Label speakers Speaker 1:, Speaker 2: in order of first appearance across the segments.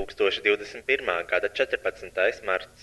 Speaker 1: 2021. gada 14. marts.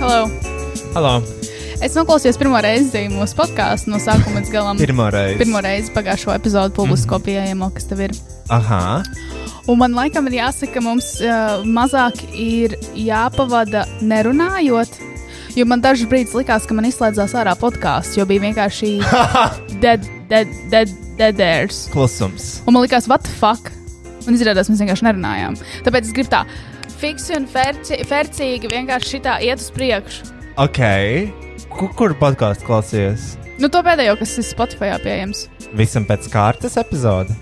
Speaker 2: Hello!
Speaker 3: Halo!
Speaker 2: Es noklausījos pirmo reizi mūsu podkāstu no sākuma līdz galam.
Speaker 3: Pirmoreiz!
Speaker 2: Pirmo reizi pagājušo epizodu publisko pieejamo, kas tev ir.
Speaker 3: Aha!
Speaker 2: Un man laikam ir jāsaka, ka mums uh, mazāk ir jāpavada nerunājot. Jo man dažs brīdis likās, ka man izslēdzās ārā podkāsts, jo bija vienkārši dead, dead, dead, dead airs.
Speaker 3: Klusums!
Speaker 2: Un man likās, what the fuck? Un izrādās, mēs vienkārši nerunājām. Tāpēc es gribu tā, fiksi un ferci, fercīgi vienkārši šitā iet uz priekšu.
Speaker 3: Ok! Kur, kur podkāstu klausies?
Speaker 2: Nu, to pēdējo, kas ir Spotify pieejams.
Speaker 3: Visam pēc kārtas epizode.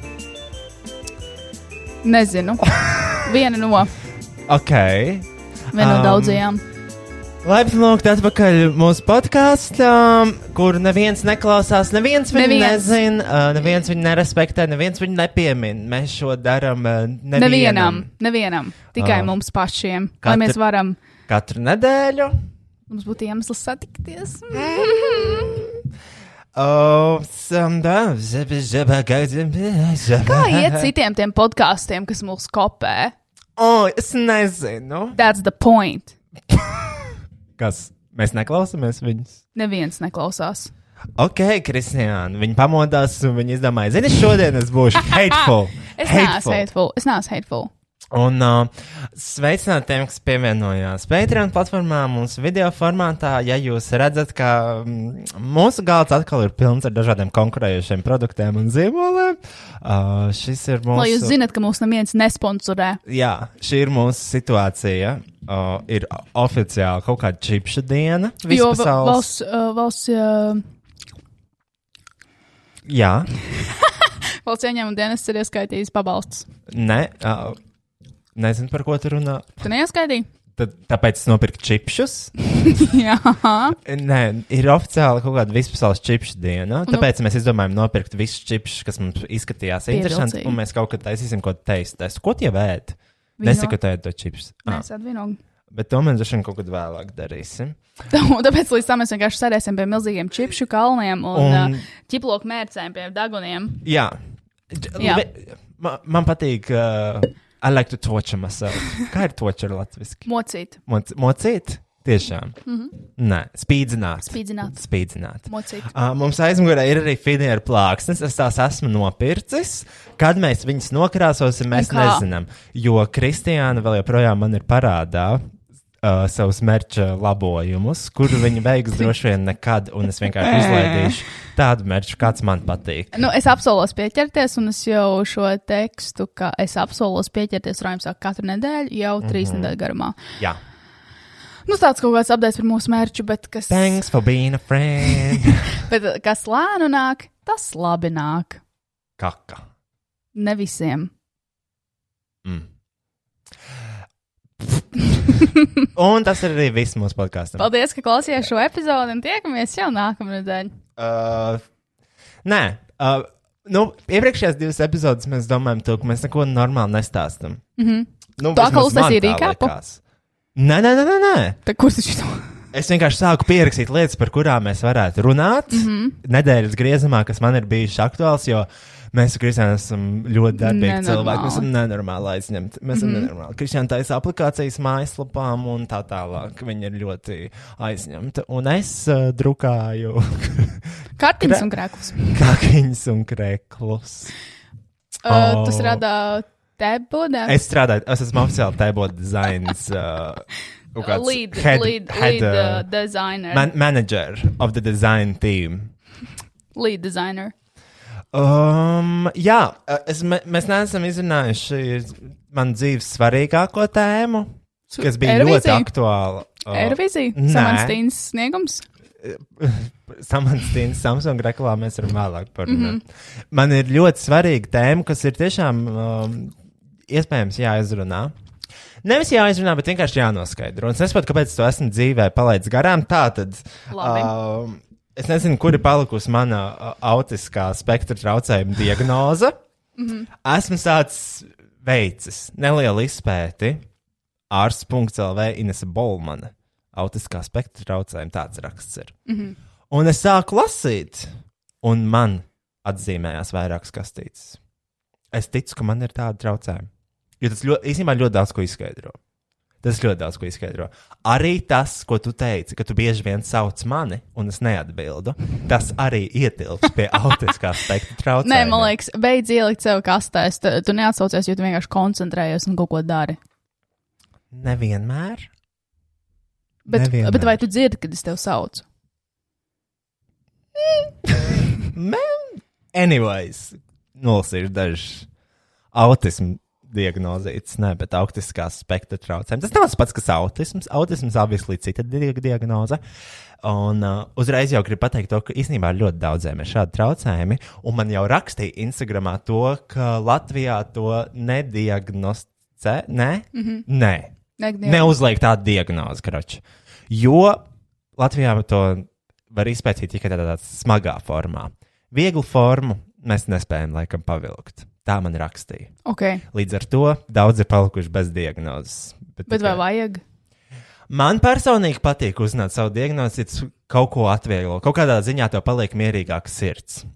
Speaker 2: Nezinu. Viena no,
Speaker 3: Ok.
Speaker 2: viena no
Speaker 3: Um,
Speaker 2: daudzajām.
Speaker 3: Laipni lūgt atpakaļ mūsu podkāstam, kur neviens neklausās, neviens viņu
Speaker 2: Neviens.
Speaker 3: nezina, uh, neviens viņu nerespektē, neviens viņu nepiemina. Mēs šo darām uh, nevienam.
Speaker 2: Nevienam, nevienam, tikai
Speaker 3: Ah.
Speaker 2: um, mums pašiem. Katru... Lai
Speaker 3: Katru-
Speaker 2: mēs varam,
Speaker 3: Katru nedēļu.
Speaker 2: mums būtu iemesls satikties.
Speaker 3: Oh, sometimes zebe, zebe, gaidzi- zebe.
Speaker 2: Kā iet citiem tiem podkāstiem, kas mūs kopē?
Speaker 3: O, es nezinu.
Speaker 2: That's the point.
Speaker 3: Kas? Mēs neklausāmies viņus.
Speaker 2: Neviens neklausās.
Speaker 3: Ok, Kristiāna, viņi pamodās un viņi izdomāja, zini, šodien es būšu hateful.
Speaker 2: Es neesmu hateful. Es neesmu hateful.
Speaker 3: Un uh, sveicināt tiem, kas pievienojās Patreon platformā, mūsu video formātā. Ja jūs redzat, ka mm, mūsu galds atkal ir pilns ar dažādiem konkurējošiem produktiem un zīmoliem, uh, šis ir mūsu.
Speaker 2: Lai jūs zinat, ka mūs neviens nesponsorē.
Speaker 3: Jā, šī ir mūsu situācija. Uh, ir oficiāli kaut kāda čipša diena. Vispār
Speaker 2: Jo va-
Speaker 3: pasaules.
Speaker 2: valsts, uh, valsts, uh,
Speaker 3: Jā,
Speaker 2: valsts ieņēmuma dienas ir ieskaitījis pabalstus.
Speaker 3: ne. Uh, nezinu, par ko tu runā.
Speaker 2: Tu neieskaitīji?
Speaker 3: Tad, tāpēc es nopirku čipšus.
Speaker 2: Jā.
Speaker 3: Nē, ir oficiāli kaut kāda vispasaules čipšu diena.
Speaker 2: Nu.
Speaker 3: Tāpēc mēs izdomājām nopirkt visus čipsus, kas mums izskatījās interesanti.
Speaker 2: Pievilcīgi.
Speaker 3: Un mēs kaut kad taisīsim ko teistu. testu. Ko tie vēd?
Speaker 2: Vino.
Speaker 3: Nesakotēju to čipsus.
Speaker 2: Nē,
Speaker 3: Ah,
Speaker 2: es atvienoju.
Speaker 3: bet to mēs droši vien kaut kad vēlāk darīsim.
Speaker 2: Un Tāpēc līdz tam mēs vienkārši sēdēsim pie milzīgiem čipšu kalniem un,
Speaker 3: Un-
Speaker 2: un... ķiploku mērcēm, pie daguniem.
Speaker 3: Jā.
Speaker 2: Jā.
Speaker 3: Jā. Man, man patīk. Uh, I like to torture myself. Kā ir torture latviski?
Speaker 2: Mocīt. Mhm.
Speaker 3: Moc- Mocīt? Tiešām. Mm -hmm. Nē, spīdzināt.
Speaker 2: Spīdzināt.
Speaker 3: spīdzināt.
Speaker 2: Mocīt.
Speaker 3: Uh, mums aizmugurē ir arī finieru plāksnes. Es tās esmu nopircis. Kad mēs viņas nokrāsosim, mēs
Speaker 2: Un kā?
Speaker 3: nezinām. Jo Kristiāna vēl joprojām man ir parādā. Uh, savus merča labojumus, kuru viņi beigs droši vien nekad, un es vienkārši izlaidīšu tādu merču, kāds man patīk.
Speaker 2: Nu, es apsolos pieķerties, un es jau šo tekstu, ka es apsolos pieķerties Rājumsā katru nedēļu, jau trīs mm -hmm. nedēļu garumā.
Speaker 3: Mhm. Jā,
Speaker 2: Nu, tāds kaut kāds apdēļ par mūsu mērķu, bet kas,
Speaker 3: thanks for being a friend.
Speaker 2: bet uh, kas lēnu nāk, tas labi nāk.
Speaker 3: Kaka.
Speaker 2: Ne visiem.
Speaker 3: Mm. un tas ir arī viss mūsu podkāstam.
Speaker 2: Paldies, ka klausījāties šo epizodi, un tiekamies jau nākamnedēļ.
Speaker 3: Uh, nē, uh, nu, iepriekšējās divas epizodes mēs domājam, to, ka mēs neko normāli nestāstām. Mm -hmm. nu,
Speaker 2: Tu atkal
Speaker 3: vismaz man
Speaker 2: uztaisīji
Speaker 3: tā
Speaker 2: recap-u?
Speaker 3: likās. Nē, nē, nē, nē, nē.
Speaker 2: Tad kurš ir šis?
Speaker 3: Es vienkārši sāku pierakstīt lietas, par kurām mēs varētu runāt. Mm -hmm. Nedēļas griezumā, kas man ir bijušas aktuāls, jo mēs ar Kristiānu esam ļoti darbīgi
Speaker 2: Nenormāli.
Speaker 3: cilvēki. Mēs esam nenormāli aizņemti. Mēs esam mm -hmm. nenormāli. Kristiāna taisa aplikācijas mājaslapām un tā tālāk. Viņa ir ļoti aizņemta. Un es uh, drukāju
Speaker 2: Kartiņas un krēkls.
Speaker 3: kakliņus un kreklus.
Speaker 2: Uh,
Speaker 3: Oh.
Speaker 2: tas rada tebu, ne?
Speaker 3: Es strādāju, es esmu oficiāli tēbo dizains. Uh, kaut kāds
Speaker 2: Lead,
Speaker 3: head-
Speaker 2: lead,
Speaker 3: head,
Speaker 2: lead uh,
Speaker 3: uh,
Speaker 2: designer.
Speaker 3: man manager of the design team.
Speaker 2: Lead designer.
Speaker 3: Um, jā, es, mē- mēs neesam izrunājuši man dzīves svarīgāko tēmu,
Speaker 2: Su-
Speaker 3: kas bija
Speaker 2: Eirovīzija?
Speaker 3: ļoti aktuāla.
Speaker 2: Eirovizija?
Speaker 3: nē.
Speaker 2: Samanstīns sniegums?
Speaker 3: Samanstīns, Samsung reklāmā mēs varam vēlāk par viņu. Mm -hmm. Man ir ļoti svarīga tēma, kas ir tiešām um, iespējams jāizrunā. Nevis jāizrunā, bet vienkārši jānoskaidro. Un es nesaprotu, kāpēc es to esmu dzīvē palaidis garām. Tā tad.
Speaker 2: Labi.
Speaker 3: Um, es nezinu, kur ir palikusi mana uh, autiskā spektra traucējuma diagnoze. Esmu sācis veicis nelielu izpēti ārsts.lv Inese Bolmana. Autiskā spektra traucējuma tāds raksts ir. Un es sāku lasīt, un man atzīmējās vairākas kastītes. Es ticu, ka man ir tāda traucējuma. Jo tas ļoti, īstenībā ļoti daudz ko izskaidro. Tas ļoti daudz ko izskaidro. Arī tas, ko tu teici, ka tu bieži vien sauc mani, un es neatbildu, tas arī ietilps pie autiskā spektra traucējuma.
Speaker 2: Nē, man liekas, beidz ielikt sev kastē. Es te- Tu neatsaucies, jo tu vienkārši koncentrējies un kaut ko dari.
Speaker 3: nevienmēr.
Speaker 2: Bet,
Speaker 3: Nevienmēr.
Speaker 2: bet vai tu dzirdi, kad es tevi saucu?
Speaker 3: Man, anyways, nolasīšu dažas autismu diagnozītas, ne, bet autistiskā spektra traucējumi. Tas nav tas pats, kas autisms. Autisms obviously cita di- diagnoze. Un uh, uzreiz jau gribu pateikt to, ka īstenībā ļoti daudziem ir šādi traucējumi. Un man jau rakstīja Instagramā to, ka Latvijā to nediagnosticē. Nē, mm
Speaker 2: Mhm.
Speaker 3: -hmm. nē
Speaker 2: Nē,
Speaker 3: neuzliek tādu diagnozi, karoči. Jo Latvijā to var izpētīt tikai tādā smagā formā. Vieglu formu mēs nespējam laikam pavilkt. Tā man rakstīja.
Speaker 2: ok.
Speaker 3: Līdz ar to daudz ir palikuši bez diagnozes.
Speaker 2: Bet vai vajag?
Speaker 3: Man personīgi patīk uzzināt savu diagnozi, ja tas kaut ko atvieglo. Kaut kādā ziņā tev paliek mierīgāks sirds.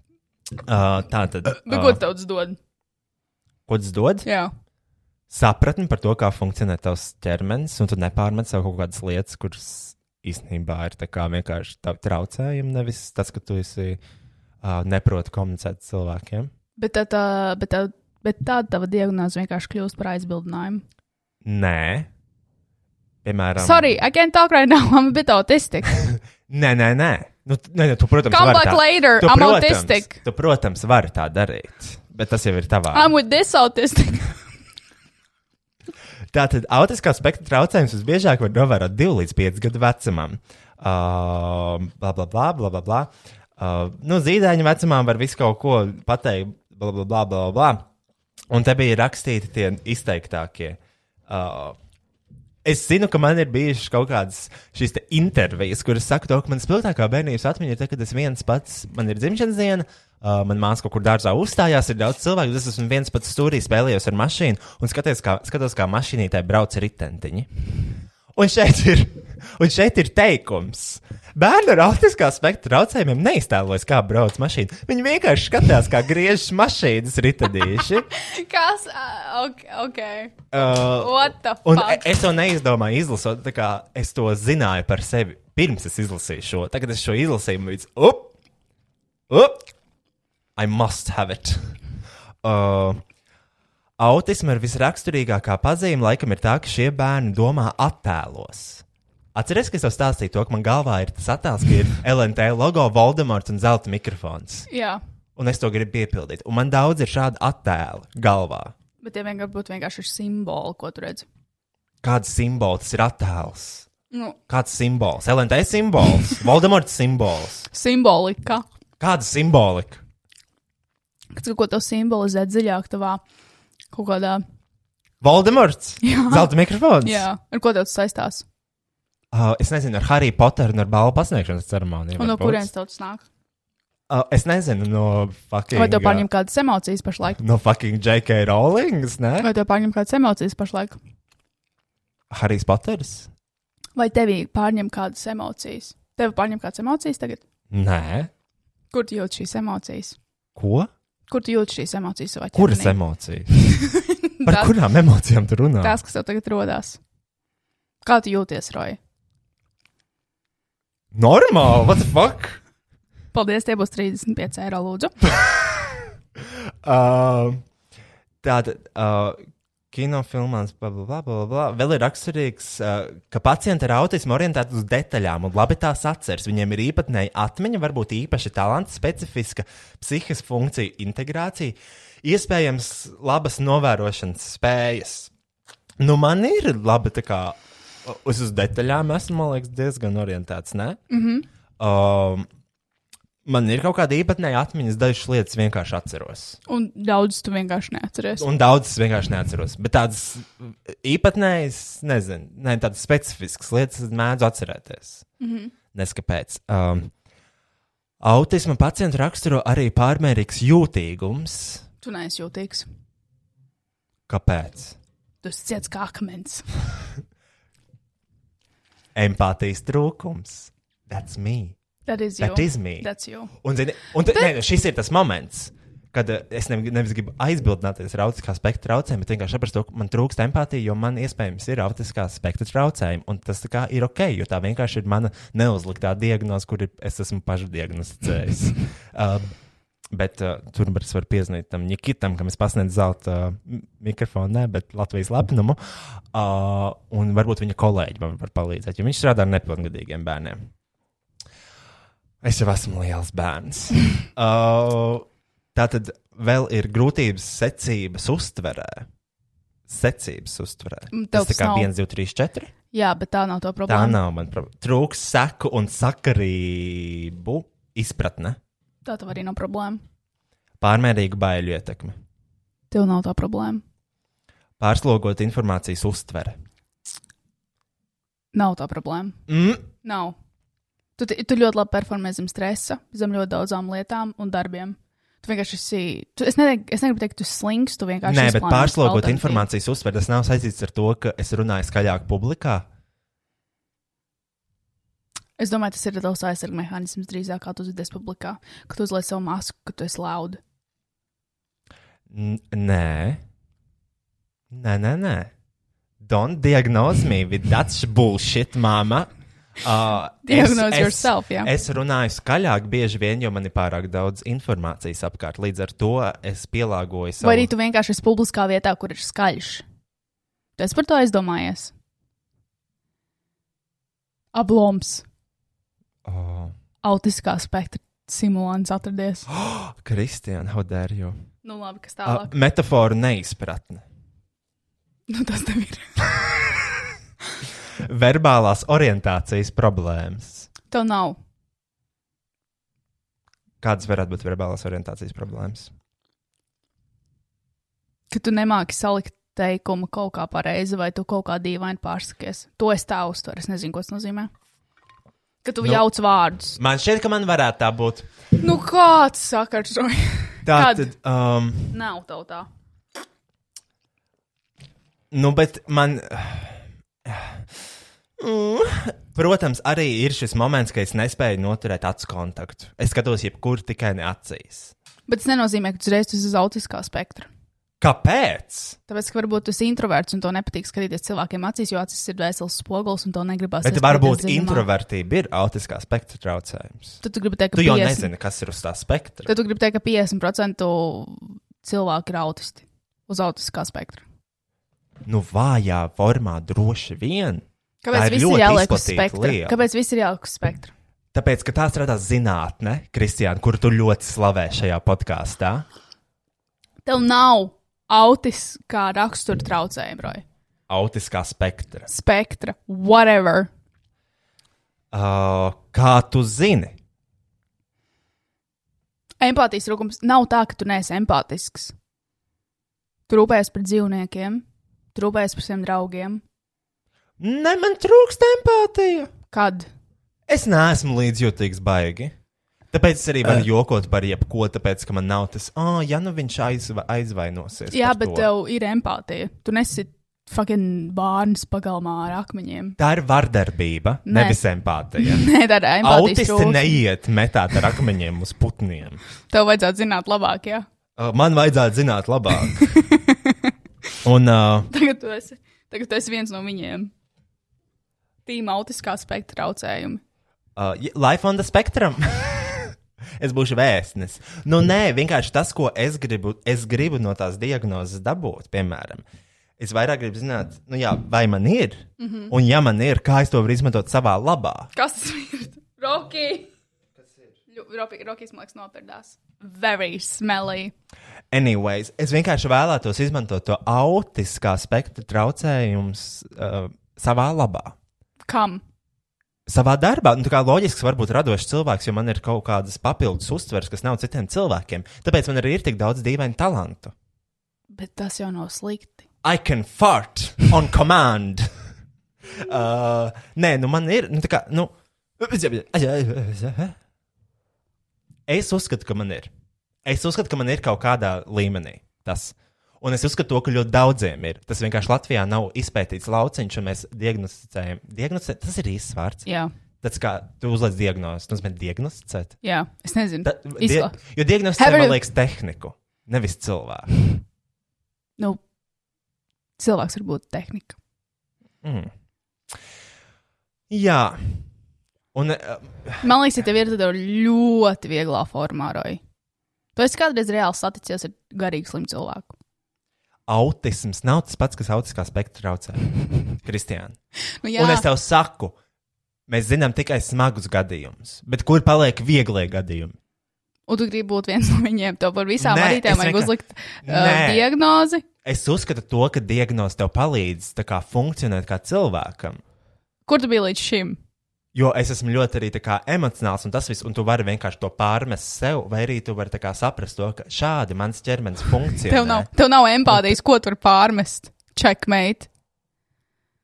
Speaker 3: Uh, tā tad,
Speaker 2: Bet ko
Speaker 3: uh,
Speaker 2: tauts dod?
Speaker 3: ko tas dod?
Speaker 2: Jā.
Speaker 3: sapratni par to, kā funkcionē tavs ķermenis, un tu nepārmet sev kaut kādas lietas, kuras īstenībā ir tā kā vienkārši tā traucējumi, nevis tas, ka tu esi uh, neproti komunicēt ar cilvēkiem.
Speaker 2: Bet tā, tā, bet tā, bet tā tava diagnoze vienkārši kļūst par aizbildinājumu.
Speaker 3: Nē, piemēram,
Speaker 2: Sorry, I can't talk right now. I'm a bit autistic.
Speaker 3: Nē, nē, nē. Nu, t- nē, nē tu, protams,
Speaker 2: Come
Speaker 3: vari
Speaker 2: back
Speaker 3: tā-
Speaker 2: later,
Speaker 3: Tu,
Speaker 2: I'm
Speaker 3: protams,
Speaker 2: autistic. Ah,
Speaker 3: Tu, protams, vari tā darīt, bet tas jau ir tavā.
Speaker 2: I'm with this autistic.
Speaker 3: Tātad autiskā spektra traucējums visbiežāk var novērot 2 līdz 5 gadu vecumam. Uh, bla, bla, bla, bla, bla, bla. Uh, nu, zīdaiņa vecumā var visu kaut ko pateikt, bla, bla, bla, bla, bla. Un te bija rakstīti tie izteiktākie. Uh, Es zinu, ka man ir bijušas kaut kādas šīs te intervijas, kuras saka, to, ka manas spilgtākā bērnības atmiņa ir tā, kad es viens pats, man ir dzimšanas diena, uh, man māsa kaut kur dārzā uzstājās, ir daudz cilvēku, es esmu viens pats stūrī spēlējos ar mašīnu un skaties, kā, skatos, kā mašīnītē brauc ritentiņi. Un šeit ir, un šeit ir teikums. Bērni ar autiskā spektra traucējumiem neiztēlojas, kā brauc mašīna. Viņi vienkārši skatās, kā griežas mašīnas ritadīši.
Speaker 2: Kas? Ah, ok. okay.
Speaker 3: Uh,
Speaker 2: What the
Speaker 3: un
Speaker 2: fuck?
Speaker 3: e- es to neizdomāju, izlasot, tā kā es to zināju par sevi. Pirms es izlasīju šo, tagad es šo izlasīju, un viss, up, up, I must have it. Uh, Autisma ir visraksturīgākā pazīme, laikam, ir tā, ka šie bērni domā attēlos. Atcerieties, ka es jau stāstīju to, ka man galvā ir tas attēls, ka ir LNT logo, Voldemorts un zelta mikrofons.
Speaker 2: Jā,
Speaker 3: Un es to gribu piepildīt. Un man daudz ir šādi attēli galvā.
Speaker 2: bet tie vienkārši būtu vienkārši simboli, ko tu redz.
Speaker 3: Kāds simbols tas ir attēls?
Speaker 2: Nu,
Speaker 3: Kāds simbols? LNT simbols, Voldemorts simbols.
Speaker 2: simbolika.
Speaker 3: Kāda simbolika?
Speaker 2: Kas kaut ko to simbolizē dziļāk tavā kaut kādā.
Speaker 3: Voldemorts?
Speaker 2: Jā.
Speaker 3: Zelta mikrofons?
Speaker 2: Jā, ar ko tev tas saistās?
Speaker 3: Uh, es nezinu, ar Harry Potteru un ar balvu pasniegšanas ceremoniju.
Speaker 2: Un no
Speaker 3: varbūt.
Speaker 2: kurienes tev tas nāk?
Speaker 3: Uh, es nezinu, no fucking. ah,
Speaker 2: Vai tev pārņem kādas emocijas pašlaik?
Speaker 3: No fucking J.K. Rowlings, ne?
Speaker 2: Vai tev pārņem kādas emocijas pašlaik?
Speaker 3: Harijs Poters?
Speaker 2: Vai tevī pārņem kādas emocijas? Tev pārņem kādas emocijas tagad?
Speaker 3: Nē.
Speaker 2: Kur tu jūti šīs emocijas?
Speaker 3: Ko?
Speaker 2: Kur tu jūti šīs emocijas savā ķermenī?
Speaker 3: Kuras emocijas? Par
Speaker 2: Tās-
Speaker 3: kurām emocijām tu runā?
Speaker 2: Tās, kas tev tagad rodās. Kā tu jūties, Roja?
Speaker 3: Normāli, what the fuck?
Speaker 2: Paldies, tie būs 35 eiro, lūdzu.
Speaker 3: Uh, Tātad, uh, kinofilmās, bla, bla, bla, bla, bla, vēl ir raksturīgs, uh, ka pacienti ar autismu orientēti uz detaļām un labi tās atceras. Viņiem ir īpatnēji atmiņa, varbūt īpaši talanta, specifiska psihiskā funkcija, integrācija, iespējams, labas novērošanas spējas. Nu, man ir labi, tā kā uz, uz detaļām esmu, man liekas, diezgan orientēts. Ne? Mm -hmm. um, man ir kaut kāda īpatnēja atmiņas, dažas lietas vienkārši atceros.
Speaker 2: Un daudz tu vienkārši neatceries.
Speaker 3: Un daudzas vienkārši neatceros. Bet tādas īpatnējas, nezinu, ne, tādas specifiskas lietas mēdzu atcerēties. Mm -hmm. Neskapēc. Um, autisma pacientu raksturo arī pārmērīgs jūtīgums.
Speaker 2: Tu neesi jūtīgs.
Speaker 3: Kāpēc?
Speaker 2: Tu esi ciets kā akmens.
Speaker 3: Empātijas trūkums. That's me.
Speaker 2: That is you.
Speaker 3: That is me.
Speaker 2: That's you.
Speaker 3: Un, zini, un te, ne, šis ir tas moments, kad eh, es ne, nevis gribu aizbildināties ar autiskā spektra traucējumiem, bet vienkārši saprotu, ka man trūkst empātija, jo man iespējams ir autiskā spektra traucējumi. Un tas tā kā ir ok, jo tā vienkārši ir mana neuzliktā diagnoze, kur ir, es esmu pašdiagnosticējis. uh, Bet uh, tur es varu piezīmēt tam Nikitam, kam es pasniedzu zelta uh, m- mikrofonu, ne, bet Latvijas lepnumu. Uh, un varbūt viņa kolēģi man var palīdzēt, jo viņš strādā ar nepilngadīgiem bērniem. Es jau esmu liels bērns. uh, tā tad vēl ir grūtības secības uztverē. Secības uztverē.
Speaker 2: Mm, tev
Speaker 3: Tas tā
Speaker 2: tas
Speaker 3: kā
Speaker 2: nav.
Speaker 3: 1, 2, 3, 4.
Speaker 2: Jā, bet tā nav tā
Speaker 3: Tā
Speaker 2: problēma.
Speaker 3: nav man problēma. Trūks seku un sakarību izpratne.
Speaker 2: Tā tev arī nav problēma.
Speaker 3: Pārmērīgu baiļu ietekmi.
Speaker 2: Tev nav tā problēma.
Speaker 3: Pārslogot informācijas uztvere.
Speaker 2: Nav tā problēma.
Speaker 3: Mm.
Speaker 2: Nav. Tu, ti- tu ļoti labi performē zem stresa, zem ļoti daudzām lietām un darbiem. Tu vienkārši esi. Tu, es, ne, es negribu teikt, ka tu esi slings, tu vienkārši.
Speaker 3: Nē,
Speaker 2: esi
Speaker 3: bet
Speaker 2: plāns,
Speaker 3: pārslogot
Speaker 2: alternatīva.
Speaker 3: informācijas uztveri, tas nav saistīts ar to, ka es runāju skaļāk publikā.
Speaker 2: Es domāju, tas ir tavs aizsardzības mehānisms drīzāk, kā tu uzvedies publikā, ka tu uzliec savu masku, ka tu esi lauda.
Speaker 3: N nē, nē, nē. nē. Don't diagnose me with that sh- bullshit, mama. Uh,
Speaker 2: Diagnose yourself, jā.
Speaker 3: Es runāju skaļāk bieži vien, jo man ir pārāk daudz informācijas apkārt. Līdz ar to es pielāgoju savu
Speaker 2: Vai arī tu vienkārši esi publiskā vietā, kur ir skaļš? Tu esi par to aizdomājies. Abloms,
Speaker 3: Oh,
Speaker 2: autiskā spektra simulants atradies.
Speaker 3: Kristian, how dare you?
Speaker 2: Nu, labi, kas
Speaker 3: Uh,
Speaker 2: tālāk?
Speaker 3: metaforu neizpratne.
Speaker 2: Nu, tas tev ir.
Speaker 3: Verbālās orientācijas problēmas.
Speaker 2: Tev nav.
Speaker 3: Kādas varētu būt verbālās orientācijas problēmas?
Speaker 2: Ka tu nemāki salikt teikumu kaut kā pareizi, vai tu kaut kā dīvaini pārsakies. To es tā uztveru. Es nezinu, ko tas nozīmē. Ka tu
Speaker 3: Nu.
Speaker 2: nu, jauc vārdus.
Speaker 3: Man šķiet, ka man varētu tā būt.
Speaker 2: Nu, kāds sakars?
Speaker 3: Tā
Speaker 2: Kad?
Speaker 3: tad. Um,
Speaker 2: Nav tev tā.
Speaker 3: Nu, bet man. Protams, arī ir šis moments, ka es nespēju noturēt acu kontaktu. Es skatos, jebkur tikai ne acīs.
Speaker 2: Bet tas nenozīmē, ka uzreiz tas ir uz autiskā spektra.
Speaker 3: Kāpēc?
Speaker 2: Tāpēc, ka varbūt tu esi introverts un tev nepatīk skatīties cilvēkiem acīs, jo acis ir vesels spogulis un tev negribas.
Speaker 3: Bet varbūt introvertība ir autiskā spektra traucējums.
Speaker 2: Tad tu gribi teikt, ka
Speaker 3: Tu jau
Speaker 2: 50%
Speaker 3: nezini, kas ir uz tā spektra.
Speaker 2: tad tu gribi teikt, ka 50% cilvēku ir autisti uz autiskā spektra.
Speaker 3: Nu, vājā formā droši vien. Tā ir
Speaker 2: Kāpēc viss
Speaker 3: ļoti
Speaker 2: ir jāliek uz
Speaker 3: izplatīta
Speaker 2: spektra?
Speaker 3: lieta.
Speaker 2: Kāpēc viss ir jāliek uz spektra?
Speaker 3: Tāpēc, ka tā strādā zinātne, Kristiāna, kur tu ļoti slavē šajā podkāstā.
Speaker 2: Tev nav autiskā rakstura traucējuma, Roja.
Speaker 3: Autiskā spektra.
Speaker 2: Spektra, whatever.
Speaker 3: Uh, kā tu zini?
Speaker 2: Empātijas trūkums nav tā, ka tu neesi empātisks. Tu rūpējies par dzīvniekiem, tu rūpējies par saviem draugiem.
Speaker 3: Ne, man trūkst empātija.
Speaker 2: Kad?
Speaker 3: Es neesmu līdzjūtīgs baigi. Tāpēc es arī varu jokot par jebko, tāpēc, ka man nav tas, ah, oh, ja nu viņš aizva aizvainosies.
Speaker 2: Jā,
Speaker 3: par
Speaker 2: bet
Speaker 3: to."
Speaker 2: tev ir empātija. Tu nesi fucking bērns pagalmā ar akmeņiem.
Speaker 3: Tā ir vardarbība,
Speaker 2: Nē.
Speaker 3: nevis empātija.
Speaker 2: Nē, tā ir empātija.
Speaker 3: Autisti neiet metāt ar akmeņiem uz putniem.
Speaker 2: Tev vajadzētu zināt labāk, jā.
Speaker 3: Uh, Man vajadzētu zināt labāk. Un uh,
Speaker 2: Tagad tu esi, tagad tu esi viens no viņiem. Tīma autiskā spektra traucējumi.
Speaker 3: uh, j- Life on the Spectrum. es būšu vēstnes. Nu, nē, vienkārši tas, ko es gribu, es gribu no tās diagnozes dabūt, piemēram. Es vairāk gribu zināt, nu, jā, vai man ir, mm -hmm. un ja man ir, kā es to varu izmantot savā labā.
Speaker 2: Kas tas ir? Roki! Rokas, man liekas, nopērdās. Very smelly.
Speaker 3: Anyways, es vienkārši vēlētos izmantot to autiskā spektra traucējumus uh, savā labā.
Speaker 2: Kam?
Speaker 3: savā darbā, nu, tā kā loģisks, varbūt radošs cilvēks, jo man ir kaut kādas papildus uztveres, kas nav citiem cilvēkiem. Tāpēc man arī ir tik daudz dīvainu talantu.
Speaker 2: Bet tas jau nav slikti.
Speaker 3: I can fart on command. uh, nē, nu man ir. Nu, tā kā, nu, es uzskatu, ka man ir. Es uzskatu, ka man ir kaut kādā līmenī tas. Un es uzskatu, to, ka ļoti daudziem ir. Tas vienkārši Latvijā nav izpētīts lauciņš, un mēs diagnosticējam. Diagnosticē, tas ir īsts vārds.
Speaker 2: Jā,
Speaker 3: Tas kā tu uzliec diagnozi, tas nozīmē diagnosticēt.
Speaker 2: jā. es nezinu.
Speaker 3: Ta- die-
Speaker 2: Izkla...
Speaker 3: Jo diagnosticē,
Speaker 2: Have
Speaker 3: man
Speaker 2: you-
Speaker 3: liekas, tehniku, nevis cilvēku.
Speaker 2: Nu, cilvēks var būt tehnika.
Speaker 3: Mm. Jā. Un, eh,
Speaker 2: Man liekas, ja tev ir tāda ļoti vieglā formā, Roja. Tu esi kādreiz reāli saticies ar garīgi slimu cilvēku.
Speaker 3: autisms nav tas pats, kas autiskā spektra traucē. Kristiāna.
Speaker 2: Nu, jā,
Speaker 3: Un es tev saku, mēs zinām tikai smagus gadījumus, bet kur paliek vieglie gadījumi?
Speaker 2: un tu gribi būt viens no viņiem. Tev par visām
Speaker 3: Nē, es
Speaker 2: marītēm vajag
Speaker 3: vienkār-
Speaker 2: uzlikt uh,
Speaker 3: Nē.
Speaker 2: diagnozi.
Speaker 3: Es uzskatu to, ka diagnoze tev palīdz tā kā funkcionēt kā cilvēkam.
Speaker 2: Kur tu biji līdz šim?
Speaker 3: Jo es esmu ļoti arī tā kā, emocionāls, un tas viss, un tu vari vienkārši to pārmest sev, vai arī tu vari tā kā saprast to, ka šādi mans ķermenis funkcionē.
Speaker 2: Tev nav, tev nav empātijas, ko tu vari pārmest. Checkmate.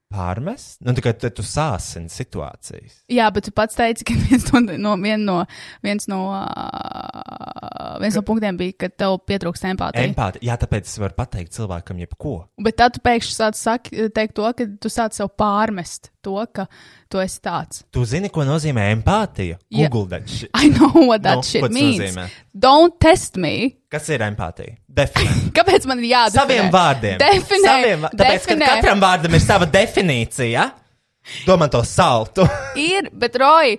Speaker 3: pārmest, nu tikai tu, tu sāsini situācijas.
Speaker 2: Jā, bet tu pats teici, ka viens no, no, vien no, viens no, ā, viens no punktiem bija, ka tev pietrūkst empātija. Emp
Speaker 3: Empātija, jā, tāpēc es varu pateikt cilvēkam jebko.
Speaker 2: bet tad tu pēkšņi sāc sak, teikt to, ka tu sāc sev pārmest to, ka tu esi tāds.
Speaker 3: Tu zini, ko nozīmē empātija?
Speaker 2: Jā.
Speaker 3: Google daži.
Speaker 2: I know what Ah,
Speaker 3: Nu,
Speaker 2: that no, shit
Speaker 3: ko tas
Speaker 2: means.
Speaker 3: nozīmē?
Speaker 2: Don't test me.
Speaker 3: Kas ir empātija? Definē.
Speaker 2: Kāpēc man ir jāatzīst?
Speaker 3: Saviem vārdiem.
Speaker 2: Definē.
Speaker 3: Saviem, va- tāpēc, ka
Speaker 2: definē.
Speaker 3: katram vārdam ir sava definīcija. Domā to saltu.
Speaker 2: ir, bet Roy,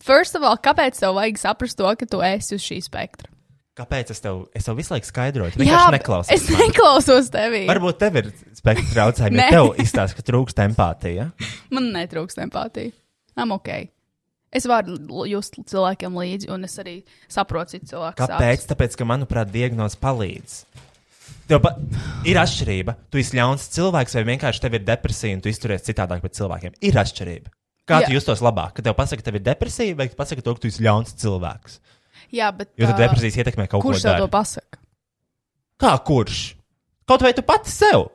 Speaker 2: first of all, kāpēc tev vajag saprast to, ka tu esi uz šī spektra?
Speaker 3: Kāpēc es tev, es tev visu laiku skaidroju? Tu vienkārši neklausies.
Speaker 2: es neklausos tevī.
Speaker 3: Varbūt tev ir spektra traucējumi.
Speaker 2: Nē.
Speaker 3: ja tev izstāsta, ka trūkst empātija.
Speaker 2: Man netrūkst empātija. I'm ok. Es varu l- just cilvēkiem līdzi, un es arī saprotu citu cilvēku.
Speaker 3: Kāpēc?
Speaker 2: sāpes.
Speaker 3: Tāpēc, ka, manuprāt, diagnoze palīdz. Tev pa... ir atšķirība. Tu esi ļauns cilvēks, vai vienkārši tev ir depresija, un tu izturies citādāk pret cilvēkiem. Ir atšķirība. Kā
Speaker 2: Jā.
Speaker 3: tu justos labāk? Kad tev pasaka, ka tev ir depresija, vai pasaka to, ka tu esi ļauns cilvēks?
Speaker 2: Jā, bet.
Speaker 3: Jo tad
Speaker 2: ā,
Speaker 3: depresijas ietekmē kaut ko
Speaker 2: Kurš tev to
Speaker 3: tādu.
Speaker 2: pasaka?
Speaker 3: Kā kurš? Kaut vai tu pati sev?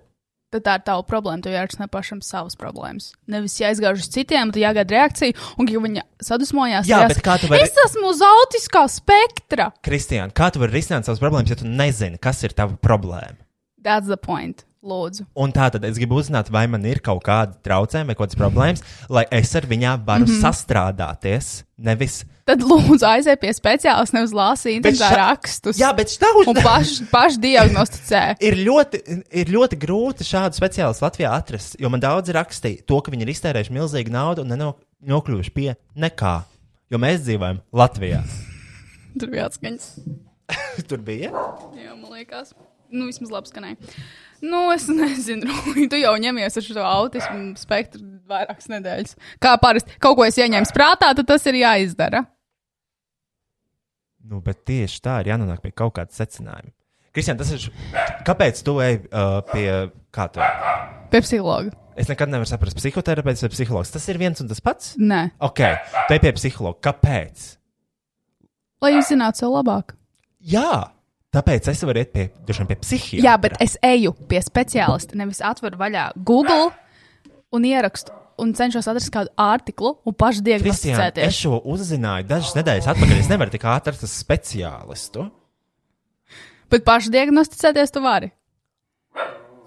Speaker 2: Tad tā ir tava problēma. Tev jārisina pašam savas problēmas. Nevis jāizgāž uz citiem, tad jāgaida reakcija, un, ja viņa sadusmojās,
Speaker 3: Jā,
Speaker 2: tad
Speaker 3: bet kā tu vari-
Speaker 2: Es esmu uz autiskā spektra.
Speaker 3: Kristiāna, kā tu vari risināt savas problēmas, ja tu nezini, kas ir tava problēma?
Speaker 2: That's the point. Lūdzu.
Speaker 3: Un tā tad es gribu uzzināt, vai man ir kaut kāda traucējuma, vai kaut kādas problēmas, lai es ar viņām varu
Speaker 2: Mhm.
Speaker 3: mm -hmm. sastrādāties. Nevis.
Speaker 2: Tad lūdzu aizej pie speciālista, nevis
Speaker 3: Bet
Speaker 2: lāsī internetā
Speaker 3: ša-
Speaker 2: rakstus.
Speaker 3: Jā, bet tā
Speaker 2: un paš, pašdiagnosticē.
Speaker 3: ir ļoti, ir ļoti grūti šādu speciālistu Latvijā atrast, jo man daudzi rakstīja to, ka viņi ir iztērējuši milzīgu naudu un neno- nokļuvuši pie nekā. Jo mēs dzīvojam Latvijā.
Speaker 2: Tur bija atskaņas.
Speaker 3: Tur bija.
Speaker 2: Jā, man liekas, nu, vismaz labi skanēja. Nu, es nezinu, tu jau ņemies ar šo autismu spektru vairākas nedēļas. Kā parasti, kaut ko es ieņēmu prātā, tad tas ir jāizdara.
Speaker 3: Nu, bet tieši tā ir jānonāk pie kaut kāda secinājuma. Kristian, tas ir. š- Kāpēc tu ej uh, pie kā to?
Speaker 2: Pie psihologa.
Speaker 3: Es nekad nevaru saprast, psihoterapeits vai psihologs. Tas ir viens un tas pats.
Speaker 2: Nē,
Speaker 3: Ok, te pie psihologa. Kāpēc?
Speaker 2: lai jūs zinātu, jau labāk.
Speaker 3: Jā, tāpēc es varu iet pie, droši vien pie
Speaker 2: Jā,
Speaker 3: psihija.
Speaker 2: Jā bet es eju pie speciālista, nevis atveru vaļā Google un ierakstu un cenšos atrast kādu artiklu un pašu
Speaker 3: Kristian, es
Speaker 2: diagnosticēties.
Speaker 3: šo uzzināju dažas nedēļas atpakaļ. Es nevaru tik ātri atrast speciālistu.
Speaker 2: Bet pašu diagnosticēties tu vari.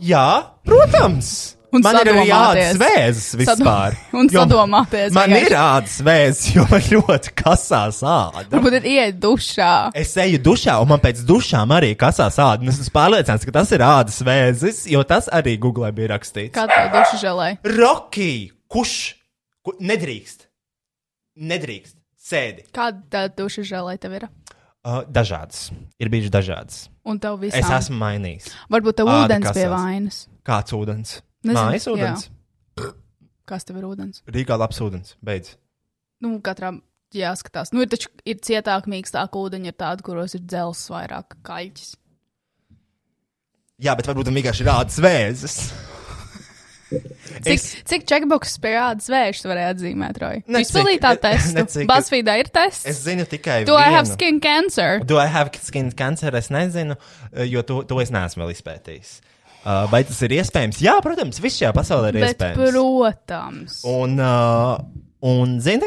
Speaker 3: Jā, protams.
Speaker 2: Un
Speaker 3: man ir arī
Speaker 2: sadomāties.
Speaker 3: ādas vēzis vispār.
Speaker 2: Sadom- un
Speaker 3: Jo
Speaker 2: sadomāties
Speaker 3: Man
Speaker 2: vienkārši.
Speaker 3: ir ādas vēzis, jo man ļoti kasās āda.
Speaker 2: Varbūt ir ieiet dušā.
Speaker 3: Es eju dušā, un man pēc dušām arī kasās āda. Un Es esmu pārliecināts, ka tas ir ādas vēzis, jo tas arī Google bija rakstīts.
Speaker 2: Kādu to dušu žēlēju?
Speaker 3: Roki, kurš ku, nedrīkst? Nedrīkst. Sēdi.
Speaker 2: Kāda tā duša žēlēja tev ir?
Speaker 3: Uh, dažādas. Ir bijušas dažādas.
Speaker 2: Un tev viss
Speaker 3: Es esmu mainījis.
Speaker 2: Varbūt tev
Speaker 3: Āda
Speaker 2: ūdens
Speaker 3: kasās.
Speaker 2: pie vainas.
Speaker 3: Kāds ūdens?
Speaker 2: Nezinu,
Speaker 3: Mājas
Speaker 2: jā.
Speaker 3: ūdens. Jā.
Speaker 2: Kas tev ir ūdens?
Speaker 3: Rīgā labs ūdens. Beidz.
Speaker 2: Nu, katram jāskatās. Nu, ir taču ir cietāk, mīkstāk ūdeņi, ir tādi, kuros ir dzels vairāk kaļķis.
Speaker 3: Jā, bet varbūt tam vienkārši ir rādas vēzis.
Speaker 2: Cik,
Speaker 3: Es-
Speaker 2: es... cik checkbox pie kādas vēža varēja atzīmēt, Roja?
Speaker 3: Necik.
Speaker 2: Izpildīt tā testu.
Speaker 3: Necik.
Speaker 2: Basfīdā ir tests.
Speaker 3: Es zinu tikai.
Speaker 2: Do I have
Speaker 3: vienu.
Speaker 2: skin cancer?
Speaker 3: Do I have skin cancer? Es nezinu, jo to, to es neesmu vēl izpētījis. Uh, vai tas ir iespējams? Jā, protams, viss šajā pasaulē ir
Speaker 2: Bet,
Speaker 3: iespējams.
Speaker 2: protams, o...
Speaker 3: Un, uh, un zini,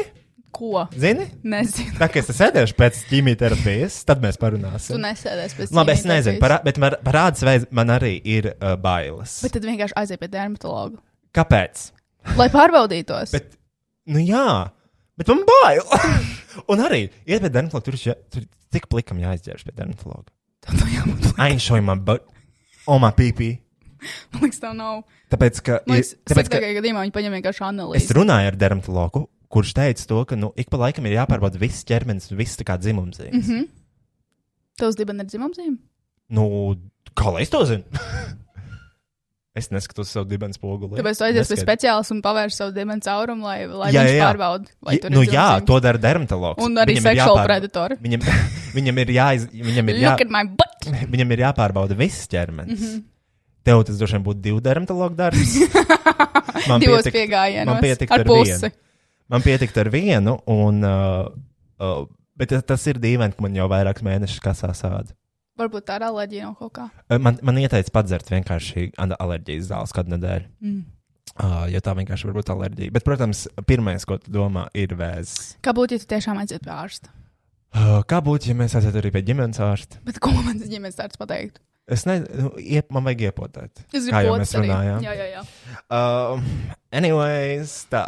Speaker 2: ko?
Speaker 3: zini,
Speaker 2: Nezinu.
Speaker 3: tā kā es te sēdēšu pēc ķīmijterapijas, tad mēs
Speaker 2: Tu
Speaker 3: parunāsim.
Speaker 2: nesēdies pēc tam.
Speaker 3: Labi, es nezinu, par, bet par- parāds veids man arī ir uh, bailes.
Speaker 2: Bet tad vienkārši aiziet pie dermatologa.
Speaker 3: Kāpēc?
Speaker 2: Lai pārbaudītos.
Speaker 3: Bet, nu jā, bet man bail. un arī iet pie dermatologa, tur, ir še- tur tik plikam jāizdzērš pie dermatologa.
Speaker 2: Tad jābūt.
Speaker 3: I'm showing my butt on my pee-pee.
Speaker 2: Man liekas, tā nav.
Speaker 3: Tāpēc, ka,
Speaker 2: Man liekas,
Speaker 3: ir, tāpēc, ka
Speaker 2: sliktākajā gadījumā viņi paņem vienkārši
Speaker 3: es
Speaker 2: analīzi.
Speaker 3: runāju ar dermatologu, kurš teica to, ka nu, ik pa laikam ir jāpārbauda viss ķermenis, viss tā kā dzimums. Mm
Speaker 2: Mhm.
Speaker 3: -hmm.
Speaker 2: Tavs dibens ir dzimumzīme?
Speaker 3: Nu, kā lai es to zinu? es neskatos savu dibens poguli.
Speaker 2: Tāpēc tu aizies pie
Speaker 3: Neskat-
Speaker 2: speciālista un pavērš savu dibens caurumu, lai, lai
Speaker 3: Jā,
Speaker 2: jā, viņš
Speaker 3: jā, jā.
Speaker 2: pārbaudītu, vai
Speaker 3: Ja,
Speaker 2: tur
Speaker 3: nu,
Speaker 2: ir
Speaker 3: jā,
Speaker 2: dzimumzīme.
Speaker 3: to dara dermatologs.
Speaker 2: Un arī
Speaker 3: Viņam ir
Speaker 2: sexual
Speaker 3: jāpār-
Speaker 2: predatori.
Speaker 3: Viņam, viņam ir jāiz, viņam ir
Speaker 2: Look
Speaker 3: jā,
Speaker 2: at my butt!
Speaker 3: viņam ir jāpārbauda viss ķermenis. Mm -hmm. Tev tas droši vien būtu divu dermatologu darbs. Man pietiktu-
Speaker 2: Divos
Speaker 3: man
Speaker 2: piegājienos.
Speaker 3: pietiktu
Speaker 2: Ar
Speaker 3: ar vienu.
Speaker 2: pusi.
Speaker 3: Man pietiktu ar vienu, un, uh, uh, bet tas- tas ir dīvaini, ka man jau vairākus mēnešus kasā sāda.
Speaker 2: Varbūt tā ir alerģija no kaut kā.
Speaker 3: Uh, Man, man ieteica padzert vienkārši an- alerģijas zāles kādu nedēļu.
Speaker 2: Mm.
Speaker 3: Uh, jo tā vienkārši var būt alerģija. Bet, protams, pirmais, ko tu domā, ir vēzis.
Speaker 2: Kā būtu, ja tu tiešām aiziet pie ārsta?
Speaker 3: Uh, kā būtu, ja mēs aizietu arī pie ģimenes ārsta?
Speaker 2: Bet ko man tas ģimenes ārsts pateikt?
Speaker 3: Es nezinu, iep, man vajag iepotēt.
Speaker 2: Es
Speaker 3: Kā
Speaker 2: gribu
Speaker 3: jau
Speaker 2: potes
Speaker 3: mēs
Speaker 2: arī.
Speaker 3: runājām.
Speaker 2: Jā, jā, jā.
Speaker 3: Uh, anyways, tā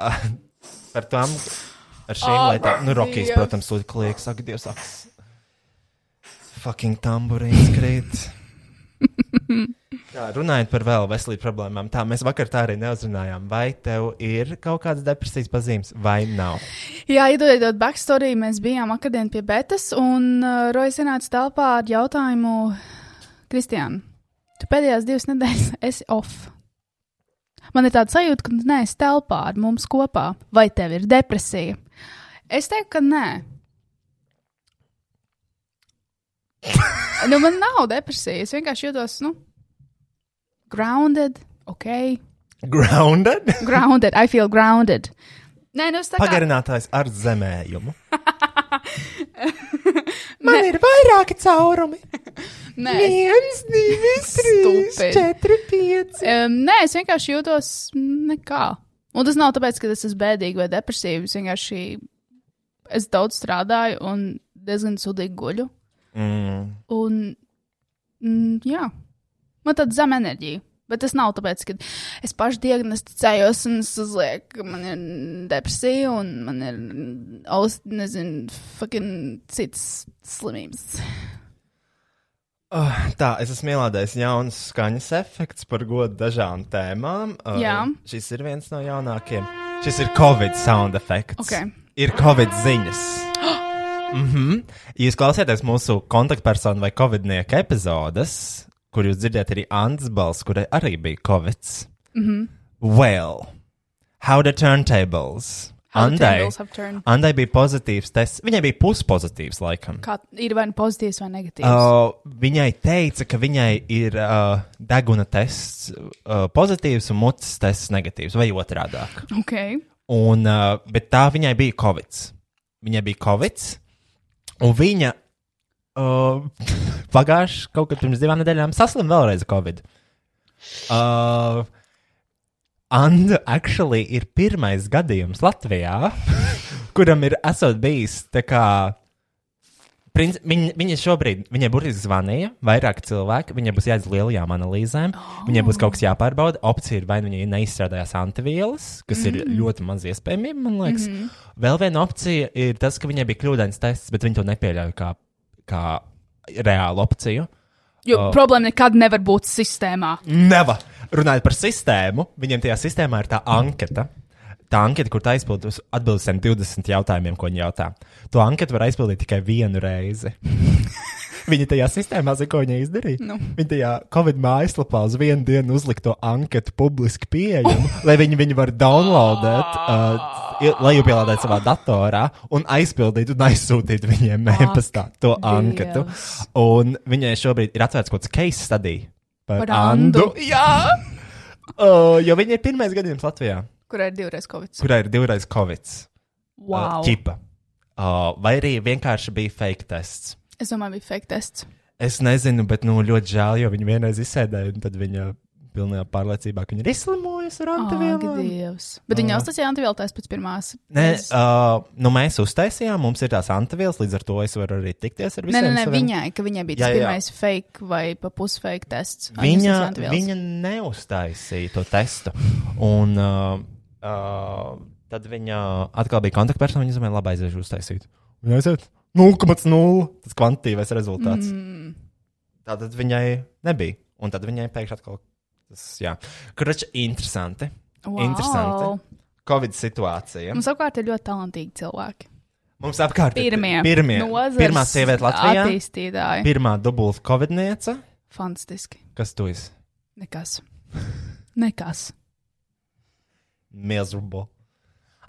Speaker 3: par tām. Ar šīm
Speaker 2: Ak,
Speaker 3: oh, lietām, nu, Rukijas,
Speaker 2: Dievs.
Speaker 3: protams, sūta kliēks, saka, Dievs, saks. Fucking tamburīns krīt. Tā, runājot par vēl veselības problēmām, tā mēs vakar tā arī neuzrunājām. Vai tev ir kaut kādas depresijas pazīmes, vai nav?
Speaker 2: Jā, iedodot backstory, mēs bijām akadēmijā pie Betas, un uh, Rojas ienāca telpā ar jautājumu, Kristiāna, tu pēdējās divas nedēļas esi off. Man ir tāda sajūta, ka tu neesi telpā ar mums kopā, vai tev ir depresija? Es teiktu, ka nē. nu, man nav depresija. Es vienkārši jūtos, nu, grounded, ok.
Speaker 3: Grounded?
Speaker 2: Grounded, I feel grounded. Nē, nu, es tā kā.
Speaker 3: Pagarinātājs ar zemējumu. Man ir vairāki caurumi.
Speaker 2: Nē, es
Speaker 3: Viens, divi, trīs,
Speaker 2: Stupid.
Speaker 3: četri, pieci.
Speaker 2: Um, nē, es vienkārši jūtos nekā. Un tas nav tāpēc, ka es esmu bēdīga vai depresīva. Es vienkārši es daudz strādāju un diezgan sudīgi guļu.
Speaker 3: Mm.
Speaker 2: Un, mm, jā, man tāda zema enerģija. Bet tas nav tāpēc, ka es pašai diagnosticējos un es uzlieku, ka man ir depresija un man ir aus, nezinu, fucking citas slimības.
Speaker 3: Oh, tā, es esmu ielādējis jaunas skaņas efekts par godu dažām tēmām. Uh,
Speaker 2: Jā.
Speaker 3: Šis ir viens no jaunākajiem. Šis ir Covid sound effekts.
Speaker 2: Ok.
Speaker 3: Ir Covid ziņas. Mhm. Jūs klausāties mūsu kontaktpersonu vai covidnieku epizodes, kur jūs dzirdat arī Antas balss, kurai arī bija Covid. Mhm. Well, how the turntables?
Speaker 2: How the
Speaker 3: Andai-
Speaker 2: tables have turned.
Speaker 3: Andai bija pozitīvs tests. Viņai bija puspozitīvs, laikam.
Speaker 2: Kā ir vai nu pozitīvs vai negatīvs?
Speaker 3: Uh, viņai teica, ka viņai ir uh, deguna tests uh, pozitīvs un mutes tests negatīvs, vai otrādi.
Speaker 2: Uh, ok.
Speaker 3: Un, uh, bet tā viņai bija covid. Viņai bija covid, un viņa uh, pagājuši kaut kad pirms divām nedēļām saslimu vēlreiz ar covid. Uh, Anna actually ir pirmais gadījums Latvijā, kuram ir esot bijis tā kā. Princ, viņa, viņa šobrīd, viņai burtiski zvanīja, vairāki cilvēki, viņai būs jāizdara lielajām analīzēm, oh. viņai būs kaut kas jāpārbauda. Opcija ir, vai nu viņa neizstrādājās antivielas, kas mm. ir ļoti maz iespējamība, man liekas. Mm. Vēl viena opcija ir tas, ka viņai bija kļūdains tests, bet viņi to nepieļauj kā, kā reālu opciju.
Speaker 2: Jo oh. problēma nekad nevar būt sistēmā.
Speaker 3: Nevar. Runājot par sistēmu, viņiem tajā sistēmā ir tā anketa. Tā anketa, kur tā aizpildīs atbildus 20 jautājumiem, ko viņi jautā. To anketu var aizpildīt tikai vienu reizi. Viņa tajā sistēmā zina, ko viņa izdarīja.
Speaker 2: Nu.
Speaker 3: Viņa tajā Covid mājaslapā uz vienu dienu uzlika to anketu publiski pieejamu, lai viņi viņu var downloadēt, uh, i- lai jau pielādētu savā datorā un aizpildītu un aizsūtītu viņiem e-pastā to anketu.
Speaker 2: Dievs.
Speaker 3: Un viņai šobrīd ir atvērts kaut kāds case study par,
Speaker 2: Par Andu.
Speaker 3: Jā, uh, jo viņa ir pirmais gadījums Latvijā,
Speaker 2: Kurai ir divreiz covid?
Speaker 3: kurā ir divreiz covid.
Speaker 2: Wow.
Speaker 3: Čipa. Uh, vai arī vienkārši bija fake tests.
Speaker 2: Es domāju, bija fake tests.
Speaker 3: Es nezinu, bet nu, ļoti žēl, jo viņa vienreiz izsēdēja, un tad viņa pilnībā pārliecībā, ka viņa ir izslimojusi ar
Speaker 2: Ak,
Speaker 3: antivielām.
Speaker 2: Dievs. Bet viņi
Speaker 3: Ah.
Speaker 2: uztaisīja antivielas tests pēc pirmās.
Speaker 3: Nē,
Speaker 2: Es-
Speaker 3: uh, nu mēs uztaisījām, mums ir tās antivielas, līdz ar to es varu arī tikties ar
Speaker 2: Nē,
Speaker 3: visiem.
Speaker 2: nē, nē,
Speaker 3: saviem-
Speaker 2: viņai, ka viņai bija
Speaker 3: Jā,
Speaker 2: tas
Speaker 3: jā.
Speaker 2: pirmais fake vai pa pusfake tests. Vai
Speaker 3: Viņa,
Speaker 2: uztaisīja antivielas?
Speaker 3: viņa neuztaisīja to testu. Un, uh, uh, tad viņa atkal bija kontaktpersona. Viņa zināja, labi, aiziešu uztaisīt. Viņa aiziet 0,0. Tas kvantitīvais rezultāts. Mm.
Speaker 2: Mm.
Speaker 3: Tātad viņai nebija. Un tad viņai pēkšņi atkal tas, jā. Kruča, interesanti.
Speaker 2: Wow.
Speaker 3: Interesanti. Covid situācija.
Speaker 2: Mums apkārt ir ļoti talantīgi cilvēki.
Speaker 3: Mums apkārt ir
Speaker 2: Pirmie.
Speaker 3: pirmie
Speaker 2: Nozars
Speaker 3: pirmā sieviete Latvijā.
Speaker 2: Attīstītāji.
Speaker 3: Pirmā dubulta covidniece.
Speaker 2: Fantastiski.
Speaker 3: Kas tu esi?
Speaker 2: Nekas. Nekas.
Speaker 3: miserable.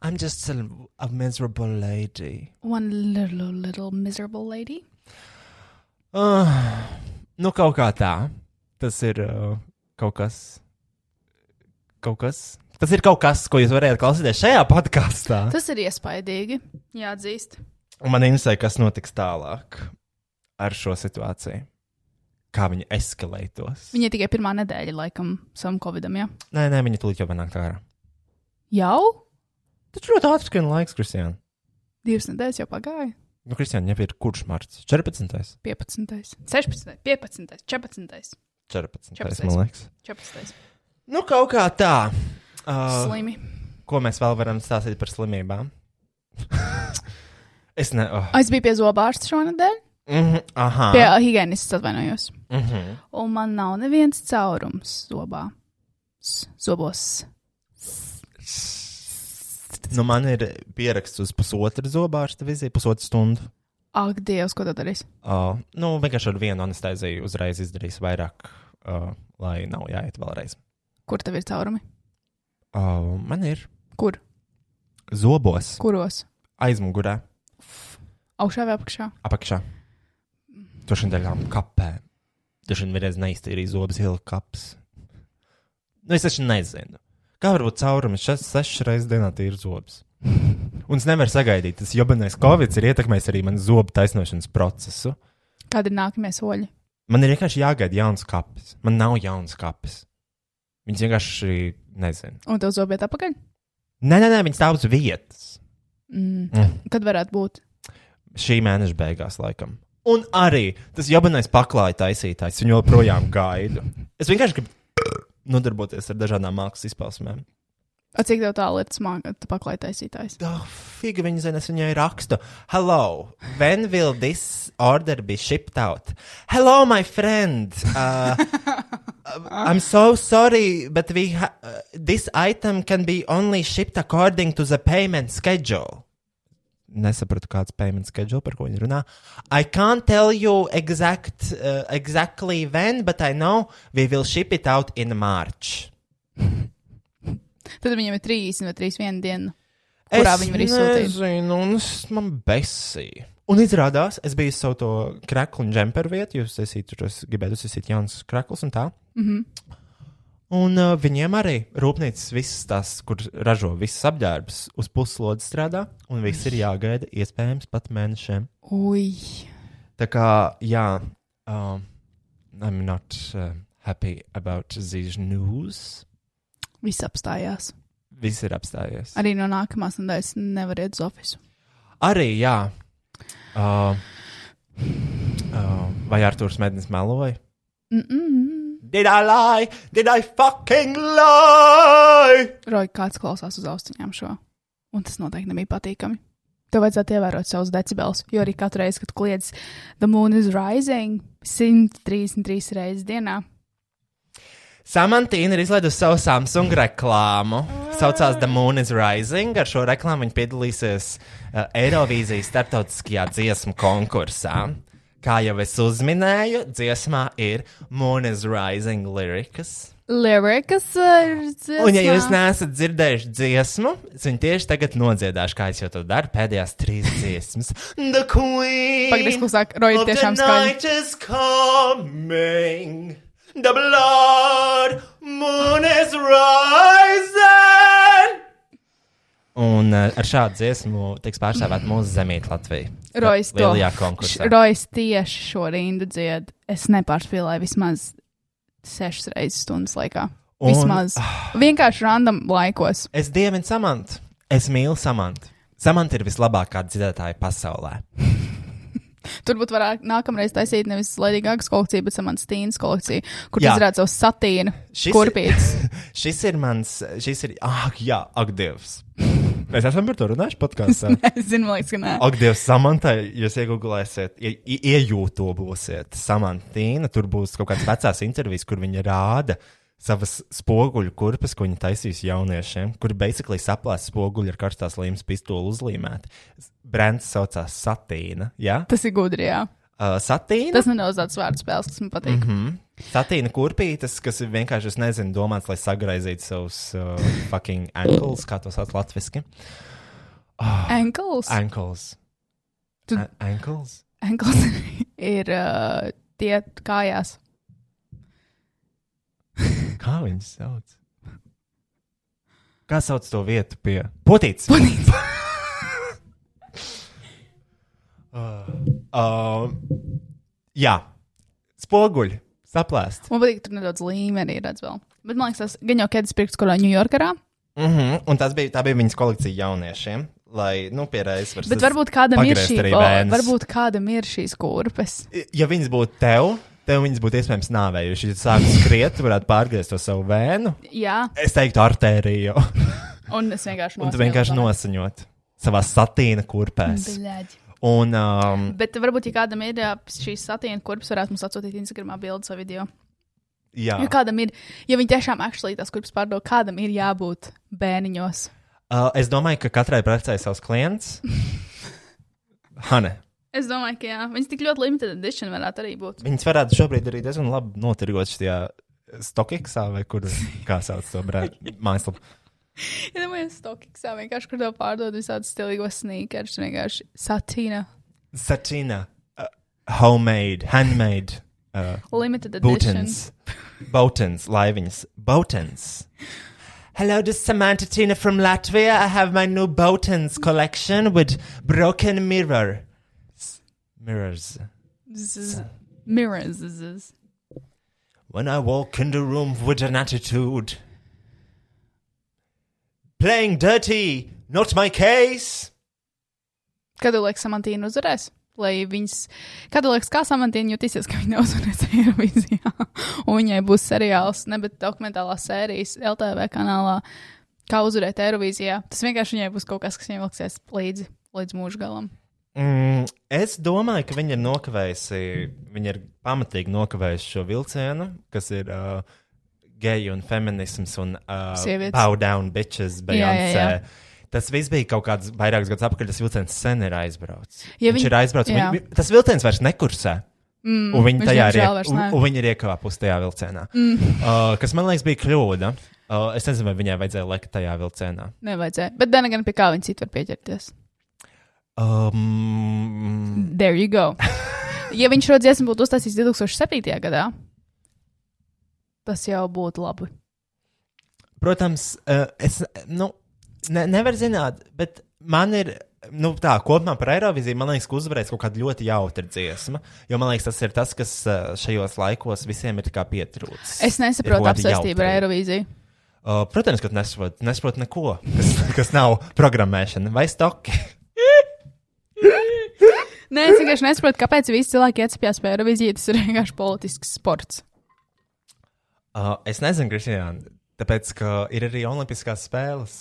Speaker 3: I'm just a, a miserable lady.
Speaker 2: One little, little miserable lady.
Speaker 3: Uh, nu, kaut kā tā. Tas ir uh, kaut kas. Kaut kas. Tas ir kaut kas, ko jūs varētu klausīties šajā podkāstā.
Speaker 2: Tas ir iespaidīgi. Jāatzīst.
Speaker 3: Man interesē, kas notiks tālāk ar šo situāciju. Kā viņa eskalētos.
Speaker 2: Viņai tikai pirmā nedēļa, laikam, savam covidam, jā.
Speaker 3: Nē, nē, viņa tulīt jau panāk ārā.
Speaker 2: Jau?
Speaker 3: Taču ļoti ātri skrien laiks, Kristiāna.
Speaker 2: Divas nedēļas jau pagāja.
Speaker 3: Nu, Kristiāna, jau ir kurš marts? 14.
Speaker 2: 15, 16, 15, 14,
Speaker 3: 14. 14.
Speaker 2: 14..
Speaker 3: man liekas.
Speaker 2: 14.
Speaker 3: Nu, kaut kā tā. Uh,
Speaker 2: Slimi.
Speaker 3: Ko mēs vēl varam stāstīt par slimībām? es nezinu. Oh.
Speaker 2: Ah, Es biju pie zobārsta šonadēļ,
Speaker 3: Mm -hmm. Aha.
Speaker 2: pie higienistas atvainojos.
Speaker 3: Mm -hmm.
Speaker 2: Un man nav neviens caurums zobā. S- Zobos.
Speaker 3: Nu, man ir pieraksts uz pusotru zobārsta vizīti, pusotru stundu.
Speaker 2: Ak, Dievs, ko tad darīs?
Speaker 3: Uh, nu, vienkārši ar vienu anesteziju uzreiz izdarīs vairāk, uh, lai nav jāiet vēlreiz.
Speaker 2: Kur tev ir caurumi?
Speaker 3: Uh, man ir
Speaker 2: Kur?
Speaker 3: zobos
Speaker 2: Kuros?
Speaker 3: aizmugurē,
Speaker 2: Augšā vai apakšā?
Speaker 3: apakšā. Tur šim daļām kapē. Dažiem vienreiz neiztīrīja zobus ilgkaps. Nu, es taču nezinu. Kā var būt caurumi šas- sešas reizes dienā tīri zobs? Un es nevaru sagaidīt, tas jobanais covid ir ietekmējis arī manu zobu taisnošanas procesu.
Speaker 2: Kādi ir nākamie soļi?
Speaker 3: Man ir vienkārši jāgaida jauns kapis. Man nav jauns kapis. Viņas vienkārši nezina.
Speaker 2: Un tev zobiet apakaļ?
Speaker 3: Nē, nē, nē viņas stāv uz vietas.
Speaker 2: Mm.
Speaker 3: Mm.
Speaker 2: Kad varētu būt?
Speaker 3: Šī mēneša beigās, laikam. Un arī tas jobanais paklāja taisītājs, viņu joprojām gaidu. Es vienkārši gribu nodarboties ar dažādām mākslas izpausmēm.
Speaker 2: A cik tev tālu ir smagi paklaitaisītājs?
Speaker 3: Oh, Figa viņa zina, es viņai rakstu. Hello, when will this order be shipped out? Hello, my friend. Uh, I'm so sorry, but we ha uh, this item can be only shipped according to the payment schedule. Nesapratu, kāds payment schedule, par ko viņi runā. I can't tell you exact, uh, exactly when, but I know we will ship it out in March.
Speaker 2: Tad viņam ir 30 vai 31 diena. kurā viņi var izsūtīt.
Speaker 3: Es nezinu, un es man besīju. Un izrādās, es biju uz savu to kreklu un džemperu vietu, jūs esat tur, es gribētu uzsākt jaunas kreklus un tā. Mm
Speaker 2: Mhm.
Speaker 3: -hmm. Un uh, viņiem arī rūpnīcas visas tās, kur ražo visas apģērbus, uz puslodes strādā, un viss ir jāgaida iespējams pat mēnešiem.
Speaker 2: Ui,
Speaker 3: Tā kā, jā, um, I'm not uh, happy about these news.
Speaker 2: viss apstājās.
Speaker 3: Viss ir apstājies.
Speaker 2: Arī no nākamās nedēļas nevar iet uz oficiālu.
Speaker 3: Arī, jā. Uh, uh, vai Arthurs Mednis meloja?
Speaker 2: Mm -mm.
Speaker 3: Did I lie? Did I fucking lie?
Speaker 2: Roja, kāds klausās uz austiņām šo. Un tas noteikti nebija patīkami. Tev vajadzētu ievērot savus decibelus, jo arī katru reizi, kad kliedz The Moon is Rising 133 reizes dienā,
Speaker 3: Samantīna ir izlaidusi savu Samsung reklāmu. Saucās The Moon is Rising. Ar šo reklāmu viņa piedalīsies uh, Eirovīzijas starptautiskajā dziesmu konkursā. Kā jau es uzminēju, dziesmā ir Moon is Rising lirikas.
Speaker 2: Lyrics ir
Speaker 3: Un, ja jūs neesat dzirdējuši dziesmu, es viņu tieši tagad nodziedāšu, kā es jau to daru pēdējās trīs dziesmas. The Queen!
Speaker 2: Pagaidi, es klusāk, Roja,
Speaker 3: of the
Speaker 2: tiešām skaļi.
Speaker 3: night is coming, the blood moon is rising! Un uh, ar šādu dziesmu tiks pārstāvēt mūsu zemīt Latviju.
Speaker 2: Rojas to
Speaker 3: Lielajā konkursā.
Speaker 2: Š- Rojas tieši šo rindu dzied. Es nepārspīlēju vismaz sešas reizes stundas laikā.
Speaker 3: Un- Ah.
Speaker 2: Vismaz. Vienkārši random laikos.
Speaker 3: Es dievinu samantu. Es mīlu samantu. Samanta ir vislabākā dziedātāja pasaulē.
Speaker 2: Turbūt varētu nākamreiz taisīt nevis Lady Gagas kolekciju, bet Samants Tīnas kolekciju, kur
Speaker 3: Jā.
Speaker 2: izrādās savus satīnu
Speaker 3: Šis-
Speaker 2: kurpītes.
Speaker 3: Šis ir mans, šis ir, ah, jā, ak, Dievs. Mēs esam par to runājuši podkāstā.
Speaker 2: Es zinu, man liekas, ka nē.
Speaker 3: Ak, Dievs, samantā, jūs iegūlēsiet, iejūtobosiet samantīnu, tur būs kaut kāds vecās intervijas, kur viņa rāda savas spoguļu kurpes, ko viņa taisīs jauniešiem, kur basically saplēs spoguļi ar karstās līmes pistoli uzlīmēti. Brands saucās Satīna, jā?
Speaker 2: Tas ir gudri, jā.
Speaker 3: Uh, Satīna?
Speaker 2: Tas nedaudz tāds vārdu spēles, kas man patīk.
Speaker 3: Mhm.
Speaker 2: Mm -hmm.
Speaker 3: Satīna kurpītes, kas ir vienkārši, es nezinu, domāts, lai sagraizītu savus uh, fucking ankles, kā to sauc latviski. Ah,
Speaker 2: Ankles.
Speaker 3: Ankles.
Speaker 2: Tu-
Speaker 3: A- Ankles?
Speaker 2: Ankles ir uh, tie kājās.
Speaker 3: Kā viņas sauc? Kā sauc to vietu pie? Potīts!
Speaker 2: Potīts.
Speaker 3: uh, uh, jā, spoguļi, saplēst.
Speaker 2: Man patīk, ka tur nedaudz līmenī redz vēl. Bet man liekas, tas gan jau kēdes pirks, kurā Ņujorkarā.
Speaker 3: Mm -hmm. Un tas bija, tā bija viņas kolekcija jauniešiem, lai, nu, pierādītu, varbūt.
Speaker 2: Bet varbūt kādam ir
Speaker 3: pagriezt
Speaker 2: šī
Speaker 3: arī
Speaker 2: o,
Speaker 3: vēnes.
Speaker 2: varbūt kādam ir šīs kurpes.
Speaker 3: ja viņas būtu tev, tev viņas būtu iespējams nāvējuši. Ja tu sāktu skriet, tu varētu pārgriezt to savu vēnu.
Speaker 2: Jā,
Speaker 3: Es teiktu, artēriju.
Speaker 2: un es vienkārši
Speaker 3: Un tu vienkārši nosaņot savā satīna kurpēs.
Speaker 2: Bļaģi.
Speaker 3: Un, um,
Speaker 2: Bet varbūt, ja kādam ir jā, šīs satīna kurpes, varētu mums atsūtīt Instagramā bildes vai video.
Speaker 3: jā,
Speaker 2: Jo kādam ir, ja viņi tiešām akšlī tās kurpes pārdod, kādam ir jābūt bēniņos.
Speaker 3: uh, es domāju, ka katrai precē savs klients. Hane,
Speaker 2: Es domāju, ka jā, viņas tik ļoti limited edition varētu arī būt.
Speaker 3: viņas varētu šobrīd arī diezgan labi notirgot šajā Stokiksā vai kur, kā sauc to brāļu mājaslapu.
Speaker 2: Ja domāju, stokiksā vienkārši, kur tev pārdod visādus stilīgos sneakers, vienkārši satīna,
Speaker 3: Satīna, uh, homemade, handmade. Uh,
Speaker 2: limited edition.
Speaker 3: Boatens. Boatens, laiviņas. Boatens. Hello, this is Samantha Tina from Latvia. I have my new Boatens collection with broken mirror. S- Mirrors.
Speaker 2: Zzz, mirrors. zzz.
Speaker 3: When I walk in the room with an attitude. Playing dirty, not my case.
Speaker 2: Kad tu liekas, Samantīna uzvarēs? lai viņas, kādu laiku kā samantīna jutīsies, ka viņa neuzvarēs Eirovizijā, un viņai būs seriāls, ne, bet dokumentālās sērijas LTV kanālā, kā uzvarēt Eirovizijā. Tas vienkārši viņai būs kaut kas, kas viņai vilksies līdzi, līdz mūža galam.
Speaker 3: Mm, es domāju, ka viņi ir nokavējuši, viņi ir pamatīgi nokavējuši šo vilcienu, kas ir uh, geju un feminisms un uh,
Speaker 2: Sievietes.
Speaker 3: bow down bitches
Speaker 2: jā, jā.
Speaker 3: Beyoncé. Tas viss bija kaut kāds vairākus gadus atpakaļ. Tas vilciens sen ir aizbraucis.
Speaker 2: Ja
Speaker 3: viņš
Speaker 2: viņi-
Speaker 3: ir aizbraucis.
Speaker 2: jā.
Speaker 3: Viņ, tas vilciens vairs nekursē. Mm, un viņi
Speaker 2: viņš
Speaker 3: tajā ir,
Speaker 2: diemžēl
Speaker 3: iek,
Speaker 2: vairs
Speaker 3: un,
Speaker 2: ne.
Speaker 3: un viņi ir iekāpusi tajā vilcienā. Mm. Uh, kas man liekas bija kļūda. Uh, es nezinu, vai viņai vajadzēja lekt tajā vilcienā.
Speaker 2: Nevajadzēja. Bet Dana gan pie kā viņa citur var pieķerties.
Speaker 3: Um,
Speaker 2: There you go. ja viņš šo dziesmu būtu uztaisījis 2007. gadā, tas jau būtu labi.
Speaker 3: Protams, eh, es nu, ne, nevaru zināt, bet man ir. Nu, tā kopumā par Eiroviziju man liekas, ka uzvarēs kaut kāda ļoti jautra dziesma. Jo man liekas, tas ir tas, kas eh, šajos laikos visiem ir tā kā pietrūcis.
Speaker 2: Es
Speaker 3: Ir
Speaker 2: nesaprotu
Speaker 3: kaut kāda
Speaker 2: apsēstību ar
Speaker 3: jautrība.
Speaker 2: Eirovīziju.
Speaker 3: Eh, Protams, ka tu nesaproti nesaprot neko, kas, kas nav programmēšana vai stoki.
Speaker 2: Nē, es vienkārši nesaprotu, kāpēc visi cilvēki iecipjās pie Eirovīzijas. Tas ir vienkārši politisks sports.
Speaker 3: Eh, Es nezinu, Kristina, tāpēc, ka ir arī Olimpiskās spēles.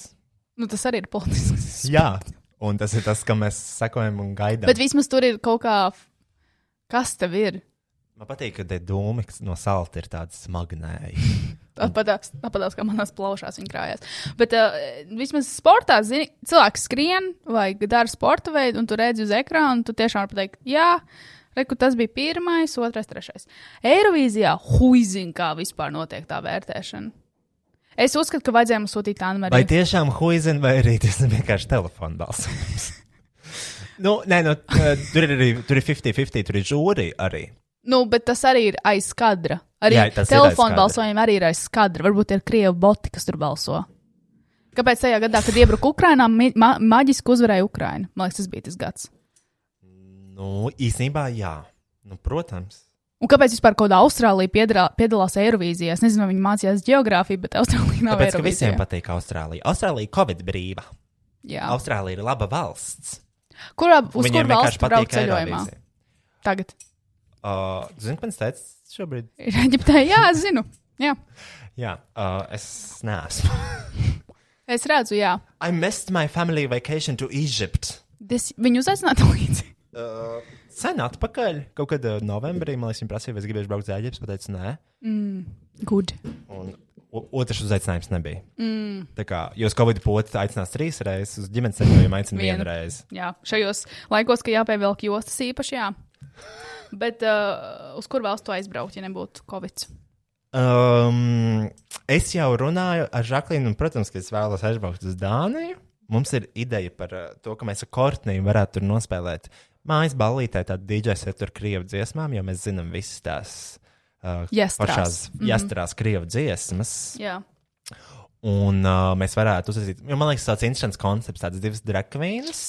Speaker 2: Nu, tas arī ir politisks.
Speaker 3: Jā, un tas ir tas, kam mēs sekojam un gaidām.
Speaker 2: Bet vismaz tur ir kaut kā, kas tev ir.
Speaker 3: Man patīk, ka te dūmi kas no salta ir tādi smagnēji.
Speaker 2: Tāpatās, tāpatās kā manās plaušās viņa krājās. Bet uh, vismaz sportā zini, cilvēks skrien vai dara sporta veidu, un tu redzi uz ekrāna, un tu tiešām vari pateikt, jā, reku, tas bija pirmais, otrais, trešais. Eirovīzijā huizin kā vispār notiek tā vērtēšana. Es uzskatu, ka vajadzēja mums sūtīt tādu
Speaker 3: Vai
Speaker 2: monētu.
Speaker 3: tiešām huizina, vai arī tas ir vienkārši telefona balsojums? nu, nē, nu, eh, tur ir arī tur ir 50-50, tur ir žūri arī.
Speaker 2: Nu, bet tas arī ir aiz skatra. Arī
Speaker 3: Jā, tas ir aiz
Speaker 2: telefona
Speaker 3: kadra.
Speaker 2: balsojumi arī ir aiz skatra. Varbūt ir krievu boti, kas tur balso. Kāpēc tajā gadā, kad iebruka Ukrainā, mi- ma maģiski uzvarēja Ukraina? Man liekas, tas bija tas gads.
Speaker 3: Nu, īsnībā jā. Nu, protams.
Speaker 2: Un kāpēc vispār kaut kāda Austrālija piedarā- piedalās Eirovīzijā? Es nezinu, vai viņi mācījās geogrāfiju, bet Austrālija nav
Speaker 3: Tāpēc, ka
Speaker 2: Eirovīzijā.
Speaker 3: visiem patīk Austrālija. Austrālija ir Covid brīva.
Speaker 2: Jā.
Speaker 3: Austrālija ir laba valsts.
Speaker 2: Kurā uz
Speaker 3: Viņiem
Speaker 2: kuru valstu
Speaker 3: vienkārši
Speaker 2: braukt
Speaker 3: patīk
Speaker 2: ceļojumā?
Speaker 3: Eirovīzija.
Speaker 2: Tagad.
Speaker 3: Uh, Zini, kāpēc tas šobrīd?
Speaker 2: Ir Eģiptē, jā, es zinu. Jā.
Speaker 3: Jā, uh, es neesmu.
Speaker 2: Es redzu, jā.
Speaker 3: I missed my family vacation to Egypt.
Speaker 2: Es viņu uzaicinātu līdzi.
Speaker 3: Uh, sen atpakaļ, kaut kad uh, novembrī, man liekas, viņi prasīja, vai es gribēju braukt uz Eģiptu. Es teicu, nē,
Speaker 2: Good.
Speaker 3: un o- otrs uzaicinājums nebija. Mm. Tā kā jūs Covid potu aicinās trīs reizes, uz ģimenes ceļojumu aicina
Speaker 2: Vienu.
Speaker 3: vienu reizi.
Speaker 2: Jā, šajos laikos, kad jāpievelk jostas īpaši, jā. Bet uh, uz kuru valstu aizbraukt, ja nebūtu Covid?
Speaker 3: Um, es jau runāju ar Žaklīnu, un, protams, ka es vēlos aizbraukt uz Dāniju. Mums ir ideja par uh, to, ka mēs ar Kortniju varētu tur nospēlēt mājas ballītē, tādu dīdžeru ar krievu dziesmām, jo mēs zinām visas tās uh,
Speaker 2: Jastrās.
Speaker 3: pašās jāstrās krievu dziesmas.
Speaker 2: Mhm. Jā.
Speaker 3: Un uh, mēs varētu uzsākt, jo man liekas, tas ir interesants koncepts. Tādas divas drakvīnas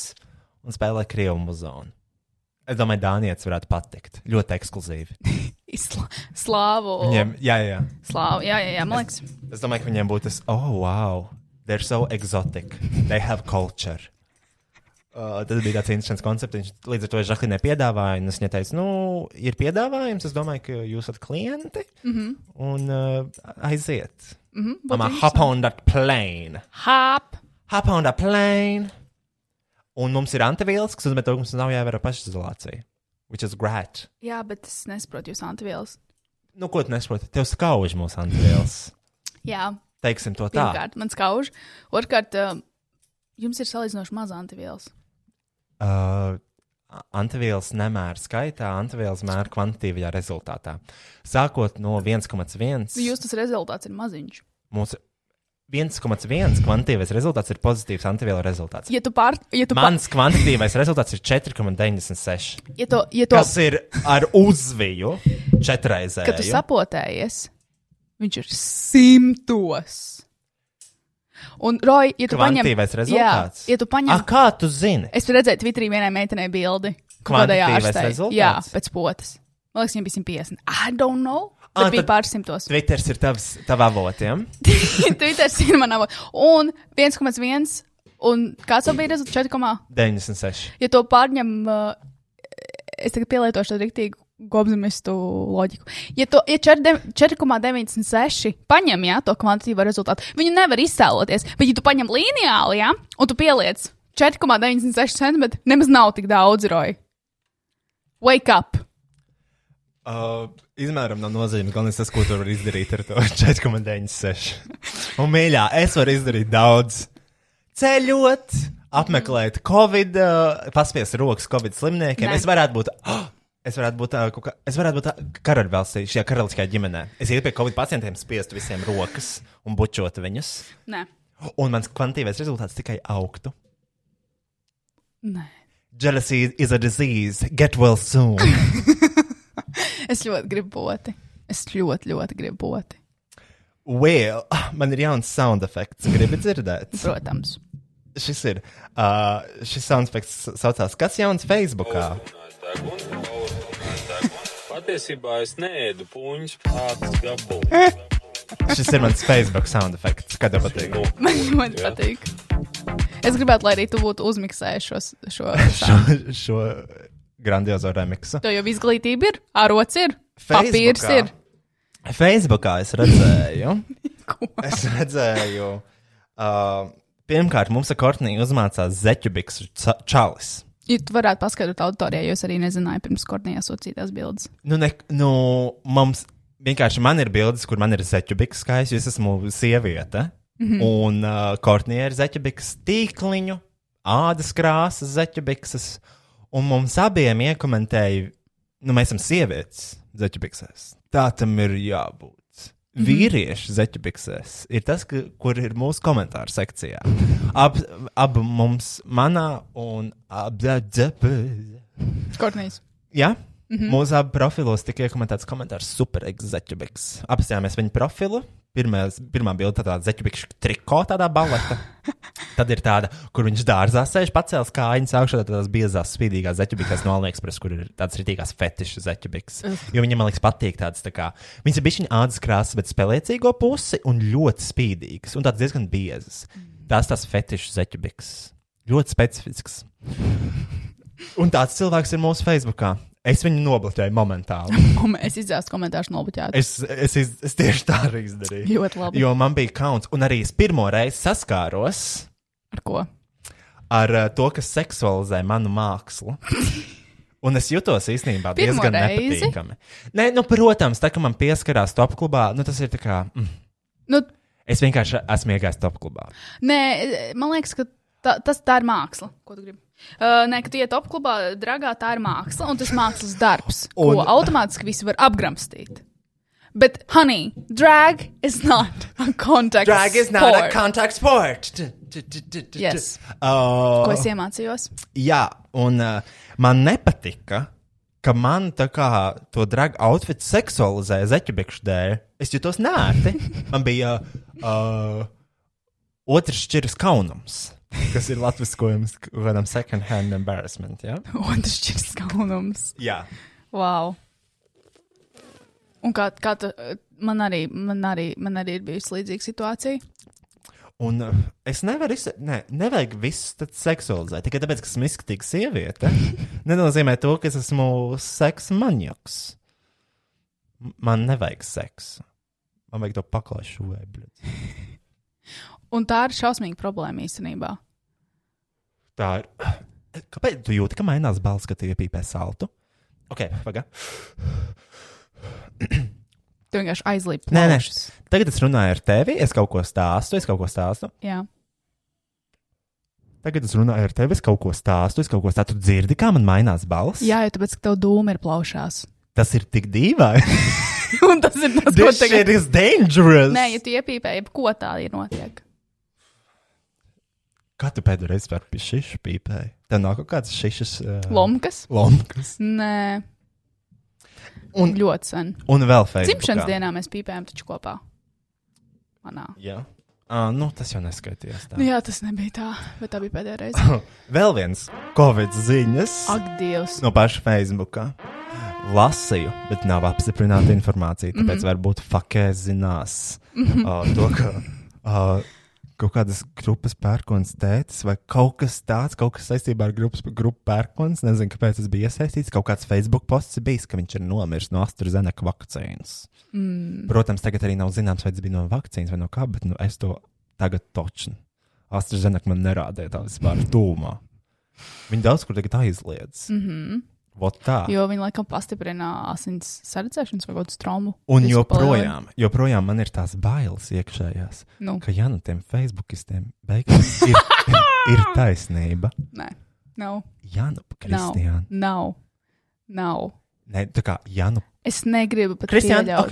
Speaker 3: un spēlē krievu muzonu. Es domāju, Dānijas varētu patikt. Ļoti ekskluzīvi.
Speaker 2: Isla, slāvu.
Speaker 3: Viņiem, jā, jā.
Speaker 2: Slāvu. Jā, jā, jā, man liekas.
Speaker 3: Es domāju, ka viņiem būtu tas, oh, wow, they're so exotic. They have culture. Uh, tas bija tāds interesants koncepts. Viņš līdz ar to Žaklīnai piedāvāja. un Es viņai teicu, nu, ir piedāvājums. Es domāju, ka jūs esat klienti. Mm -hmm. Un uh, aiziet. Mm -hmm, Mamā, hop on that plane.
Speaker 2: Hāp!
Speaker 3: hop on a plane. Un mums ir antivielas, kas nozīmē, to, ka mums nav jāievēro pašizolācija. Which is great.
Speaker 2: Jā, bet es nesaprotu jūs antivielas.
Speaker 3: Nu, ko tu nesaproti? Tev skauž mūsu antivielas.
Speaker 2: Jā,
Speaker 3: Teiksim to tā.
Speaker 2: pirmkārt, man skauž. Otrkārt, um, jums ir salīdzinoši maz antivielas.
Speaker 3: Uh, antivielas nemēra skaitā, antivielas mēra kvantitīvajā rezultātā. Sākot no 1,1.
Speaker 2: Nu, Jūs tas rezultāts ir maziņš.
Speaker 3: Mūsu 1,1 kvantitīvais rezultāts ir pozitīvs antivielu rezultāts.
Speaker 2: Ja tu pār, ja tu pār,
Speaker 3: Mans kvantitīvais rezultāts ir 4,96.
Speaker 2: ja tu, ja tu,
Speaker 3: Kas ir ar uzviju četrreizē.
Speaker 2: kad tu sapotējies, viņš ir simtos. Un, Roy, ja tu paņem,
Speaker 3: Kvantitīvais rezultāts.
Speaker 2: Jā, ja tu paņem,
Speaker 3: Ah, kā tu zini?
Speaker 2: es redzēju Twitterī vienai meitenei bildi. kaut kādai
Speaker 3: Kvantitīvais
Speaker 2: ārstei.
Speaker 3: rezultāts?
Speaker 2: Jā, pēc potes. Man liekas, viņam bija 150. I don't know. Tad
Speaker 3: Ah,
Speaker 2: ah, bija
Speaker 3: tad-
Speaker 2: pārsimtos.
Speaker 3: Twitter ir tavs, tava avotiem.
Speaker 2: Twitter ir manā. Un 1,1. Un kāds vēl bija rezultāts? 4,1.
Speaker 3: 96.
Speaker 2: ja to pārņem uh, es tagad pielietošu tādu rīktīgu gobsimistu loģiku. Ja, to- ja 4,96 paņem jā, to kvantitīvo rezultātu, viņu nevar izsēloties. Bet, ja tu paņem līnijāli, jā, un tu pieliec 4,96 centimetru, nemaz nav tik daudz roju. Wake up!
Speaker 3: Uh, izmēram nav nozīmes. Galvenais tas, ko tu vari izdarīt ar to 4,96. Un mīļā, es varu izdarīt daudz. Ceļot, apmeklēt Covid, uh, paspiest rokas Covid slimniekiem.
Speaker 2: Nē.
Speaker 3: Nē. Es varētu būt. Oh, Es varētu būt tā, kā, es varētu būt tā karaļvalstī, šajā karaliskajā ģimenē. Es ietu pie Covid pacientiem, spiestu visiem rokas un bučotu viņus.
Speaker 2: Nē,
Speaker 3: Un mans kvantitīvais rezultāts tikai augtu.
Speaker 2: nē.
Speaker 3: Jealousy is a disease. Get well soon.
Speaker 2: Es ļoti gribu boti. Es ļoti, ļoti gribu boti.
Speaker 3: Well, man ir jauns sound effects. Gribu dzirdēt.
Speaker 2: Protams.
Speaker 3: Šis ir. Uh, šis sound effects saucās, kas jauns Facebookā?
Speaker 4: Patiesībā es neēdu puņus, pārtas gabalus.
Speaker 3: Šis ir mans Facebook sound effects. Kad tev patīk?
Speaker 4: Nu,
Speaker 2: Man ļoti
Speaker 4: jā.
Speaker 2: patīk. Es gribētu, lai arī tu būtu uzmiksējis šo,
Speaker 3: Šo,
Speaker 2: šo sānu.
Speaker 3: šo grandiozo remixu.
Speaker 2: Tev jau izglītība ir, arots ir, papīrs
Speaker 3: Facebookā-
Speaker 2: ir.
Speaker 3: Facebookā es redzēju.
Speaker 2: Ko?
Speaker 3: es redzēju. Uh, pirmkārt, mums ar Kortniju uzmācās zeķu biksu ca- čalis.
Speaker 2: Ja tu varētu paskaidrot auditorijai, jo es arī nezināju pirms Kornijas sūtītās bildes.
Speaker 3: Nu, ne, nu, mums vienkārši man ir bildes, kur man ir zeķubiks skaists, jo es esmu sieviete. Mm -hmm. Un uh, Kortnija ir zeķubiks tīkliņu, ādas krāsas, zeķubiks. Un mums abiem iekomentēja, nu, mēs esam sievietes zeķubiksēs. Tā tam ir jābūt. Vīrieši zeķubiksēs ir tas, ka, kur ir mūsu komentāru sekcijā. Ab, ab mums, manā un apdzepe.
Speaker 2: Kornijas.
Speaker 3: Jā, mm -hmm. mūsu abos profilos tika iekomentēts komentārs superegzaķubiks. Apstājāmies viņa profilu. Pirmā, pirmā bilde tāda zeķubikša triko, tādā baleta. Tad ir tāda, kur viņš dārzā sēž, pacēlis kājas augšā, tad tādās biezās, spīdīgās zeķubikas no Aliexpress, kur ir tāds rītīgās fetišs zeķubiks. Jo viņam, man liekas, patīk tāds, tā kā, viņas ir bišķiņa ādas krāsas, bet spēlēcīgo pusi un ļoti spīdīgas, un tāds diezgan biezas. Tās tās fetišs zeķubiks. Ļoti specifisks. Un tāds cilvēks ir mūsu Facebookā. Es viņu nobloķēju momentāli.
Speaker 2: Es izdzēstu komentārus nobuļķēt.
Speaker 3: Es, es, iz- es tieši tā arī izdarīju.
Speaker 2: Ļoti labi.
Speaker 3: Jo man bija kauns, un arī es pirmo reizi saskāros
Speaker 2: Ar ko?
Speaker 3: ar uh, to, kas seksualizē manu mākslu. Un es jutos īstenībā
Speaker 2: Pirmo
Speaker 3: diezgan
Speaker 2: reizi?
Speaker 3: nepatīkami. Nē, nu, protams, tā kā man pieskarās top klubā, nu, tas ir tā kā. Mm,
Speaker 2: Nu,
Speaker 3: es vienkārši esmu iegājis top klubā.
Speaker 2: nē, man liekas, ka tā, tas tā ir māksla. Ko tu gribi? Uh, nē, kad tu iet apklubā, dragā, tā ir māksla, un tas mākslas darbs, un... ko
Speaker 3: Un-
Speaker 2: automātiski visi var apgramstīt. Bet, honey, drag is not a contact.
Speaker 3: Drag is not
Speaker 2: sport.
Speaker 3: a contact sport.
Speaker 2: Yes.
Speaker 3: Uh,
Speaker 2: Ko es iemācījos?
Speaker 3: Jā, un uh, man nepatika, ka man tā kā to dragu outfit seksualizēja zeķibikšu dēļ. Es jutos nērti. Man bija uh, otrs šķiras kaunums, kas ir latviskojums k- kādam second hand embarrassment. Ja?
Speaker 2: Otrs šķirs kaunums.
Speaker 3: Jā.
Speaker 2: Wow. Un kā, kā tu, man, arī, man, arī, man arī ir bijusi līdzīga situācija.
Speaker 3: Un uh, es nevaru izsekot, ne, nevajag visus tad seksualizēt. Tikai tāpēc, ka esmu izskatīga sieviete, nenozīmē to, ka es esmu seksa manjaks. M- Man nevajag seksu. Man vajag to paklāšu vēbli.
Speaker 2: Un tā ir šausmīga problēma īstenībā.
Speaker 3: Tā ir. Kāpēc tu jūti, ka mainās balss, kad tie piepē saltu? Ok, pagaidi.
Speaker 2: Tu vienkārši aizlīpi.
Speaker 3: Nē, nē.
Speaker 2: plaušas.
Speaker 3: Tagad es runāju ar tevi, es kaut ko stāstu, es kaut ko stāstu.
Speaker 2: Jā.
Speaker 3: Tagad es runāju ar tevi, es kaut ko stāstu, es kaut ko stāstu. Tu dzirdi, kā man mainās balss?
Speaker 2: Jā, jo tāpēc, ka tev dūma ir plaušās.
Speaker 3: Tas ir tik dīvaini.
Speaker 2: Un tas ir tas, ko
Speaker 3: This shit
Speaker 2: tagad.
Speaker 3: is dangerous.
Speaker 2: Nē, ja tu iepīpēji, ko tā ir notiek.
Speaker 3: Kā tu pēdējo reizi par pišu pīpēji? Tev nav kaut kāds šis uh,
Speaker 2: Lomkas?
Speaker 3: lomkas.
Speaker 2: Nē,
Speaker 3: Un-
Speaker 2: ļoti sen.
Speaker 3: Un vēl Facebookā.
Speaker 2: Dzimšanas dienā mēs pīpējām taču kopā. Manā.
Speaker 3: Jā. Uh, nu, tas jau neskaitījās.
Speaker 2: Nu,
Speaker 3: Tā.
Speaker 2: jā, tas nebija tā, bet tā bija pēdējā reize.
Speaker 3: Vēl viens Covid ziņas
Speaker 2: Ak, Dievs!
Speaker 3: no paša Facebooka. Lasīju, bet nav apstiprināta informācija. Tāpēc mm -hmm. varbūt fakē zinās mm -hmm. uh, to, ka uh, kaut kādas grupas pērkons tētis vai kaut kas tāds, kaut kas saistībā ar grupas, grupu pērkons. Nezinu, kāpēc tas bija iesaistīts. Kaut kāds Facebook posts ir bijis, ka viņš ir nomiris no AstraZeneca vakcīnas. Mm. Protams, tagad arī nav zināms, vai tas bija no vakcīnas vai no kā, bet nu, es to tagad točnu. AstraZeneca man nerādīja tādas vispār tūmā. Viņi daudz kur tagad aizliedz. Mm -hmm. Tā.
Speaker 2: Mhm. Jo viņi laikam pastiprina asins sardzēšanas vai kaut kādu traumu.
Speaker 3: Un
Speaker 2: Visu palielina.
Speaker 3: joprojām, joprojām man ir tās bailes iekšējās,
Speaker 2: Nu.
Speaker 3: ka ja nu tiem facebookistiem beigās ir, ir taisnība,
Speaker 2: Nē, nav.
Speaker 3: ja nu
Speaker 2: Nav.
Speaker 3: Kristiāna.
Speaker 2: Nav. Nav.
Speaker 3: Nē, tā kā ja nu
Speaker 2: Es negribu pat
Speaker 3: Kristiāna,
Speaker 2: pieļaut.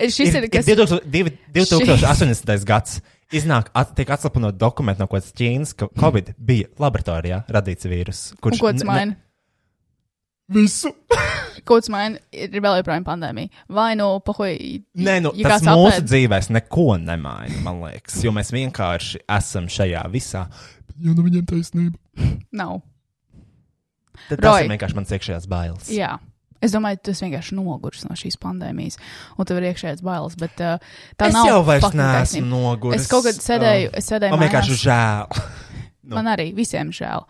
Speaker 3: ok.
Speaker 2: Šis ir, ir kas.
Speaker 3: ir 2000 divi- 2018. gads. Iznāk, at, tiek atslapunot dokumentu no kaut kādas Ķīnas, ka Covid bija laboratorijā radīts vīrus,
Speaker 2: Mm. Un
Speaker 3: kurš
Speaker 2: ko tas maina?
Speaker 3: visu.
Speaker 2: Ko tas maina? Ir vēl joprojām pandēmija. Vai nu, pahoj,
Speaker 3: Nē, nu,
Speaker 2: ja
Speaker 3: tas
Speaker 2: kāds
Speaker 3: mūsu
Speaker 2: apēd-
Speaker 3: dzīvēs neko nemaina, man liekas, jo mēs vienkārši esam šajā visā. Ja nu viņiem taisnība.
Speaker 2: Nav.
Speaker 3: Tad tas
Speaker 2: Roy.
Speaker 3: ir vienkārši mans iekšējās bailes.
Speaker 2: Jā. Es domāju, tu esi vienkārši noguris no šīs pandēmijas, un tev ir iekšējais bailes. Bet, uh, tā
Speaker 3: Es
Speaker 2: nav
Speaker 3: jau vairs
Speaker 2: fucking
Speaker 3: neesmu
Speaker 2: taisnība.
Speaker 3: noguris. Oh.
Speaker 2: Es kaut kad sēdēju, es sēdēju
Speaker 3: Man vienkārši
Speaker 2: mājās.
Speaker 3: žēl. nu.
Speaker 2: Man arī visiem žēl.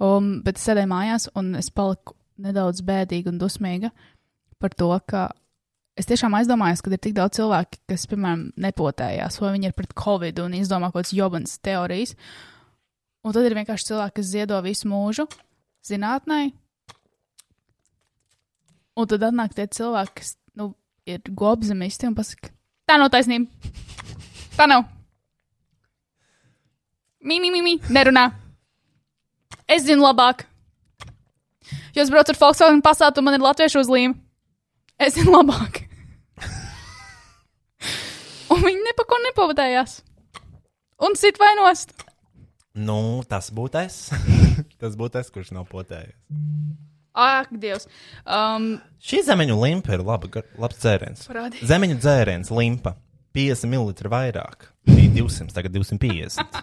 Speaker 2: Um, bet es sēdēju mājās, un es paliku nedaudz bēdīga un dusmīga par to, ka es tiešām aizdomājos, ka ir tik daudz cilvēku, kas, piemēram, nepotējās, vai viņi ir pret covid un izdomā kaut kādas jobans teorijas. Un tad ir vienkārši cilvēki, kas ziedo visu mūžu zinātnē. Un tad atnāk tie cilvēki, kas nu, ir gobzemisti un pasaka, tā nav taisnība. Tā nav. Mimi, mimi, nerunā. Es zinu labāk. Jo es braucu ar Volkswagen pasātu, man ir latviešu uzlīme. Es zinu labāk. Un viņi nepako nepavadējās. Un sit vainos.
Speaker 3: Nu, tas būtu es. tas būtu es, kurš nav potējies.
Speaker 2: Ak, Dievs. Um,
Speaker 3: Šī zemeņu limpa ir laba, gar- labs dzēriens.
Speaker 2: Parādi.
Speaker 3: Zemeņu dzēriens, limpa. 50 ml vairāk. Bija 200, tagad 250.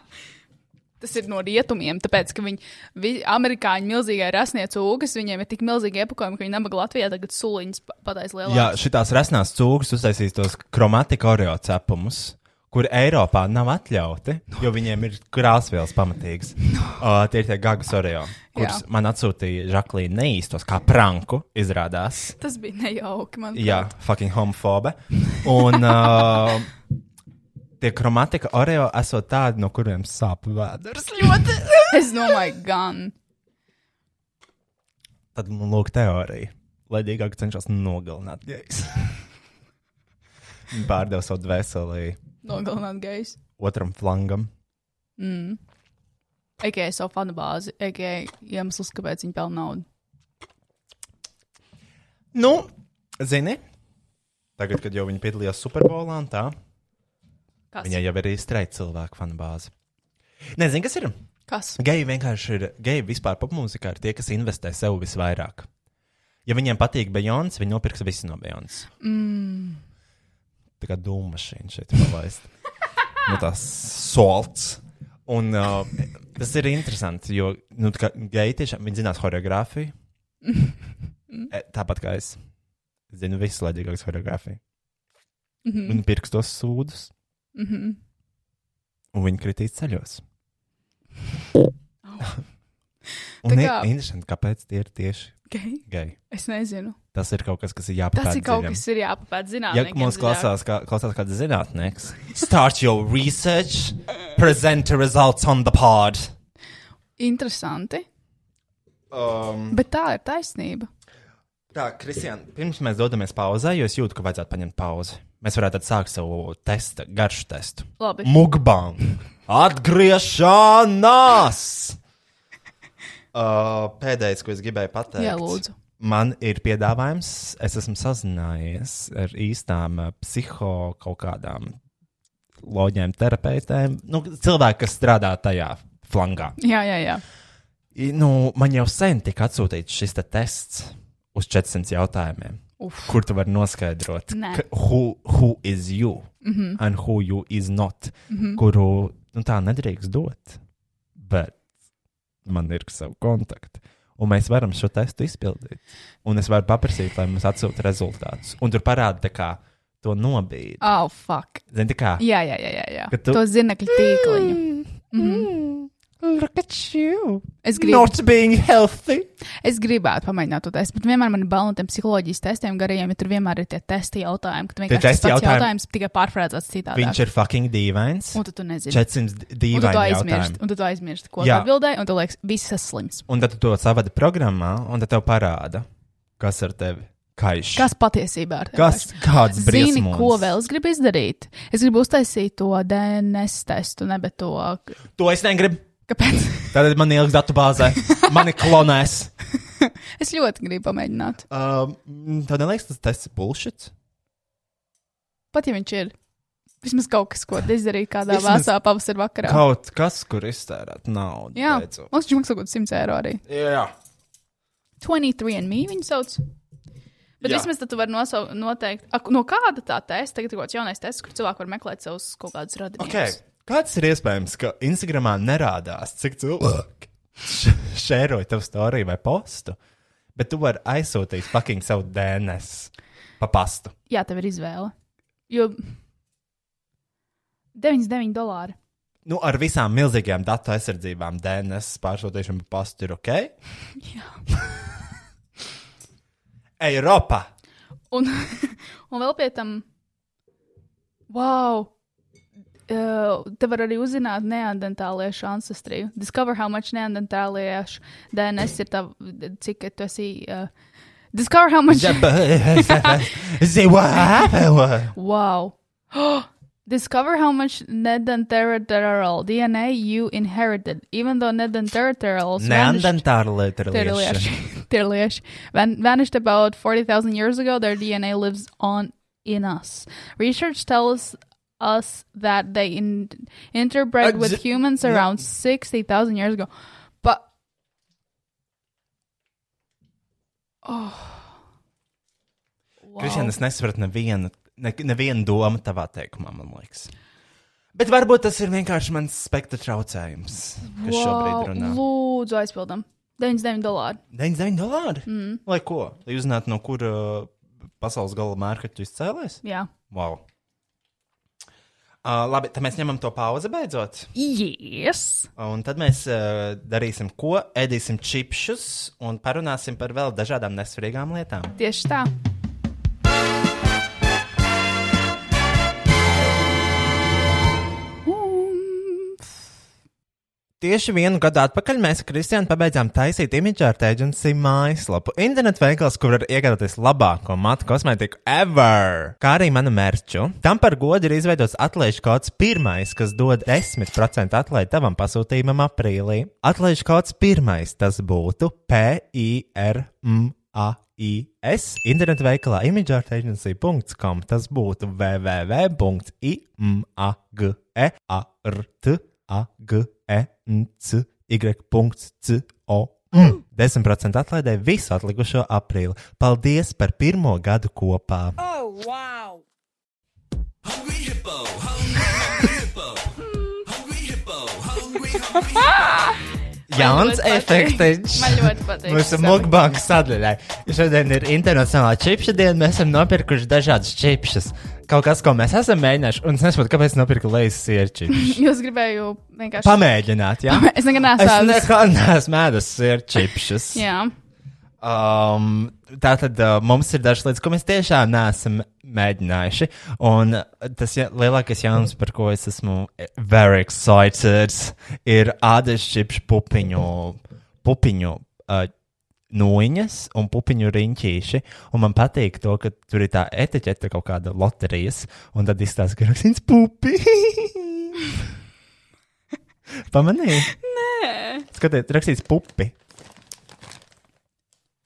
Speaker 2: tas ir no rietumiem, tāpēc, ka viņi, vi, amerikāņi, milzīgai rasniece ūgas, viņiem ir tik milzīgi iepakojumi, ka viņi nabaga Latvijā tagad suliņas pa- pataisa
Speaker 3: Jā,
Speaker 2: lielākas.
Speaker 3: šitās resnās cūgas uztaisīs tos kromatika oreo cepumus. Kur Eiropā nav atļauti, jo viņiem ir krāsvielas pamatīgas. Uh, tie ir tie gagas oreo, kurus
Speaker 2: Jā.
Speaker 3: man atsūtīja Žaklīna neīstos, kā pranku izrādās.
Speaker 2: Tas bija nejauki. Man
Speaker 3: Jā, fucking homofobe. Un uh, tie kromatika oreo esot tādi, no kuriem sāp vēders.
Speaker 2: ļoti. es domāju, gan.
Speaker 3: Tad man lūk teorija. Laidīgāk cenšas nogalināt gejs. Viņi Pārdeva savu dvēseli
Speaker 2: Nogalināt gejs.
Speaker 3: otram flangam.
Speaker 2: AKA savu fanu bāzi, AKA iemesls, kāpēc viņi pelna naudu.
Speaker 3: Nu, zini, tagad, kad jau viņi piedalījās Superbolā un tā,
Speaker 2: Kas?
Speaker 3: viņai jau ir izstrēgta cilvēku fanbāze. Nezinu, kas ir.
Speaker 2: Kas?
Speaker 3: Geji vienkārši ir, geji vispār popmūzikā ir tie, kas investē sev visvairāk. Ja viņiem patīk Bejons, viņi nopirks visu no Bejons. Mm. Tā kā dūma mašīna šeit palaist. nu, tas solts. Un uh, tas ir interesanti, jo nu, tā kā geji tiešām viņi zinās choreogrāfiju. E, Tāpat kā es. Es zinu visu laidīgāko choreogrāfiju. Mm
Speaker 2: Mhm.
Speaker 3: -hmm. Viņi pirks tos sūdus. Mm -hmm. Un viņi kritīs ceļos. Un
Speaker 2: Tā
Speaker 3: ir
Speaker 2: kā-
Speaker 3: interesanti, kāpēc tie ir tieši
Speaker 2: Gej?
Speaker 3: geji.
Speaker 2: Es nezinu.
Speaker 3: Tas ir kaut kas, kas ir jāpapēta.
Speaker 2: Tas ir kaut kas, ir jāpapēt
Speaker 3: Ja
Speaker 2: zinātniekiem.
Speaker 3: mums klausās, kā, klausās kāds zinātnēks, start your research, present the results on the pod.
Speaker 2: Interesanti.
Speaker 3: Um,
Speaker 2: Bet tā ir taisnība.
Speaker 3: tā, Kristija, pirms mēs dodamies pauzē, jo es jūtu, ka vajadzētu paņemt pauzi. Mēs varētu tad sākt savu testu, garšu testu.
Speaker 2: Labi.
Speaker 3: Mukbang! Atgriešanās! Uh, pēdējais, ko es gribēju pateikt,
Speaker 2: Jā, lūdzu.
Speaker 3: Man ir piedāvājums, es esmu sazinājies ar īstām uh, psiho kaut kādām loģiem, terapeitēm, nu, cilvēkiem, kas strādā tajā flangā.
Speaker 2: Jā, jā, jā.
Speaker 3: I, Nu, man jau sen tika atsūtīts šis te tests uz 400 jautājumiem, Uf. kur tu vari noskaidrot,
Speaker 2: Nē. Mhm.
Speaker 3: ka- who, who is you mm -hmm. and who you is not, mm -hmm. kuru nu, tā nedrīkst dot. Bet man ir savi kontakti. Un mēs varam šo testu izpildīt. Un es varu paprasīt, lai mums atsūta rezultātus. Un tur parāda, tā kā to nobīdi.
Speaker 2: Oh, fuck.
Speaker 3: Zini, tā kā.
Speaker 2: Jā, jā, jā, jā. jā.
Speaker 3: Ka tu-
Speaker 2: Tu... To zinekļu tīkliņu.
Speaker 3: Mm. Look at you!
Speaker 2: Es gribu.
Speaker 3: Not being healthy!
Speaker 2: Es gribētu pamēģināt to testu, bet vienmēr man ir bail no tiem psiholoģijas testiem garajiem, ja tur vienmēr ir tie testi jautājumi, ka tu vienkārši tas
Speaker 3: testi
Speaker 2: pats
Speaker 3: jautājumi-
Speaker 2: jautājums tikai pārfrāzēts citādi.
Speaker 3: Viņš ir fucking dīvains.
Speaker 2: Un tu, tu nezini.
Speaker 3: 400
Speaker 2: Un tu to
Speaker 3: dīvaini
Speaker 2: aizmirsti,
Speaker 3: jautājumi.
Speaker 2: un tu to aizmirsti, ko
Speaker 3: Jā.
Speaker 2: atbildēji, un tu liekas, viss esmu slims.
Speaker 3: Un tad tu to savadi programmā, un tad tev parāda, kas ar tevi kaiš.
Speaker 2: Kas patiesībā ir?
Speaker 3: Kas kāds brīdis?
Speaker 2: Zini, ko vēl es gribu izdarīt? Es gribu uztaisīt to DNS testu, ne, bet to,
Speaker 3: To es negribu.
Speaker 2: kāpēc?
Speaker 3: Tad man ieliks datu bāzē. Mani klonēs.
Speaker 2: es ļoti gribu pamēģināt.
Speaker 3: Um, tev neliekas, tas tests ir bullshit?
Speaker 2: Pat ja viņš ir. Vismaz kaut kas, ko izdarīt kādā
Speaker 3: Vismaz
Speaker 2: vēsā pavasarī vakarā.
Speaker 3: Kaut kas, kur iztērēt naudu.
Speaker 2: Jā,
Speaker 3: beidzot.
Speaker 2: mums viņš maksā kaut kāds 100 eiro arī.
Speaker 3: Jā.
Speaker 2: 23 and me viņa sauc. Bet
Speaker 3: Jā.
Speaker 2: Jā. vismaz tad tu vari nosau- noteikt, ak, no kāda tā testa, tagad ir kaut kāds jaunais tests, kur cilvēki var meklēt savus kaut kādus radījumus.
Speaker 3: Okay. Kāds ir iespējams, ka Instagramā nerādās, cik cilvēki š- šēroja tavu storiju vai postu, bet tu vari aizsūtīt fucking savu DNS pa pastu?
Speaker 2: Jā, tev ir izvēle. Jo 99 dolāri.
Speaker 3: Nu, ar visām milzīgajām datu aizsardzībām DNS pārsūtīšana pa pastu ir ok? Jā. Eiropa!
Speaker 2: Un, un vēl pie tam, wow! Uh, te var arī uzzināt neandertāliešu ancestriju. Discover how much neandertāliešu DNS ir tā, cik tu esi. Uh, discover how much.
Speaker 3: Zini, what happened?
Speaker 2: Wow. Discover how much nedanteriteral DNA you inherited, even though nedanteriterals vanished-
Speaker 3: Neandertāla lieta ir lieta.
Speaker 2: Terlieši- terlieši van- vanished about 40,000 years ago. Their DNA lives on in us. Research tells us that they in, interbred
Speaker 3: Uh,
Speaker 2: with
Speaker 3: z-
Speaker 2: humans around 60,000 years ago. But oh.
Speaker 3: Kristian, es nesapratu nevienu, ne, nevienu domu tavā teikumā, man liekas. Bet varbūt tas ir vienkārši mans spektra traucējums, kas šobrīd runā.
Speaker 2: lūdzu, aizpildam. 99 dolāri.
Speaker 3: 99 dolāri? Mm. Lai ko? Lai uzzinātu, no kura pasaules gala mērķa tu izcēlies?
Speaker 2: Jā.
Speaker 3: Wow. Uh, labi, tad mēs ņemam to pauzi beidzot.
Speaker 2: Yes!
Speaker 3: Un tad mēs uh, darīsim ko? Ēdīsim čipšus un parunāsim par vēl dažādām nesvarīgām lietām.
Speaker 2: Tieši tā.
Speaker 3: Tieši vienu gadu atpakaļ mēs ar Kristiānu pabeidzām taisīt imidžārta aģentūras mājaslapu. Internet veikals, kur var iegādāties labāko matu kosmētiku ever, kā arī manu mērķu. Tam par godu ir izveidots atlaižu kods pirmais, kas dod 10% atlaidi tavam pasūtījumam aprīlī. Atlaižu kods pirmais tas būtu PIRMA. IS internetu veikalā imageartagency.com tas būtu E www.imagrtagency.com 10% atlaidē visu atlikušo aprīli. Paldies par pirmo gadu kopā!
Speaker 2: Oh,
Speaker 3: Jauns efekts!
Speaker 2: Man ļoti patīk.
Speaker 3: Mūsu mukbāngas sadaļai. Šodien ir internacionālā čipša diena. Mēs esam nopirkuši dažādas čipšas. Kaut kas, ko mēs esam mēģinājuši, un es nesaprotu, kāpēc nopirku lejas sirčipšu.
Speaker 2: Jūs gribēju vienkārši.
Speaker 3: Pamēģināt, jā.
Speaker 2: Pamē- es nekad neesmu
Speaker 3: Es
Speaker 2: ēdus.
Speaker 3: nekā neesmu mēdus sirčipšas.
Speaker 2: Jā.
Speaker 3: Um, tā tad uh, mums ir dažas lietas, ko mēs tiešām neesam mēģinājuši. Un uh, tas ja, lielākais jaunums, par ko es esmu eh, very excited, ir ādas čipšu pupiņu, pupiņu uh, nūjiņas un pupiņu riņķīši. Un man patīk to, ka tur ir tā etiķeta kaut kāda loterijas, un tad izstāsta, ka rakstīts pupi. Pamanīju? Nē. Skatiet, rakstīts pupi.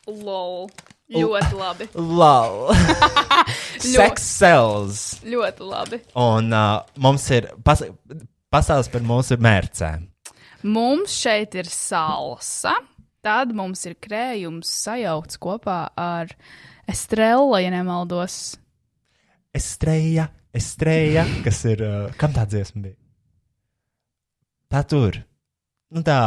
Speaker 2: Lol. Ļoti labi.
Speaker 3: Lol. Sex sells.
Speaker 2: Ļoti labi.
Speaker 3: Un uh, mums ir pas pasaules par mūsu mērķiem.
Speaker 2: Mums šeit ir salsa. Tad mums ir krējums sajauts kopā ar estrella, ja nemaldos.
Speaker 3: Estrēja, estrēja, kas ir. Uh, kam tā dziesma bija? Tā tur. Nu tā.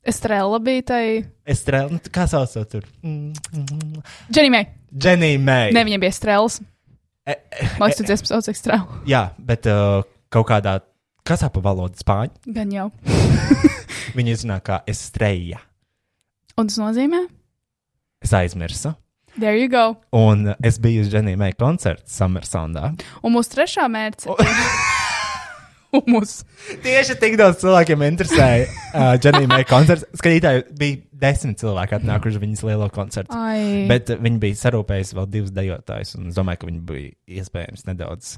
Speaker 2: Estrella bija tai.
Speaker 3: Estrēja, nu, kā sauc to tur? Mm, mm, mm.
Speaker 2: Dženimē.
Speaker 3: Dženija Meija.
Speaker 2: Ne, viņam bija estrellas.
Speaker 3: E, e,
Speaker 2: Mākslinieks to dziesmas sauc ekstrā.
Speaker 3: jā, bet uh, kaut kādā, kas ap valodu spāņu,
Speaker 2: Gan jau.
Speaker 3: viņi zina, kā estreja.
Speaker 2: Un tas nozīmē,
Speaker 3: Es aizmirsu.
Speaker 2: there you go.
Speaker 3: Un es biju uz Dženija Meija koncerta Summersondā.
Speaker 2: Un mūsu trešā mērķa. Humus.
Speaker 3: Tieši tik daudz cilvēkiem interesēja uh, Dženija Meija koncerts. Skatītāji bija desmit cilvēki atnākuši viņas lielo koncertu.
Speaker 2: Ai.
Speaker 3: Bet uh, viņi bija sarūpējuši vēl divus dejotājus, un es domāju, ka viņi bija iespējams nedaudz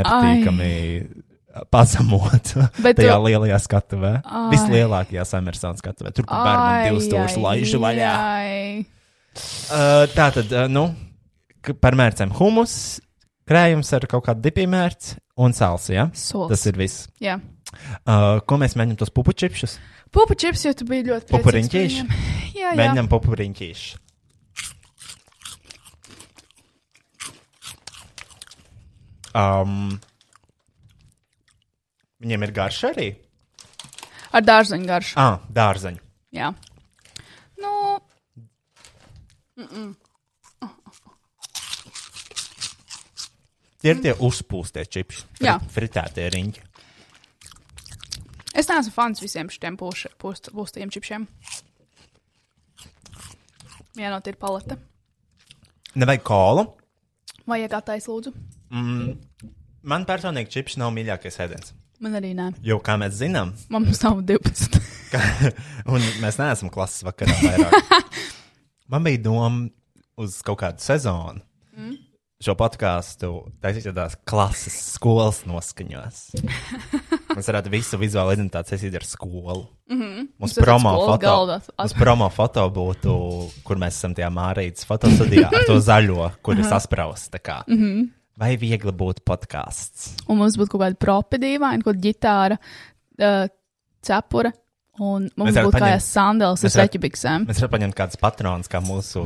Speaker 3: nepatīkami uh, pazemot
Speaker 2: Bet
Speaker 3: tajā
Speaker 2: tu-
Speaker 3: lielajā skatuvē.
Speaker 2: Ai.
Speaker 3: Vislielākajā Samersona skatuvē. Tur bija bērni divus tūkstošus laižu vaļā.
Speaker 2: Ai.
Speaker 3: Uh, tā tad, uh, nu, k- par mērcēm humus, krējums ar kaut kādu dipīju mērci un sāls. Ja?
Speaker 2: Sols.
Speaker 3: Tas ir viss.
Speaker 2: Jā.
Speaker 3: Uh, ko mēs mēģinām tos pupučipšus?
Speaker 2: Pupu čips, jo tu biji ļoti priecīgs par
Speaker 3: Pupuriņķīši?
Speaker 2: viņiem. Jā, jā.
Speaker 3: Mēģinām pupuriņķīšu. Um, viņiem ir garša arī.
Speaker 2: Ar dārzeņu garšu.
Speaker 3: Ah, dārzeņu.
Speaker 2: Jā. Nu,
Speaker 3: Tie ir tie uzpūstie čipši.
Speaker 2: Jā.
Speaker 3: Fri- Fritētie riņķi.
Speaker 2: es neesmu fans visiem šiem pūstajiem čipšiem. Vienot ir paleta.
Speaker 3: Nevajag kolu.
Speaker 2: Vajag attaisīt, lūdzu.
Speaker 3: Man personīgi čips nav mīļākais ēdiens.
Speaker 2: Man arī nē.
Speaker 3: Jo, kā mēs zinām,
Speaker 2: Man mums nav 12.
Speaker 3: ka, un mēs neesam klases vakarā vairāk. Man bija doma uz kaut kādu sezonu. Mm. Šo podkāstu taisīt tādās klases, skolas noskaņos. Mēs varētu visu vizuālo identitāti saistīt ar skolu. Mm -hmm. Mums
Speaker 2: Mums ir
Speaker 3: promo
Speaker 2: tāds Mhm. skolas
Speaker 3: foto,
Speaker 2: galda at-
Speaker 3: mums promo foto būtu, kur mēs esam tajā mārītas fotostudijā ar to zaļo, kur ir sasprausts. tā kā.
Speaker 2: Mhm.
Speaker 3: Vai viegli būtu podkāsts?
Speaker 2: Un mums būtu kaut kāda propi dīvaina, kaut kāda ģitāra, uh, cepura. Un mums
Speaker 3: Mēs varētu
Speaker 2: būtu
Speaker 3: paņemt-
Speaker 2: kājās sandēlis
Speaker 3: mēs
Speaker 2: ar
Speaker 3: varētu-
Speaker 2: reķibiksēm.
Speaker 3: Mēs varam paņemt kādus patronus, kā mūsu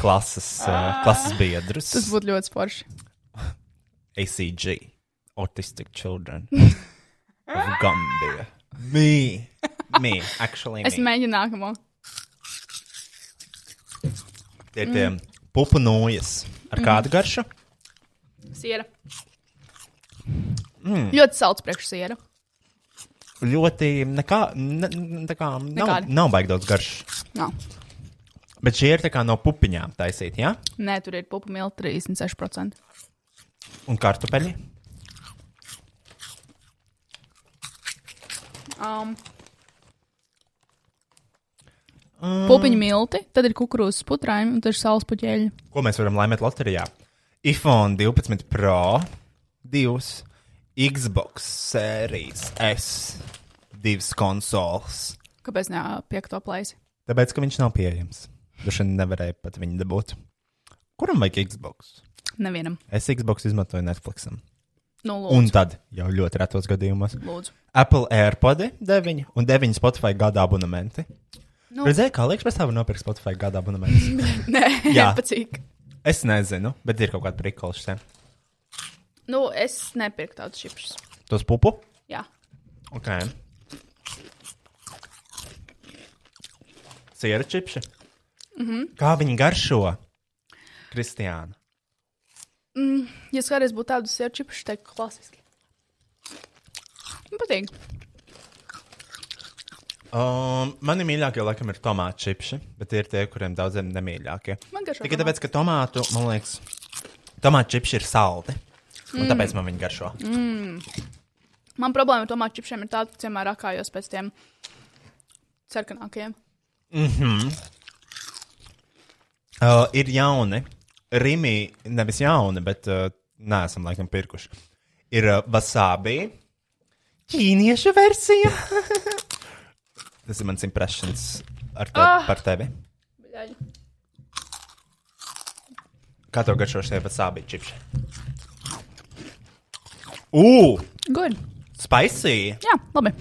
Speaker 3: klases, uh, klases biedrus.
Speaker 2: Ah. Tas būtu ļoti forši.
Speaker 3: ACG, autistic children of Gambia. Me, me, actually.
Speaker 2: Es
Speaker 3: me.
Speaker 2: mēģinu nākamo.
Speaker 3: Tie ir tie pupu nojas. um, Ar kādu garšu?
Speaker 2: Siera. Mm. Ļoti salds priekš siera.
Speaker 3: Ļoti, nekā, ne, ne- tā kā, nav,
Speaker 2: Nekādi.
Speaker 3: nav baigi daudz garšu.
Speaker 2: Nā.
Speaker 3: Bet šie ir tā kā no pupiņām taisīti, jā? Ja?
Speaker 2: Nē, tur ir pupa milti 36%.
Speaker 3: Un kartupeļi.
Speaker 2: Um.
Speaker 3: Um.
Speaker 2: Pupiņu milti, tad ir kukurūzas putrājumi un tad ir saules puķēļi.
Speaker 3: Ko mēs varam laimēt loterijā? iPhone 12 Pro, 2, Xbox Series S, 2 konsoles.
Speaker 2: Kāpēc ne piekto plēsi?
Speaker 3: Tāpēc, ka viņš nav pieejams. Droši vien nevarēja pat viņu dabūt. Kuram vajag Xbox?
Speaker 2: Nevienam.
Speaker 3: Es Xbox izmantoju Netflix.
Speaker 2: Nu, lūdzu.
Speaker 3: Un tad, jau ļoti retos gadījumos,
Speaker 2: lūdzu.
Speaker 3: Apple AirPod 9 un 9 Spotify gada abonenti. Nu.
Speaker 2: Nu.
Speaker 3: Redzēju, kā liekas, pastāv nopirkt Spotify gada abonementus.
Speaker 2: Nē,
Speaker 3: Jā.
Speaker 2: patīk.
Speaker 3: es nezinu, bet ir kaut kāda prikolša.
Speaker 2: Nu, es nepirku tādus čipsus.
Speaker 3: Tos pupu?
Speaker 2: Jā.
Speaker 3: Ok. Sieru čipši. Mm -hmm. Kā viņi garšo? Kristiāna.
Speaker 2: Ja skaties, būtu tādus sēru čipsus, tad klasiski. Man patīk.
Speaker 3: Um, mani mīļākie, laikam, ir tomātu čipši, bet tie ir tie, kuriem daudziem nemīļākie.
Speaker 2: Man garšo
Speaker 3: Tikai
Speaker 2: tomāti.
Speaker 3: tāpēc, ka tomātu, man liekas, tomātu čipši ir saldi. Un tāpēc man viņi garšo. Mm.
Speaker 2: Man problēma ar tomātu čipsiem ir tāda, ka vienmēr rakājos pēc tiem sarkanākajiem.
Speaker 3: Uh, ir jauni, rīmi, nevis jauni, bet uh, neesam laikam pirkuši. Ir uh, wasabi, ķīniešu versija. Tas ir mans impressions ar te, oh. par tevi.
Speaker 2: Bļaļ.
Speaker 3: Kā tev garšo šie wasabi čipši? Ugh!
Speaker 2: Good.
Speaker 3: Spicy!
Speaker 2: Jā, labi.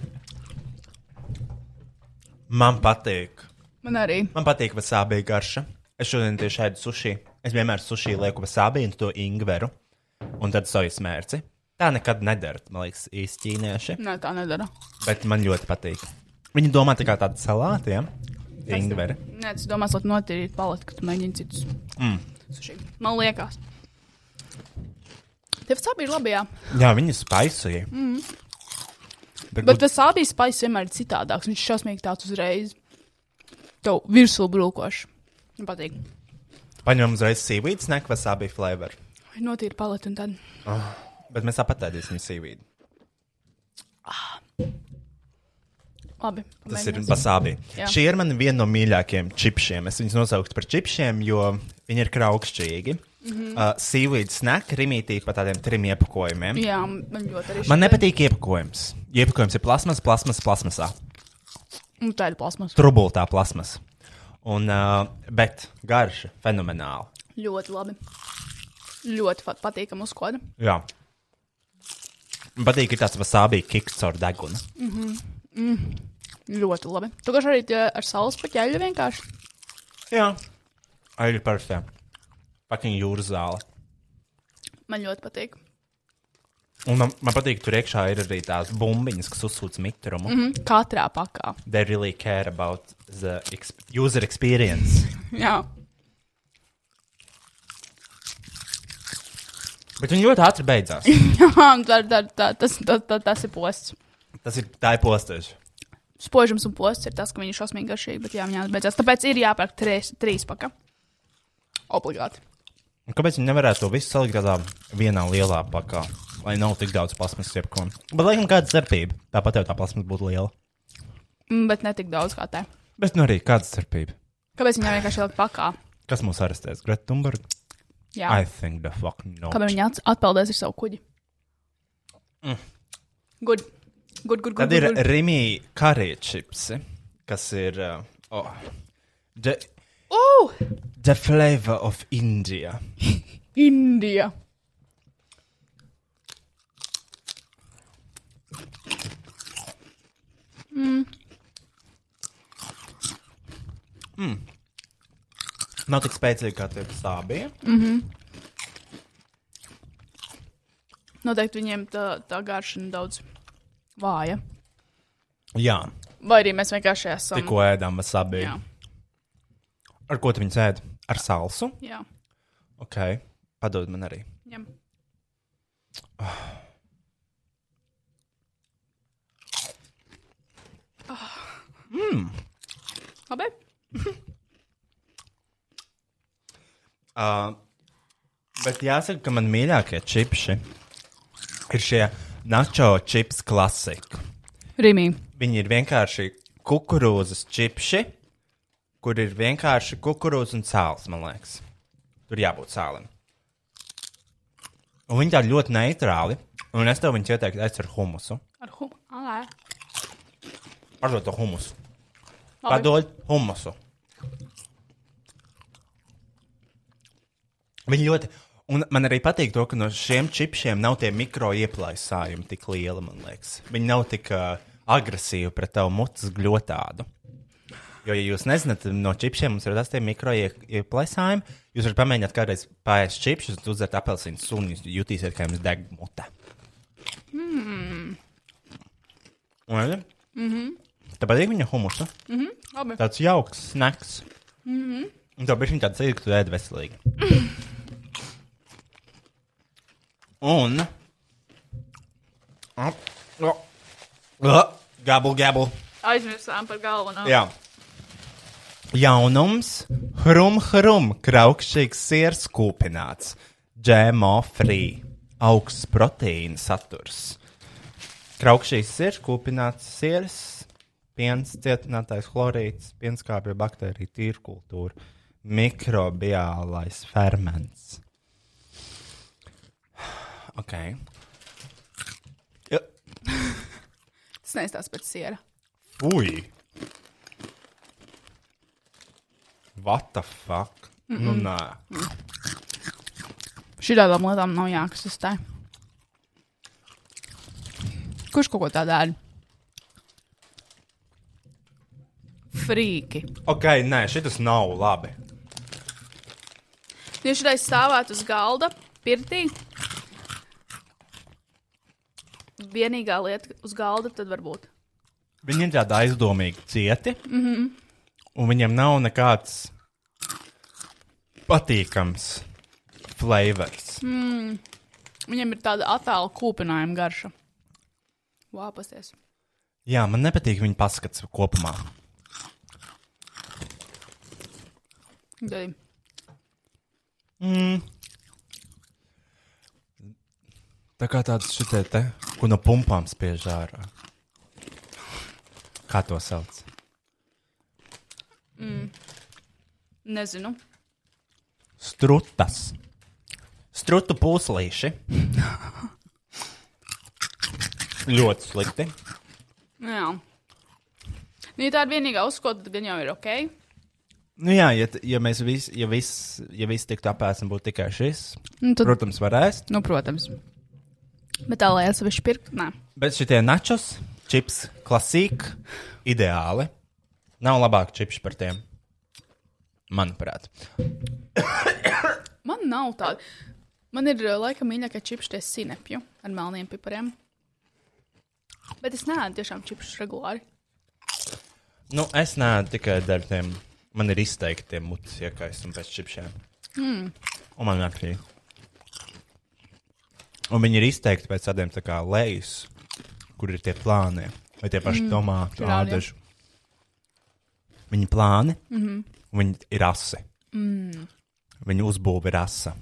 Speaker 3: Man patīk.
Speaker 2: Man arī.
Speaker 3: Man patīk vasābija garša. Es šodien tieši ēdu sushi. Es vienmēr sushi lieku vasābiju un to ingveru. Un tad sojas mērci. Tā nekad nedara, man liekas, īsti ķīnieši.
Speaker 2: Nē, tā nedara.
Speaker 3: Bet man ļoti patīk. Viņi domā tā kā tāda salāta, ja? Tie Ingveri.
Speaker 2: Nē, tas domās, lai notīrītu paleti, kad tu mēģini citus. Mm. Man liekas. Tev tas bija labi. Jā.
Speaker 3: Jā, viņi spaisīja. Mm. Bet,
Speaker 2: Bet tas abijas spēks vienmēr ir citādāks. Viņš ir šausmīgi tāds uzreiz. Tev virsū brūkošs. Man patīk.
Speaker 3: paņem uzreiz sīvītas, nekvas abi flavor.
Speaker 2: Vai Notīri paleti un tad.
Speaker 3: Bet mēs apatēdīsim sīvīti.
Speaker 2: Labi.
Speaker 3: Tas ir
Speaker 2: pamēģināsim.
Speaker 3: pasābi.
Speaker 2: Jā.
Speaker 3: Šie ir mani viena no mīļākajiem čipsiem. Es viņus nosaucu par čipsiem, jo viņi ir kraukšķīgi. Mm
Speaker 2: Mhm.
Speaker 3: -hmm. uh, Sīvītas snack, rimītī pa tādiem trim iepakojumiem.
Speaker 2: Jā, man ļoti arī.
Speaker 3: Man
Speaker 2: šķiet.
Speaker 3: nepatīk iepakojums. Iepakojums ir plasmas, plasmas, plasmasā.
Speaker 2: Nu, tā ir plasmas.
Speaker 3: Trubultā plasmas. Un, uh, bet garša fenomenāli.
Speaker 2: Ļoti labi. Ļoti fa- patīkam uzkoda.
Speaker 3: Jā. Man patīk, ka tāds vasābī kiks caur degunu.
Speaker 2: Ļoti labi. Tu garš arī tie ar saules paķēļu vienkārši.
Speaker 3: Jā. Arī ir parastā. Pakiņa jūras zāle.
Speaker 2: Man ļoti patīk.
Speaker 3: Un man, man patīk, ka tur iekšā ir arī tās bumbiņas, kas uzsūc mitrumu. Mm.
Speaker 2: Mm, Katrā pakā.
Speaker 3: They really care about the exp user experience.
Speaker 2: Jā.
Speaker 3: Bet viņi ļoti ātri beidzās.
Speaker 2: Jā, un tā, tā, tā, tas, tā, tā, tas ir posts.
Speaker 3: Tas ir tā ir posteļš.
Speaker 2: Spožums un posts ir tas, ka viņi ir šausmīgi garšīgi, bet jā, viņi atbeidzās. Tāpēc ir jāpērk trīs, trīs paka. Obligāti.
Speaker 3: Un Kāpēc viņi nevarētu to visu salikt tādā vienā lielā pakā? Lai nav tik daudz plasmas, jebkām. Bet, laikam, kāda starpība? Tāpat jau tā plasmas būtu liela.
Speaker 2: Mm, bet ne tik daudz kā tā.
Speaker 3: Bet, nu, arī kāda starpība?
Speaker 2: Kāpēc viņi vienkārši ieliek pakā?
Speaker 3: Kas mūs arestēs? Greta Thunberg?
Speaker 2: Jā.
Speaker 3: I think the fuck no.
Speaker 2: Kāpēc viņi at atpeldēs ar savu kuģi? Good. Good, good,
Speaker 3: Mm.
Speaker 2: good.
Speaker 3: Tad ir er-
Speaker 2: good, good.
Speaker 3: Rimija kariečips, kas ir. Uh, oh, the,
Speaker 2: Oh!
Speaker 3: the flavor of India.
Speaker 2: Indija.
Speaker 3: Nav tik spēcīgi kā tie sābīja.
Speaker 2: Noteikti viņiem tā, tā garšana daudz vāja.
Speaker 3: Jā,
Speaker 2: Vai arī mēs vienkārši esam.
Speaker 3: tikko ēdām sābīju.
Speaker 2: Jā.
Speaker 3: Ar ko tu viņu ēd? Ar salsu.
Speaker 2: Jā.
Speaker 3: Ok, padod man arī.
Speaker 2: Ņem. Ah. Labi.
Speaker 3: Uh, bet jāsaka, ka man mīļākie čipsi ir šie nacho chips klasika.
Speaker 2: Rimī.
Speaker 3: Viņi ir vienkārši kukurūzas čipsi, kur ir vienkārši kukurūzas un sāls, man liekas. Tur jābūt sālim. Un viņi tādi ļoti neitrāli. Un es tev viņus ieteiktu, aizsver humusu.
Speaker 2: Ar humu.
Speaker 3: Padod to humusu. Padod humusu. Viņi ļoti. Un man arī patīk to, ka no šiem čipsiem nav tie mikro ieplaisājumi tik lieli, man liekas. Viņi nav tik uh, agresīvi pret tavu mutes gļotādu. Jo, ja jūs nezināt, no čipsiem mums ir tas tie mikro ie- ieplaisājumi, jūs varat pamēģināt kādreiz pāriest čipsus, uzdzert apelsīnu suni, jūs jutīsiet, kā jums deg mutē. Mm. Tā patīk viņa humusa.
Speaker 2: Labi.
Speaker 3: Tāds jauks snacks. Mm -hmm. Un tā bija tāds īks, ka tu ēd veselīgi. Un. Gabal, gabal.
Speaker 2: Aizmirstām par nu. galveno.
Speaker 3: Jā. Jaunums, hrum, hrum, kraukšķīgs siers kūpināts, džemo free, augsts proteīna saturs. Kraukšķīgs sirs kūpināts siers, piens cietinātais chlorīts, pienskāpja baktērija tīrkultūra, mikrobiālais ferments. Ok. Ja.
Speaker 2: Tas neizstāsta pēc siera.
Speaker 3: Ui! What the fuck? Mm -mm. Nu, nē.
Speaker 2: Šādām lietām nav jāksistē. Kurš kaut ko tādu dara? Frīki.
Speaker 3: Ok, nē, šis nav labi.
Speaker 2: Ja šodien stāvētu uz galda, pirtī, vienīgā lieta uz galda, tad varbūt.
Speaker 3: Viņi ir tādi aizdomīgi cieti, mm -hmm. un viņiem nav nekāds patīkams flavors. Mm.
Speaker 2: Viņam ir tāda attēla kūpinājuma garša. Vāpasties.
Speaker 3: Jā, man nepatīk viņa paskats kopumā.
Speaker 2: Dei.
Speaker 3: Tā kā tāds šitie te, ko no pumpām spiež ārā. Kā to sauc?
Speaker 2: Nezinu.
Speaker 3: Strutas. Strutu pūslīši. Ļoti slikti.
Speaker 2: Nu Jā. Nu, ja tā ir vienīgā uzskota, tad gan jau ir ok.
Speaker 3: Nu jā, ja, t- ja mēs visi, ja viss ja vis tiktu apēsts un būtu tikai šis,
Speaker 2: Nu, tad,
Speaker 3: protams, varēs.
Speaker 2: nu, protams. Bet tā, lai es sevišķi pirktu, nē.
Speaker 3: Bet šitie načos, čips, klasika, ideāli. Nav labāk čips par tiem. Manuprāt.
Speaker 2: Man nav tāda. Man ir eh, laikam mīļākā čipšķie sinepju ar melniem pipariem. Bet es neēdu tiešām čipšus regulāri.
Speaker 3: Nu, es nē, tikai dēļ tiem. Man ir izteikti tie mutes iekaisumi pēc čipsiem. Mm. Un man arī. Un viņi ir izteikti pēc tādiem tā kā lejas, kur ir tie plāni. Vai tie paši mm. tomāti,
Speaker 2: Jā, jā.
Speaker 3: ādaži. Viņi plāni, mm -hmm. viņi ir asi. Mm. Viņa uzbūve ir asa.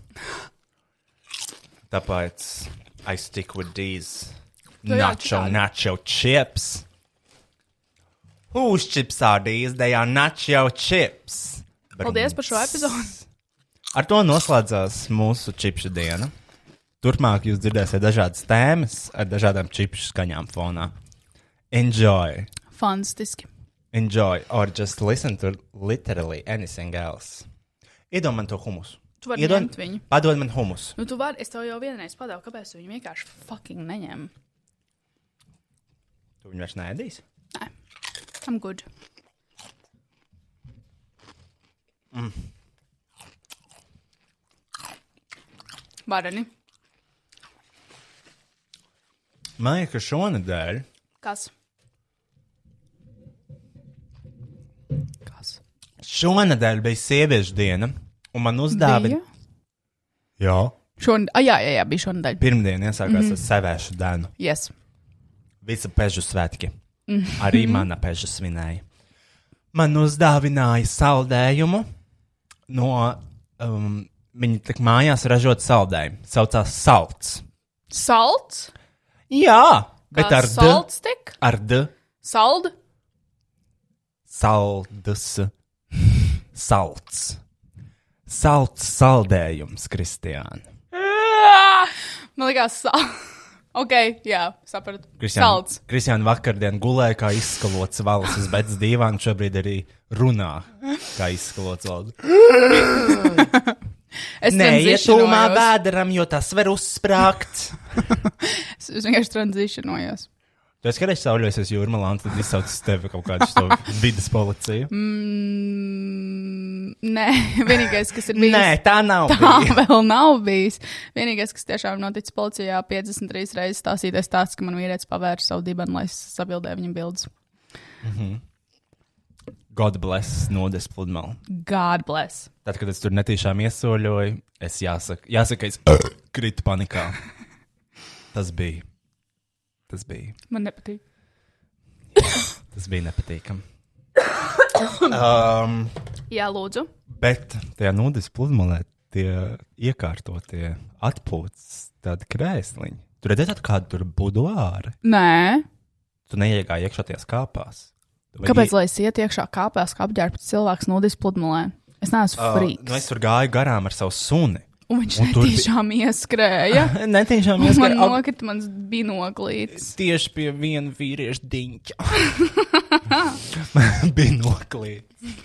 Speaker 3: Tāpēc I stick with these
Speaker 2: jā,
Speaker 3: nacho,
Speaker 2: citādi.
Speaker 3: nacho chips. Whose chips are these? They are nacho chips.
Speaker 2: Paldies par šo epizodi.
Speaker 3: Ar to noslēdzās mūsu čipšu diena. Turpmāk jūs dzirdēsiet dažādas tēmas ar dažādām čipšu skaņām fonā. Enjoy!
Speaker 2: Fantastiski.
Speaker 3: Enjoy! Or just listen to literally anything else. Iedod man to humusu.
Speaker 2: Tu vari
Speaker 3: Iedod-
Speaker 2: ņemt viņu.
Speaker 3: Padod man humusu.
Speaker 2: Nu, tu vari, es tev jau vienreiz padevu, kāpēc tu viņu vienkārši fucking neņem.
Speaker 3: Tu viņu vairs neēdīsi?
Speaker 2: Nē, I'm good. Vareni.
Speaker 3: Man liekas, ka šonadēļ
Speaker 2: Kas? Kas?
Speaker 3: Šonadēļ bija sieviešu diena, un man uzdāvināja. Jā,
Speaker 2: Šonadēļ, ah, jā, jā, jā, bija šonadēļ.
Speaker 3: pirmdiena iesākās mm -hmm. ar sevēšu dienu.
Speaker 2: Yes.
Speaker 3: Visa pežu svētki. Mm -hmm. Arī mana peža svinēja. Man uzdāvināja saldējumu no um, viņa tā kā mājās ražot saldējumu. Saucās salds.
Speaker 2: Salts?
Speaker 3: Jā, bet ar d,
Speaker 2: salts tik?
Speaker 3: ar d
Speaker 2: Sald?
Speaker 3: salds. Salds. Salds saldējums, Kristiāna.
Speaker 2: Ah! Man liekas, sal... ok, jā, sapratu. Salts.
Speaker 3: Kristiāna vakardien gulēja kā izskalots valsts uz beigas divām, šobrīd arī runā kā izskalots valsts.
Speaker 2: Es
Speaker 3: Neietūmā
Speaker 2: transitionojos.
Speaker 3: vēderam, jo tas var uzsprāgt.
Speaker 2: Es es vienkārši transicionojos.
Speaker 3: Tu esi kādreiz sauļojies jūrmalā, un tad izsaucas tevi kaut kādu šo vidas policiju.
Speaker 2: Mm, nē, vienīgais, kas ir bijis.
Speaker 3: Nē, tā nav.
Speaker 2: Tā vēl nav bijis. Vienīgais, kas tiešām noticis policijā, 53 reizes stāstīties tāds, ka man vīrietis pavērs savu dibenu, lai es sabildēju viņam bildes.
Speaker 3: God bless nodes pludmali.
Speaker 2: God bless.
Speaker 3: Tad, kad es tur netīšām iesoļoju, es jāsaka, jāsaka es kritu panikā. Tas bija. Tas bija.
Speaker 2: Man nepatīk.
Speaker 3: Tas bija nepatīkami. um,
Speaker 2: Jā, lūdzu.
Speaker 3: bet tajā nodes pludmalē tie iekārtotie atpūtas tādi krēsliņi. Tur redzēt, kāda tur buduāra.
Speaker 2: Nē,
Speaker 3: Tu neiegāji iekšā tajā kāpās. Tu vajag
Speaker 2: kāpēc
Speaker 3: ie-
Speaker 2: lai es iet iekšā kāpēs, kā apģērbts cilvēks nodis pludmalē? Es neesmu
Speaker 3: Ā,
Speaker 2: frīks.
Speaker 3: Nu, es tur gāju garām ar savu suni.
Speaker 2: Un viņš
Speaker 3: Un tur bija-
Speaker 2: tiešām ieskrēja.
Speaker 3: Nē, tiešām
Speaker 2: Un
Speaker 3: es
Speaker 2: man
Speaker 3: gāju
Speaker 2: nokrita mans binoklīts.
Speaker 3: tieši pie viena vīrieša diņķa. Bija noklīts.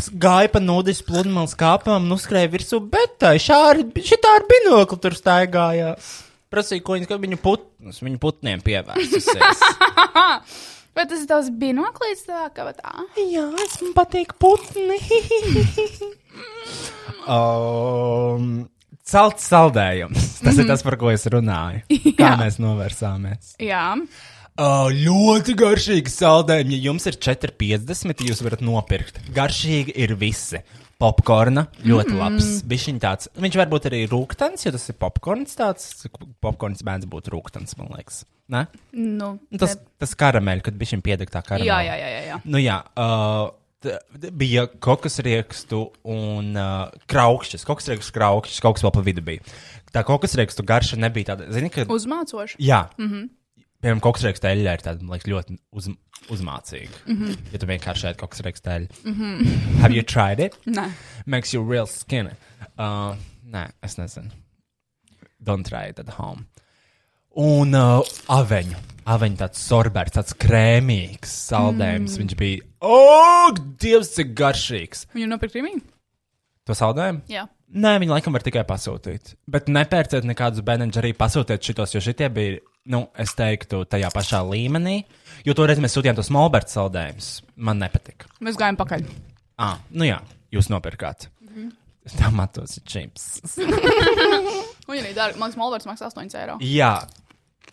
Speaker 3: Es gāju pa nūdeņu pludmales kāpām, nuskrēju virsū, bet tā šī tā ar binokli tur staigājās. Prasīju, ko viņa, ka viņu, putnus, viņu putniem pievērsusies.
Speaker 2: Vai tas ir tās binoklīts tā kā tā?
Speaker 3: Jā, es man patīk putni. um, Celts saldējums. Tas mm -hmm. ir tas, par ko es runāju. Kā
Speaker 2: Jā.
Speaker 3: mēs novērsāmies?
Speaker 2: Jā.
Speaker 3: Uh, ļoti garšīgi saldējumi. Ja jums ir 4,50, jūs varat nopirkt. Garšīgi ir visi. popkorna. Ļoti labs. Mm -hmm. Viņš varbūt arī rūkstošs, jo tas ir popkorns. Tāds popkorns mēdz būt rūkstošs, man liekas. Ne?
Speaker 2: Nu,
Speaker 3: Nu, Tas, tas karameļs, kad bija piedegtā
Speaker 2: ne-
Speaker 3: karameļa.
Speaker 2: jā, jā, jā, jā, jā.
Speaker 3: Nu, jā, uh, t- t- bija kokas riekstu un uh, kraukšķis. Kokas riekstu, kraukšķis, kaut kas vēl pa vidu bija. Tā kokas riekstu garša nebija tāda, zini, ka.
Speaker 2: Uzmācoši.
Speaker 3: Jā, mm -hmm. piemēram, kokas riekstu eļļa ir tāda, man liekas, ļoti uz, uzmācīga. Mm -hmm. Ja tu vienkārši ēd kokas riekstu eļļu. Mm -hmm. Have you tried it?
Speaker 2: Nē,
Speaker 3: Makes you real skinny. Uh, nē, es nezinu. Don't try it at home. Un uh, aveņu. Aveņu tāds sorbēts, tāds krēmīgs saldējums. Mm. Viņš bija, oh, dievs, cik garšīgs.
Speaker 2: viņu nopirkt rīmīgi?
Speaker 3: To saldējumu?
Speaker 2: Jā.
Speaker 3: Nē, viņi laikam var tikai pasūtīt. Bet nepērciet nekādus bērnus, arī pasūtiet šitos, jo šitie bija, nu, es teiktu, tajā pašā līmenī. Jo toreiz mēs sūtījām tos molberts saldējumus. Man nepatika.
Speaker 2: Mēs gājām pakaļ.
Speaker 3: Ah, nu jā, jūs nopirkāt. Mm -hmm. Tā matos ir čips.
Speaker 2: Viņa arī dārga. Mans molvars maksā 8 eiro.
Speaker 3: Jā,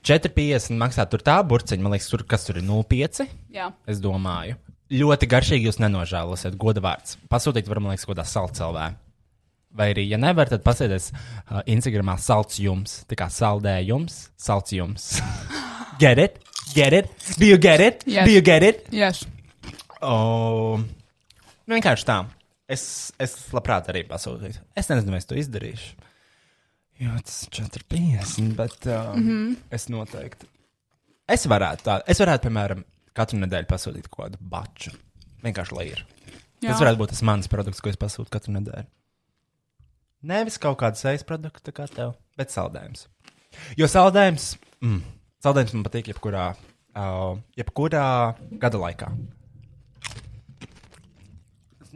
Speaker 3: 4,50 maksā tur tā burciņa. Man liekas, tur kas tur ir 0,5.
Speaker 2: Jā.
Speaker 3: Es domāju, ļoti garšīgi jūs nenožēlosiet. Goda vārds. Pasūtīt, var, man liekas, godā salcelvē. Vai arī, ja nevar, tad pasēties uh, Instagramā salds jums. Tā kā saldējums, salds jums. get it? Get it? Do you get it?
Speaker 2: Yes.
Speaker 3: Do you get it?
Speaker 2: Yes.
Speaker 3: Oh, nu, vienkārši tā. Es, es labprāt arī pasūtītu. Es nezinu, vai es to izdarīšu. Jā, tas ir 4,50. Bet uh, mm -hmm. es noteikti. Es varētu, tā, es varētu, piemēram, katru nedēļu pasūtīt kaut kādu baču. Vienkārši lai ir. Jā.
Speaker 2: Jā.
Speaker 3: Tas varētu būt tas mans produkts, ko es pasūtu katru nedēļu. Nevis kaut kāda sejas produkta, kā tev, bet saldējums. Jo saldējums, mm, saldējums man patīk jebkurā, uh, jebkurā gada laikā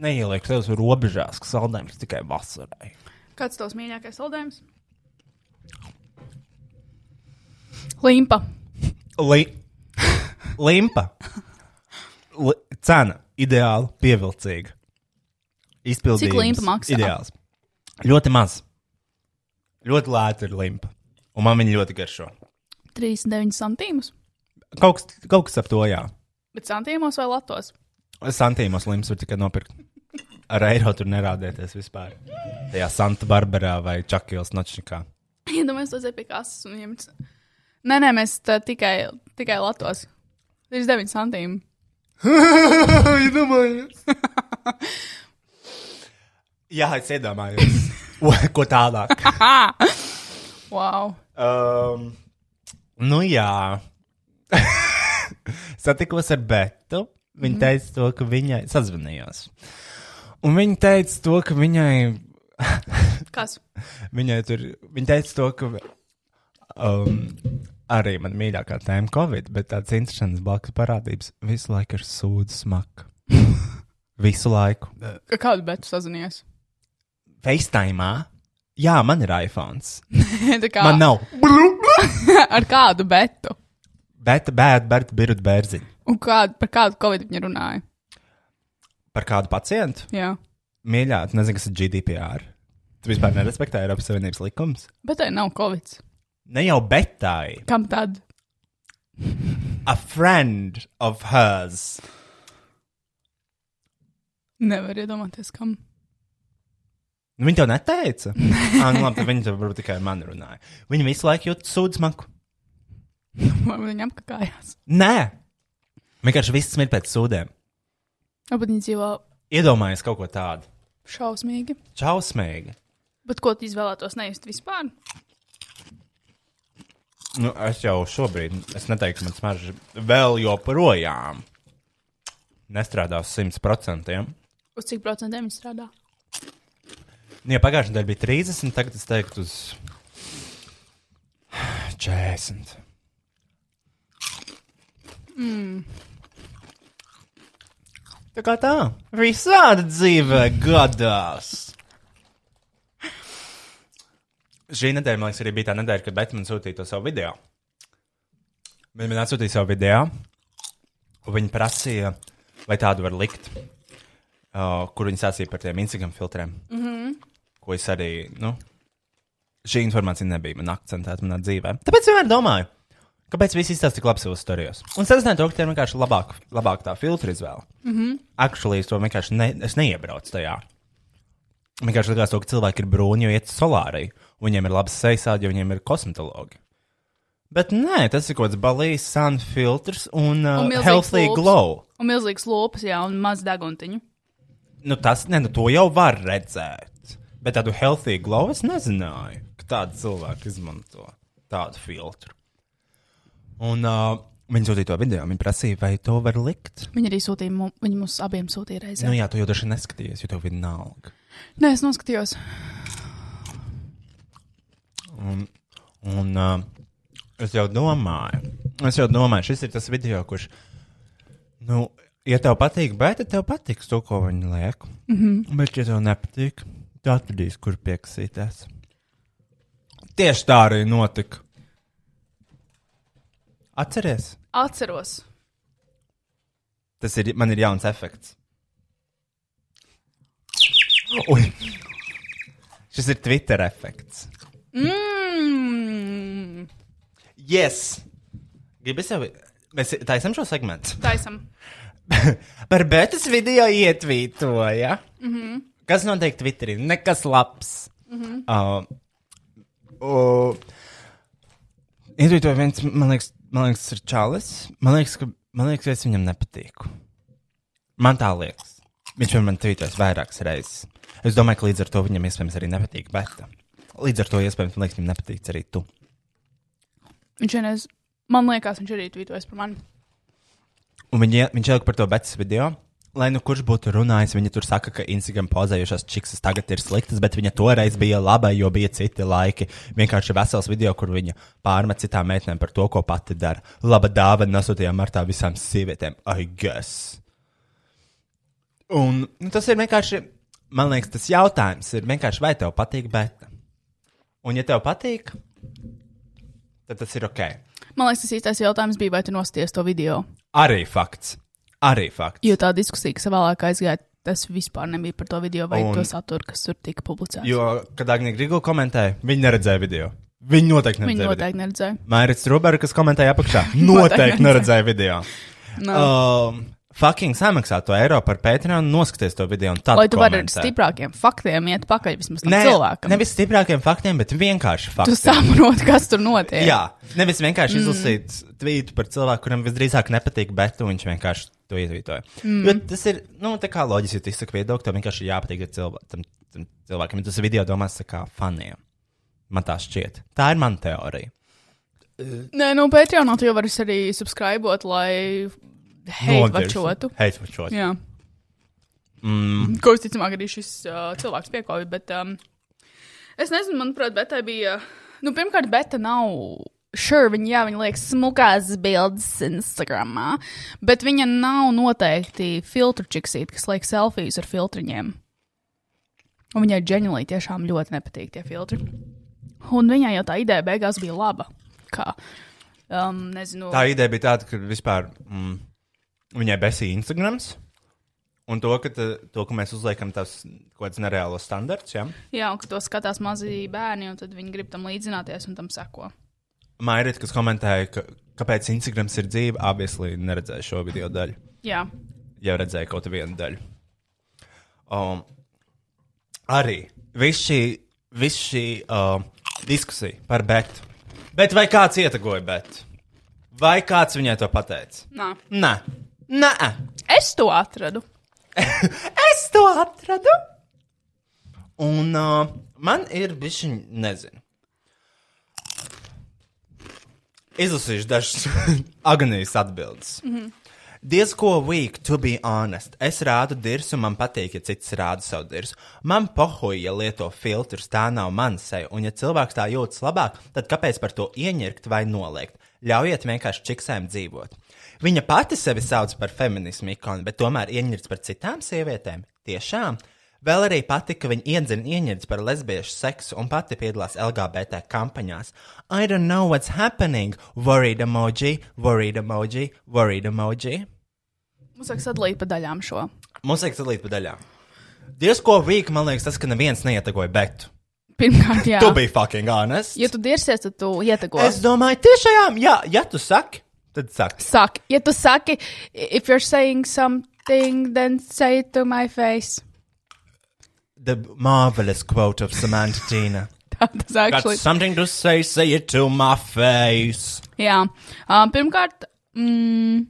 Speaker 3: neielieku sev uz robežās, ka saldējums tikai vasarai.
Speaker 2: Kāds tavs mīļākais saldējums? Limpa.
Speaker 3: Li Limpa. Li cena ideāli pievilcīga. Izpildījums.
Speaker 2: Cik limpa maksā?
Speaker 3: Ideāls. Ļoti maz. Ļoti lēta ir limpa. Un man viņa ļoti garšo.
Speaker 2: 39 centīmus.
Speaker 3: Kaut kas, kaut kas ap to jā.
Speaker 2: Bet centīmos vai latos?
Speaker 3: Santīmos limps var tikai nopirkt. Ar eiro tur nerādēties vispār. Tajā Santa Barbarā vai Čakijas nočnikā.
Speaker 2: Iedomājieties, tas ir pie kases un ņemts. Nē, nē, mēs tā tikai, tikai latos. 39 centīmi.
Speaker 3: Jā, es iedomājos. Ko tālāk?
Speaker 2: Wow.
Speaker 3: Um, nu, jā. Satikos ar Betu. Viņa teica, to, ka viņai sazvanījās. Un viņa teica, to, ka viņai,
Speaker 2: Kas?
Speaker 3: viņai tur, viņa teica, to, ka um, arī man mīļākā tēma - Covid, bet tādas interesantas blakus parādības visu laiku ir sūdzes smaka. visu laiku.
Speaker 2: Ar kādu betu sazinājies?
Speaker 3: FaceTime. Jā, man ir iPhone.
Speaker 2: Tā kā-
Speaker 3: Man nav.
Speaker 2: ar kādu betu?
Speaker 3: Bet, bet, bet, birut bērziņu.
Speaker 2: Un kādu, par kādu covid viņa runāja?
Speaker 3: Par kādu pacientu?
Speaker 2: Jā.
Speaker 3: Mīļā, tu nezini, kas ir GDPR. Tu vispār nerespektē Eiropas Savienības likumus.
Speaker 2: Bet tai nav covid.
Speaker 3: Ne jau betai.
Speaker 2: Kam tad?
Speaker 3: A friend of hers.
Speaker 2: Nevar iedomāties, kam.
Speaker 3: Nu, viņa tev neteica. ah, nu, labi, tad viņa tev varbūt tikai man runāja. Viņa visu laiku jūt sūdz maku.
Speaker 2: Varbūt viņa apkakājās.
Speaker 3: Nē, vienkārši viss smir pēc sūdēm.
Speaker 2: Varbūt viņa dzīvo
Speaker 3: Iedomājies kaut ko tādu.
Speaker 2: šausmīgi.
Speaker 3: Čausmīgi.
Speaker 2: Bet ko tu izvēlētos neist vispār?
Speaker 3: Nu, es jau šobrīd, es neteiktu, man smarža vēl joprojām nestrādās simt procentiem.
Speaker 2: Uz cik procentiem viņa strādā?
Speaker 3: Nu, ja pagājušā nedēļa bija 30, tagad es teiktu, uz 40. Mm. Tā kā tā, visādi dzīvē gadās. Šī nedēļa, man liekas, arī bija tā nedēļa, kad Batmans sūtīja to savu video. Viņa man atsūtīja savu video, un viņa prasīja, vai tādu var likt, uh, kur viņa sāsīja par tiem Instagram filtriem
Speaker 2: Mhm.
Speaker 3: ko es arī. Nu, šī informācija nebija man akcentēta manā dzīvē. Tāpēc es vienmēr domāju, kāpēc viss izstāsta tik labi savos storijos. Un sazinājot to, ka tie ir vienkārši
Speaker 2: Mhm.
Speaker 3: labāk, labāk tā filtra izvēle. Mm -hmm. Actually, es to vienkārši ne, es neiebraucu tajā. Vienkārši likās, to, ka cilvēki ir brūni, jo iet solārai. Viņiem ir labs sejsādi, jo viņiem ir kosmetologi. Bet nē, tas ir kaut kāds balijas sun filtrs un, uh,
Speaker 2: Un
Speaker 3: un
Speaker 2: milzīgs
Speaker 3: healthy
Speaker 2: lūpas.
Speaker 3: glow.
Speaker 2: Un milzīgs lopas, jā, un maz deguntiņu.
Speaker 3: Nu, tas, ne, nu, to jau var redzēt. Bet tādu healthy glow es nezināju, ka tādu cilvēku izmanto tādu filtru. Un uh, viņi sūtīja to video, viņi prasīja, vai to var likt.
Speaker 2: Viņi arī sūtīja, mu, viņi mums abiem sūtīja reizē.
Speaker 3: Nu, jā, tu jau droši vien neskatījies, jo tev ir vienalga.
Speaker 2: Nē, es noskatījos.
Speaker 3: Un uh, es jau domāju, es jau domāju, šis ir tas video, kurš, nu, ja tev patīk, bet tev patiks to, ko viņi liek. Mm -hmm. Bet, ja tev nepatīk, tad atradīs, kur pieksīties. Tieši tā arī notika. Atceries,
Speaker 2: Atceros.
Speaker 3: tas ir, man ir jauns efekts. Ui. Šis ir Twitter efekts.
Speaker 2: Mm,
Speaker 3: Yes! Gribu sev. Mēs taisām šo segmentu.
Speaker 2: taisam.
Speaker 3: Par Bētas video ietvītoja. Mm -hmm. Kas notiek Twitterī? Nekas labs. Mm -hmm. uh, uh, ietvītoja viens, man liekas, man liekas, ir Čālis. Man liekas, ka, man liekas, ka es viņam nepatīku. Man tā liekas. Viņš par mani tvītojas vairākas reizes. Es domāju, ka līdz ar to viņam iespējams arī nepatīk Bēta. Līdz ar to iespējams, man liekas, viņam nepatīk arī tu.
Speaker 2: Viņš vienreiz, man liekas, viņš arī tvītojas par mani.
Speaker 3: Un viņi, viņš ielika par to betas video. Lai nu kurš būtu runājis, viņa tur saka, ka Instagram pozējušās čikses tagad ir sliktas, bet viņa toreiz bija laba, jo bija citi laiki. Vienkārši vesels video, kur viņa pārmet citām meitenēm par to, ko pati dara. Laba dāvana nosūtījām martā visām sievietēm, I guess. Un nu, tas ir vienkārši, man liekas, tas jautājums ir vienkārši, vai tev patīk beta. Un ja tev patīk, tad tas ir ok.
Speaker 2: Man liekas, tas īstais jautājums bija, vai tu nosties to video.
Speaker 3: Arī fakts. Arī fakts.
Speaker 2: Jo tā diskusija, kas vēlāk aizgāja, tas vispār nebija par to video vai
Speaker 3: Un-
Speaker 2: un... to saturu, kas tur tika publicēts.
Speaker 3: Jo, kad Agnija Grigula komentēja, viņa neredzēja video. Viņa noteikti
Speaker 2: Viņi
Speaker 3: neredzēja. Noteikti.
Speaker 2: noteikti neredzēja.
Speaker 3: Video. Mairits Rubers, kas komentēja apakšā, noteikti neredzēja video.
Speaker 2: No.
Speaker 3: Um, fucking samaksā to eiro par Patreon, noskaties to video un tad.
Speaker 2: Lai tu vari ar
Speaker 3: komentē.
Speaker 2: stiprākiem faktiem iet pakaļ vismaz tam
Speaker 3: ne,
Speaker 2: cilvēkam.
Speaker 3: Nevis stiprākiem faktiem, bet vienkārši
Speaker 2: Tu
Speaker 3: faktiem.
Speaker 2: saproti, kas tur notiek.
Speaker 3: Jā, nevis vienkārši izlasīt mm. tvītu par cilvēku, kuram visdrīzāk nepatīk, bet tu viņš vienkārši to ietvītoja. Mm. Jo tas ir, nu, tā kā loģiski, ja tu izsaki viedokli, tev vienkārši ir jāpatīk cilvē, tam, tam cilvēkam. Ja tas video domās tā kā faniem. Man tā šķiet. Tā ir mana teorija.
Speaker 2: Nē, no Patreonā tu jau vari arī subscribot, lai heitvačotu.
Speaker 3: Heitvačotu.
Speaker 2: Jā. Mm. Ko visticamāk arī šis uh, cilvēks piekāpja, bet um, es nezinu, manuprāt, Betai bija. Nu, pirmkārt, Beta nav. Sure, viņa, jā, viņa liekas smukās bildes Instagram, bet viņa nav noteikti filtru čiksīta, kas liek selfijas ar filtriņiem. Un viņai ģenerāli tiešām ļoti nepatīk tie filtri. Un viņai jau tā ideja beigās bija laba. Kā, um, nezinu,
Speaker 3: Tā ideja bija tāda, ka vispār mm, viņai besīja Instagrams. Un to, ka, tā, to, ka mēs uzliekam tās kaut kādas nereālas standarts, ja?
Speaker 2: Jā, un ka to skatās mazi bērni, un tad viņi grib tam līdzināties un tam seko.
Speaker 3: Mairīt, kas komentēja, ka, kāpēc Instagrams ir dzīve, abiesli neredzēja šo video daļu.
Speaker 2: Jā,
Speaker 3: Jau redzēja kaut vienu daļu. Um, arī viss šī, vis šī um, diskusija par Betu. Bet vai kāds ietegoja Betu? Vai kāds viņai to pateica?
Speaker 2: nā.
Speaker 3: Nē, nē,
Speaker 2: Es to atradu.
Speaker 3: es to atradu. Un uh, man ir bijusi, nezinu. Izlasīšu dažas agonijas atbildes. Mm -hmm. Diez ko weak, to be honest. Es rādu dirsu, man patīk, ja cits rāda savu dirsu. Man pohoja, ja lieto filtrus, tā nav mana seja. Un, ja cilvēks tā jūtas labāk, tad kāpēc par to ieņirkt vai noliegt? Ļaujiet vienkārši čiksēm dzīvot. Viņa pati sevi sauc par feminismu ikonu, bet tomēr ieņirts par citām sievietēm. Tiešām! Vēl arī patika, ka viņa iedzina ieņirds par lesbiešu seksu un pati piedalās LGBT kampaņās. I don't know what's happening. Worried emoji, worried emoji, worried emoji.
Speaker 2: Mums vajag sadalīt pa daļām šo.
Speaker 3: Mums vajag sadalīt pa daļām. Dievs, ko vīk, man liekas, tas, ka neviens neietegoja Betu.
Speaker 2: Pirmkārt, jā.
Speaker 3: Tu biji fucking honest.
Speaker 2: Ja tu dirsies, tad tu ieteko.
Speaker 3: Es domāju, tiešām, jā, ja tu saki, tad saki.
Speaker 2: Saki, ja tu saki, if you're saying something, then say it to my face.
Speaker 3: the marvelous quote of Samantha Tina.
Speaker 2: Tā tas
Speaker 3: Got
Speaker 2: actually.
Speaker 3: something to say, say it to my face.
Speaker 2: Jā, um, pirmkārt, mm,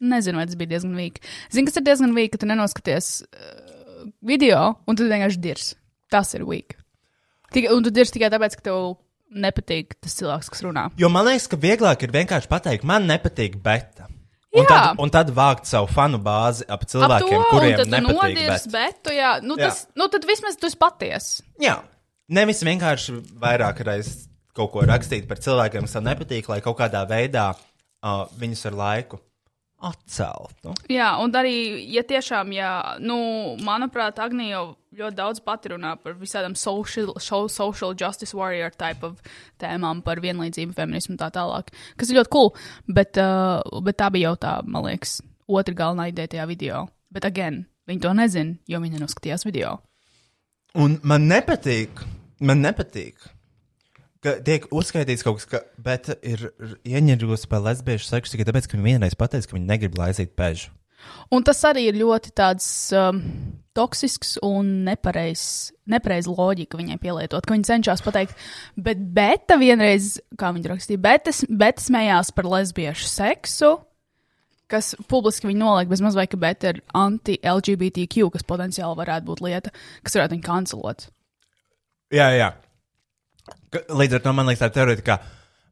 Speaker 2: nezinu, vai tas bija diezgan vīki. Zini, kas ir diezgan vīki, ka tu nenoskaties uh, video, un tu vienkārši dirs. Tas ir vīki. Tik- Un tu dirs tikai tāpēc, ka tev nepatīk tas cilvēks, kas runā.
Speaker 3: Jo man liekas, ka vieglāk ir vienkārši pateikt, man nepatīk beta. Un
Speaker 2: Jā.
Speaker 3: tad, un tad vākt savu fanu bāzi ap
Speaker 2: Ap to,
Speaker 3: cilvēkiem, ap to,
Speaker 2: un
Speaker 3: kuriem
Speaker 2: tad tu
Speaker 3: nepatīk
Speaker 2: nodirs,
Speaker 3: beta.
Speaker 2: bet tu, jā, nu,
Speaker 3: Jā.
Speaker 2: tas, nu tad vismaz tu esi patiesa.
Speaker 3: Jā, nevis vienkārši vairāk reizes kaut ko rakstīt par cilvēkiem, kas tev nepatīk, lai kaut kādā veidā uh, viņus ar laiku atceltu.
Speaker 2: Jā, un arī, ja tiešām, jā, nu, manuprāt, Agnija jau ļoti daudz pati runā par visādām social, so- social justice warrior type of tēmām, par vienlīdzību, feminismu un tā tālāk, kas ir ļoti cool, bet, uh, bet tā bija jau tā, man liekas, otra galvenā ideja tajā video. Bet, again, viņi to nezina, jo viņi nenoskatījās video.
Speaker 3: Un man nepatīk, man nepatīk, ka tiek uzskaitīts kaut kas, ka Beta ir r- ieņirgusi par lesbiešu seksu tikai tāpēc, ka viņa vienreiz pateica, ka viņa negrib laizīt pežu.
Speaker 2: Un tas arī ir ļoti tāds um, toksisks un nepareizs nepareiz loģika viņai pielietot, ka viņa cenšas pateikt, bet Beta vienreiz, kā viņa rakstīja, Beta, beta smējās par lesbiešu seksu. Kas publiski viņa noliek, bez mazliet, ka bet ir anti-LGBTQ, kas potenciāli varētu būt lieta, kas varētu viņu kancelot.
Speaker 3: Jā, jā. Ka- Līdz ar to man liekas, tā teorija, ka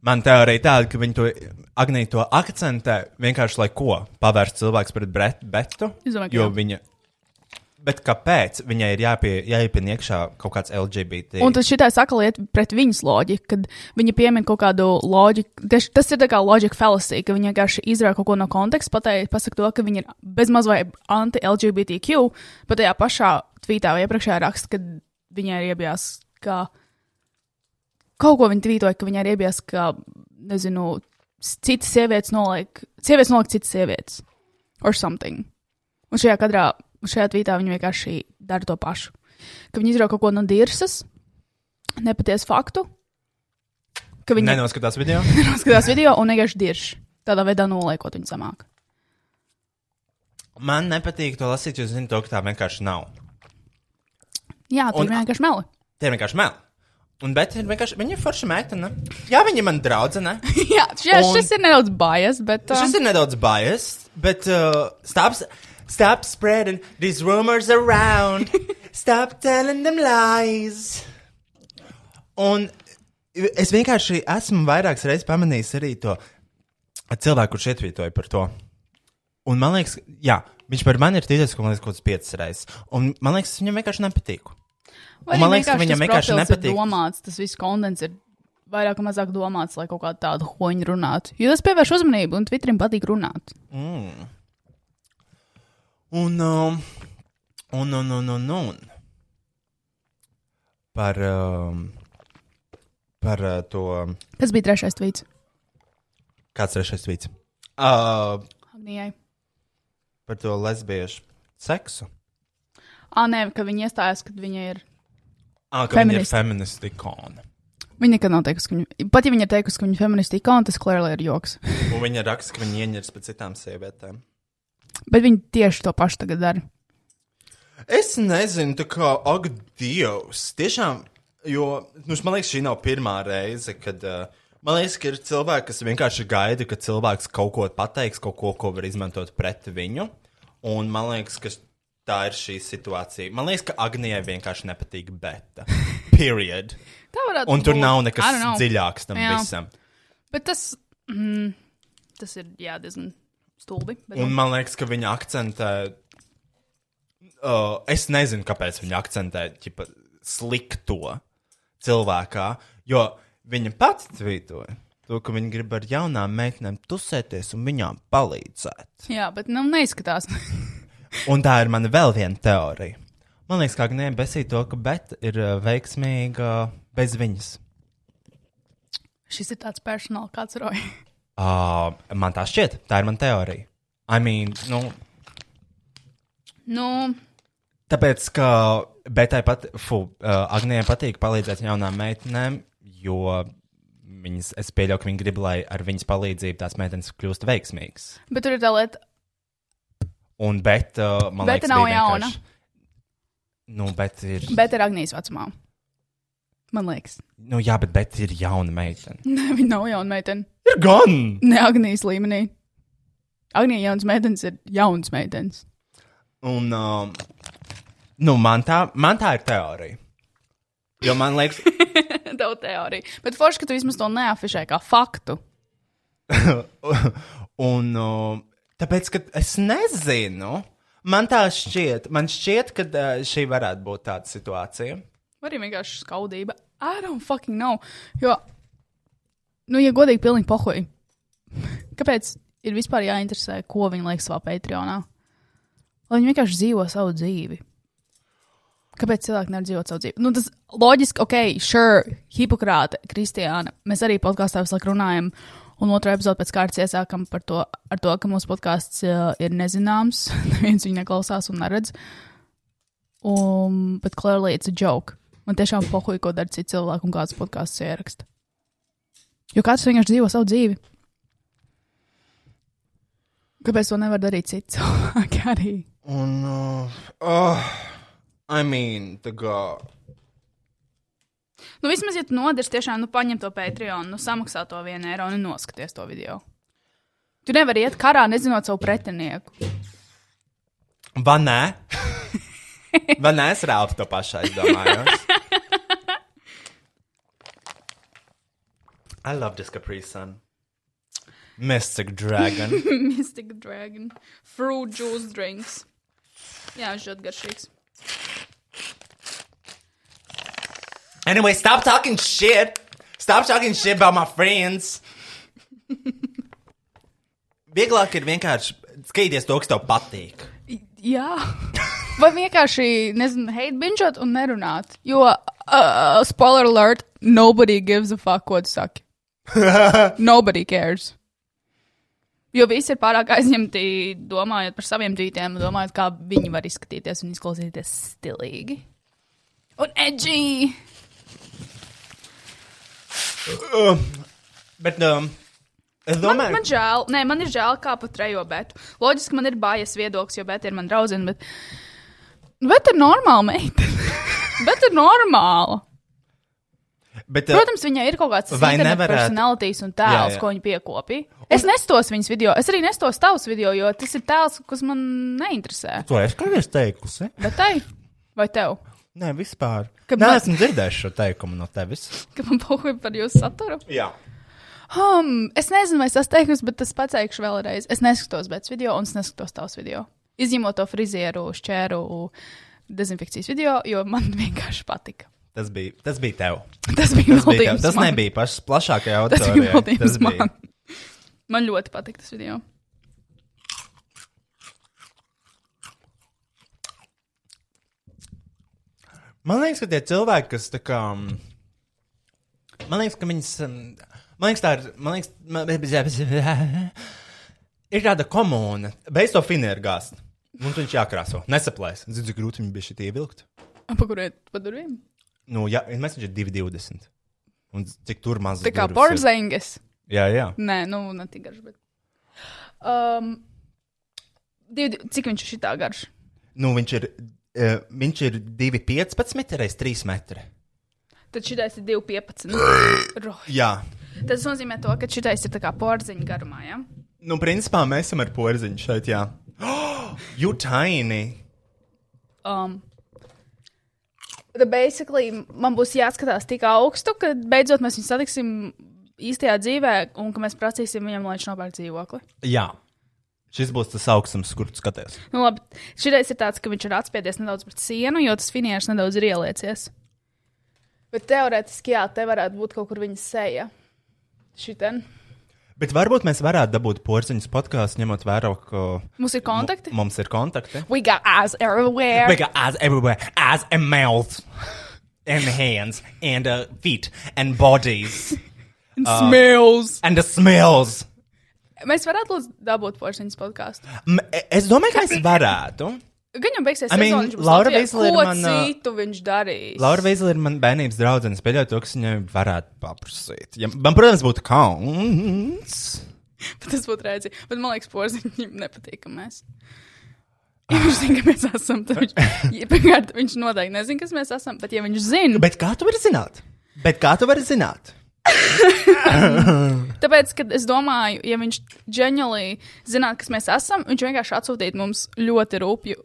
Speaker 3: man teorija tāda, ka viņi to Agnija to akcentē vienkārši, lai ko pavērst cilvēks pret Bret- Betu.
Speaker 2: Es domāju, ka
Speaker 3: jo
Speaker 2: jā.
Speaker 3: viņa. Bet kāpēc viņai ir jāpie, jāiepina iekšā kaut kāds LGBT?
Speaker 2: Un tad šī tā saka lieta pret viņas loģiku, kad viņa piemin kaut kādu loģiku. tieši Tas ir tā kā loģika fallacy, ka viņa vienkārši izrāda kaut ko no konteksta, pateikt, pasakot to, ka viņa ir bezmaz vai anti-LGBTQ, bet tajā pašā tvītā vai iepriekšējā raksta, ka viņai ir iebijās, ka kaut ko viņa tvītoja, ka viņai ir iebijās, ka, nezinu, s- citas sievietes noliek, sievietes noliek citas sievietes or something. Un šajā kadrā, šajā tvītā viņa vienkārši dara to pašu. Ka viņi izrauga kaut ko no dirzas, nepatiesu faktu, ka viņi
Speaker 3: nenoskatās video.
Speaker 2: neskatās video un vienkārši dirž. Tādā veidā noliekot viņu zemāk.
Speaker 3: Man nepatīk to lasīt, jo es zinu, to, ka tā vienkārši nav.
Speaker 2: Jā, tur
Speaker 3: Un-
Speaker 2: un... vienkārši meli.
Speaker 3: Tie ir vienkārši meli. Un bet ir vienkārši, viņa ir forša meitene. Jā, viņa ir man draudzene.
Speaker 2: Jā, šis,
Speaker 3: Un-
Speaker 2: un... šis ir nedaudz bias, bet. Uh...
Speaker 3: Šis ir nedaudz biased, bet uh, stop, s- stop spreading these rumors around. stop telling them lies. Un es vienkārši esmu vairākas reizes pamanījis arī to cilvēku, kurš ietvītoja par to. Un man liekas, jā, viņš par mani ir tīties kaut kāds piecas reizes. Un man liekas, viņam vienkārši nepatīk.
Speaker 2: Vai
Speaker 3: Un man
Speaker 2: arī
Speaker 3: liekas, ka
Speaker 2: vienkārši
Speaker 3: viņam
Speaker 2: tas
Speaker 3: vienkārši
Speaker 2: profils
Speaker 3: nepatīk.
Speaker 2: Ir domāts, tas viss kondens ir vairāk vai mazāk domāts, lai kaut kādu tādu hoņu runātu. Jo tas pievērš uzmanību, un Twitterim patīk runāt.
Speaker 3: Un, um, un, un, un, un, un. par, um, par uh, to,
Speaker 2: Kas bija trešais tvīts?
Speaker 3: kāds trešais vīts. Uh,
Speaker 2: Agnijai.
Speaker 3: par to lesbiešu seksu.
Speaker 2: Ah, nē, ka viņi iestājās, kad viņi ir.
Speaker 3: Ah, ka viņa ir
Speaker 2: Feministi.
Speaker 3: feministi ikona.
Speaker 2: Viņa nekad nav teikusi, ka viņa. Pat ja viņa ir teikusi, ka viņa ir feministi ikona, tas klērlī ir joks.
Speaker 3: Un viņa raksta, ka viņa ieņirs par citām sievietēm.
Speaker 2: Bet viņi tieši to pašu tagad dara.
Speaker 3: Es nezinu, tā kā, ak, Dievs, tiešām, jo, nu, man liekas, šī nav pirmā reize, kad, uh, man liekas, ka ir cilvēki, kas vienkārši gaida, ka cilvēks kaut ko pateiks, kaut ko, ko var izmantot pret viņu, un man liekas, ka tā ir šī situācija. Man liekas, ka Agnijai vienkārši nepatīk beta. Period.
Speaker 2: Tā varētu
Speaker 3: Un tur
Speaker 2: būt.
Speaker 3: nav
Speaker 2: Nu, I don't know.
Speaker 3: nekas dziļāks tam
Speaker 2: Jā.
Speaker 3: visam.
Speaker 2: Bet tas. Mm, tas ir jā, diezgan stulbi. Bet,
Speaker 3: Un man liekas, ka viņa akcentē. Uh, es nezinu, kāpēc viņa akcentē ķipa, slikto cilvēkā, jo viņa pati tvītoja to, ka viņa grib ar jaunām meitenēm tusēties un viņām palīdzēt.
Speaker 2: jā, bet nu, neizskatās.
Speaker 3: Un tā ir mana vēl viena teorija. Man liekas, kā Agnēna besīja to, ka Beta ir uh, veiksmīga bez viņas.
Speaker 2: Šis ir tāds personāls, kāds roja.
Speaker 3: Uh, man tā šķiet, tā ir mana teorija. I mean, nu,
Speaker 2: nu,
Speaker 3: Tāpēc, ka Betai pat, fu, uh, Agnētai patīk palīdzēt jaunām meitenēm, jo viņas, es pieļauju, ka viņi grib, lai ar viņas palīdzību tās meitenes kļūst veiksmīgas.
Speaker 2: bet tur ir tā lieta,
Speaker 3: Un bet, uh, man
Speaker 2: Beta
Speaker 3: liekas,
Speaker 2: nav
Speaker 3: bija vienkārši-
Speaker 2: jauna.
Speaker 3: Nu, bet ir.
Speaker 2: Bet ir Agnijas vecumā. Man liekas,
Speaker 3: Nu, jā, bet, bet ir jauna meitene.
Speaker 2: Nē, viņa nav jauna meitene.
Speaker 3: Ir gan!
Speaker 2: Ne Agnijas līmenī. Agnija jauns meitenes ir jauns meitenes.
Speaker 3: Un, um, nu, man tā, man tā ir teorija. Jo man liekas,
Speaker 2: Tev teorija. Bet forši, ka tu vismaz to neafišē kā faktu.
Speaker 3: un um, tāpēc, ka es nezinu, man tā šķiet, man šķiet, ka uh, šī varētu būt tāda situācija.
Speaker 2: Vai arī vienkārši skaudība. I don't fucking know. Jo, nu, ja godīgi, pilnīgi pohoji. Kāpēc ir vispār jāinteresē, ko viņi liek savā Patreonā? Lai viņi vienkārši dzīvo savu dzīvi. Kāpēc cilvēki nevar dzīvot savu dzīvi? Nu, tas loģiski, ok, sure, Hipokrāta, Kristiāna. Mēs arī podkāstā visu laiku runājam. Un otrā epizode pēc kārtas iesākam par to, ar to, ka mūsu podkāsts uh, ir nezināms. Neviens viņu neklausās un neredz. Um, bet clearly it's a joke. Man tiešām pohuj, ko dara citi cilvēki un kāds podkāsts ieraksta. Jo katrs vienkārši dzīvo savu dzīvi. Kāpēc to nevar darīt citi cilvēki arī?
Speaker 3: Un, uh, oh, I mean, tā kā.
Speaker 2: Nu, vismaz, ja tu nodirs, tiešām, nu, paņem to Patreon, nu, samaksā to vienu eiro un noskaties to video. Tu nevari iet karā, nezinot savu pretinieku.
Speaker 3: Vai nē? Vai nē, es rāpu to pašu, es domāju. I love this Capri Sun. Mystic Dragon.
Speaker 2: Mystic Dragon, Fruit Juice Drinks. Jā, viņš ļoti garšīgs.
Speaker 3: Anyway, stop talking shit. Stop talking shit about my friends. Vieglāk ir vienkārši skatīties to, kas tev patīk.
Speaker 2: Jā, vai vienkārši, nezinu, hate binžot un nerunāt. Jo, uh, spoiler alert, nobody gives a fuck, ko tu saki. nobody cares. Jo visi ir pārāk aizņemti domājot par saviem tītiem, domājot, kā viņi var izskatīties un izklausīties stilīgi. Un edgy!
Speaker 3: Uh. Bet um, es
Speaker 2: Man,
Speaker 3: domāju,
Speaker 2: man žēl, nē, man ir žēl kā par trejo betu. Loģiski, man ir bājas viedoklis, jo beta ir mana draudzene, bet. Bet ir normāla meitene. bet ir normāla.
Speaker 3: bet, uh,
Speaker 2: Protams, viņai ir kaut kāds
Speaker 3: Vai
Speaker 2: interneta
Speaker 3: nevarētu-
Speaker 2: personalitātes un tēls,
Speaker 3: Jā, jā.
Speaker 2: ko viņa piekopīja. Es nestos viņas video, es arī nestos tavus video, jo tas ir tēls, kas man neinteresē.
Speaker 3: to es kādreiz teikusi.
Speaker 2: Bet tai, vai tev,
Speaker 3: Nē, vispār.
Speaker 2: Ka
Speaker 3: Nē,
Speaker 2: man-
Speaker 3: esmu dzirdējis šo teikumu no tevis.
Speaker 2: ka man pohuj par jūsu saturu?
Speaker 3: Jā.
Speaker 2: Um, es nezinu, vai es tas teikums, bet es pateikšu vēlreiz. Es neskatos bēc video un es neskatos tavus video. Izņemot to frizieru, šķēru, dezinfekcijas video, jo man vienkārši patika.
Speaker 3: Tas bija, tas bija tev.
Speaker 2: Tas bija
Speaker 3: Tas, bija tev.
Speaker 2: maldījums.
Speaker 3: tas
Speaker 2: man.
Speaker 3: nebija pašs plašākajā
Speaker 2: Tas
Speaker 3: auditorijā.
Speaker 2: bija maldījums man. Man ļoti patika tas video.
Speaker 3: Man liekas, ka tie cilvēki, kas tā kā. mm, Man liekas, ka viņas. mm, Man liekas, tā ir. Man liekas, man, ir tāda komūna. Beidz to finieru gāzt. Mums viņš jākrāso. Nesaplēs. Zinu, cik grūti viņam bija šī ievilkt.
Speaker 2: Apakuriet pa durvīm.
Speaker 3: Nu, jā, mēs viņš ir 2,20. Un cik tur maz.
Speaker 2: Tā kā porzengas.
Speaker 3: Jā, jā.
Speaker 2: Nē, nu, ne tik garš, bet. Um, divi, cik viņš ir šitā garš?
Speaker 3: Nu, viņš ir. Uh, viņš ir 2,15 reizes 3 metri.
Speaker 2: Tad šitais ir 2,15. Roh.
Speaker 3: Jā.
Speaker 2: Tas nozīmē, to, ka šitais ir tā kā porziņa garumā. Ja?
Speaker 3: Nu, principā mēs esam ar porziņu šeit, jā. Oh, you tiny!
Speaker 2: Um, tad basically man būs jāskatās tik augstu, ka beidzot mēs viņu satiksim īstajā dzīvē un ka mēs prasīsim viņam, lai viņš nopērk dzīvokli.
Speaker 3: Jā. Šis būs tas augstums, kur tu skaties.
Speaker 2: Nu, labi, šitais ir tāds, ka viņš ir atspiedies nedaudz pret sienu, jo tas finieris nedaudz ir ieliecies. Bet teorētiski, jā, te varētu būt kaut kur viņa seja. Šitien.
Speaker 3: Bet varbūt mēs varētu dabūt porcelāna podkāstu, ņemot vērā, ka
Speaker 2: Mums ir kontakti.
Speaker 3: mu- mums ir kontakti.
Speaker 2: We got eyes everywhere.
Speaker 3: We got eyes everywhere, eyes and mouth, and hands, and uh, feet, and bodies, uh,
Speaker 2: Smells.
Speaker 3: and the smells.
Speaker 2: Mēs varētu lūdzu dabūt porcelāna podkāstu.
Speaker 3: M e, es domāju, ka es varētu.
Speaker 2: Gan jau beigsies,
Speaker 3: I mean,
Speaker 2: sezona, viņš būs
Speaker 3: Laura
Speaker 2: Latvijā.
Speaker 3: Vizla ir
Speaker 2: ko
Speaker 3: mana-
Speaker 2: citu viņš darīs.
Speaker 3: Laura Veizela ir mana bērnības draudzene. Es pieļauju, to, ka es viņai varētu paprasīt. Ja, man, protams, būtu kauns.
Speaker 2: Tas būtu redzīgi. Bet man liekas, porcelāna nepatīk, ka mēs. Ja viņš zina, ka mēs esam. tad Viņš, ja, pirmkārt, viņš noteikti nezina, kas mēs esam, bet ja viņš zina,
Speaker 3: Bet kā tu vari zināt? Bet kā tu vari zināt?
Speaker 2: tāpēc, kad es domāju, ja viņš ģenēlī zinātu, kas mēs esam, viņš vienkārši atsūtītu mums ļoti rūpju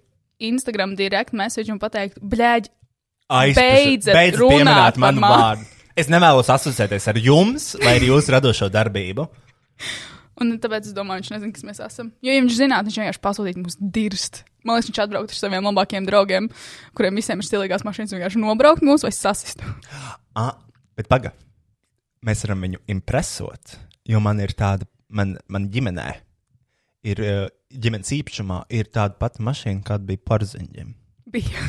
Speaker 2: Instagram direkt message un pateiktu, blēģi, Beidzat
Speaker 3: Beidz
Speaker 2: runāt
Speaker 3: pieminēt
Speaker 2: par
Speaker 3: manu
Speaker 2: mani.
Speaker 3: vārdu. Es nevēlos asociēties ar jums vai ar jūsu radošo darbību.
Speaker 2: Un tāpēc es domāju, viņš nezina, kas mēs esam. Jo ja viņš zinātu, viņš vienkārši pasūtītu mums dirst. Man liekas, viņš atbrauktu ar saviem labākajiem draugiem, kuriem visiem ir stilīgās mašīnas, un vienkārši nobraukt mūs vai sasist.
Speaker 3: Ah, bet paga. Mēs varam viņu impresot, jo man ir tāda, man, man ģimenē ir eh, ģimenes īpašumā ir tāda pati mašīna, kāda bija Porziņģim.
Speaker 2: Bija,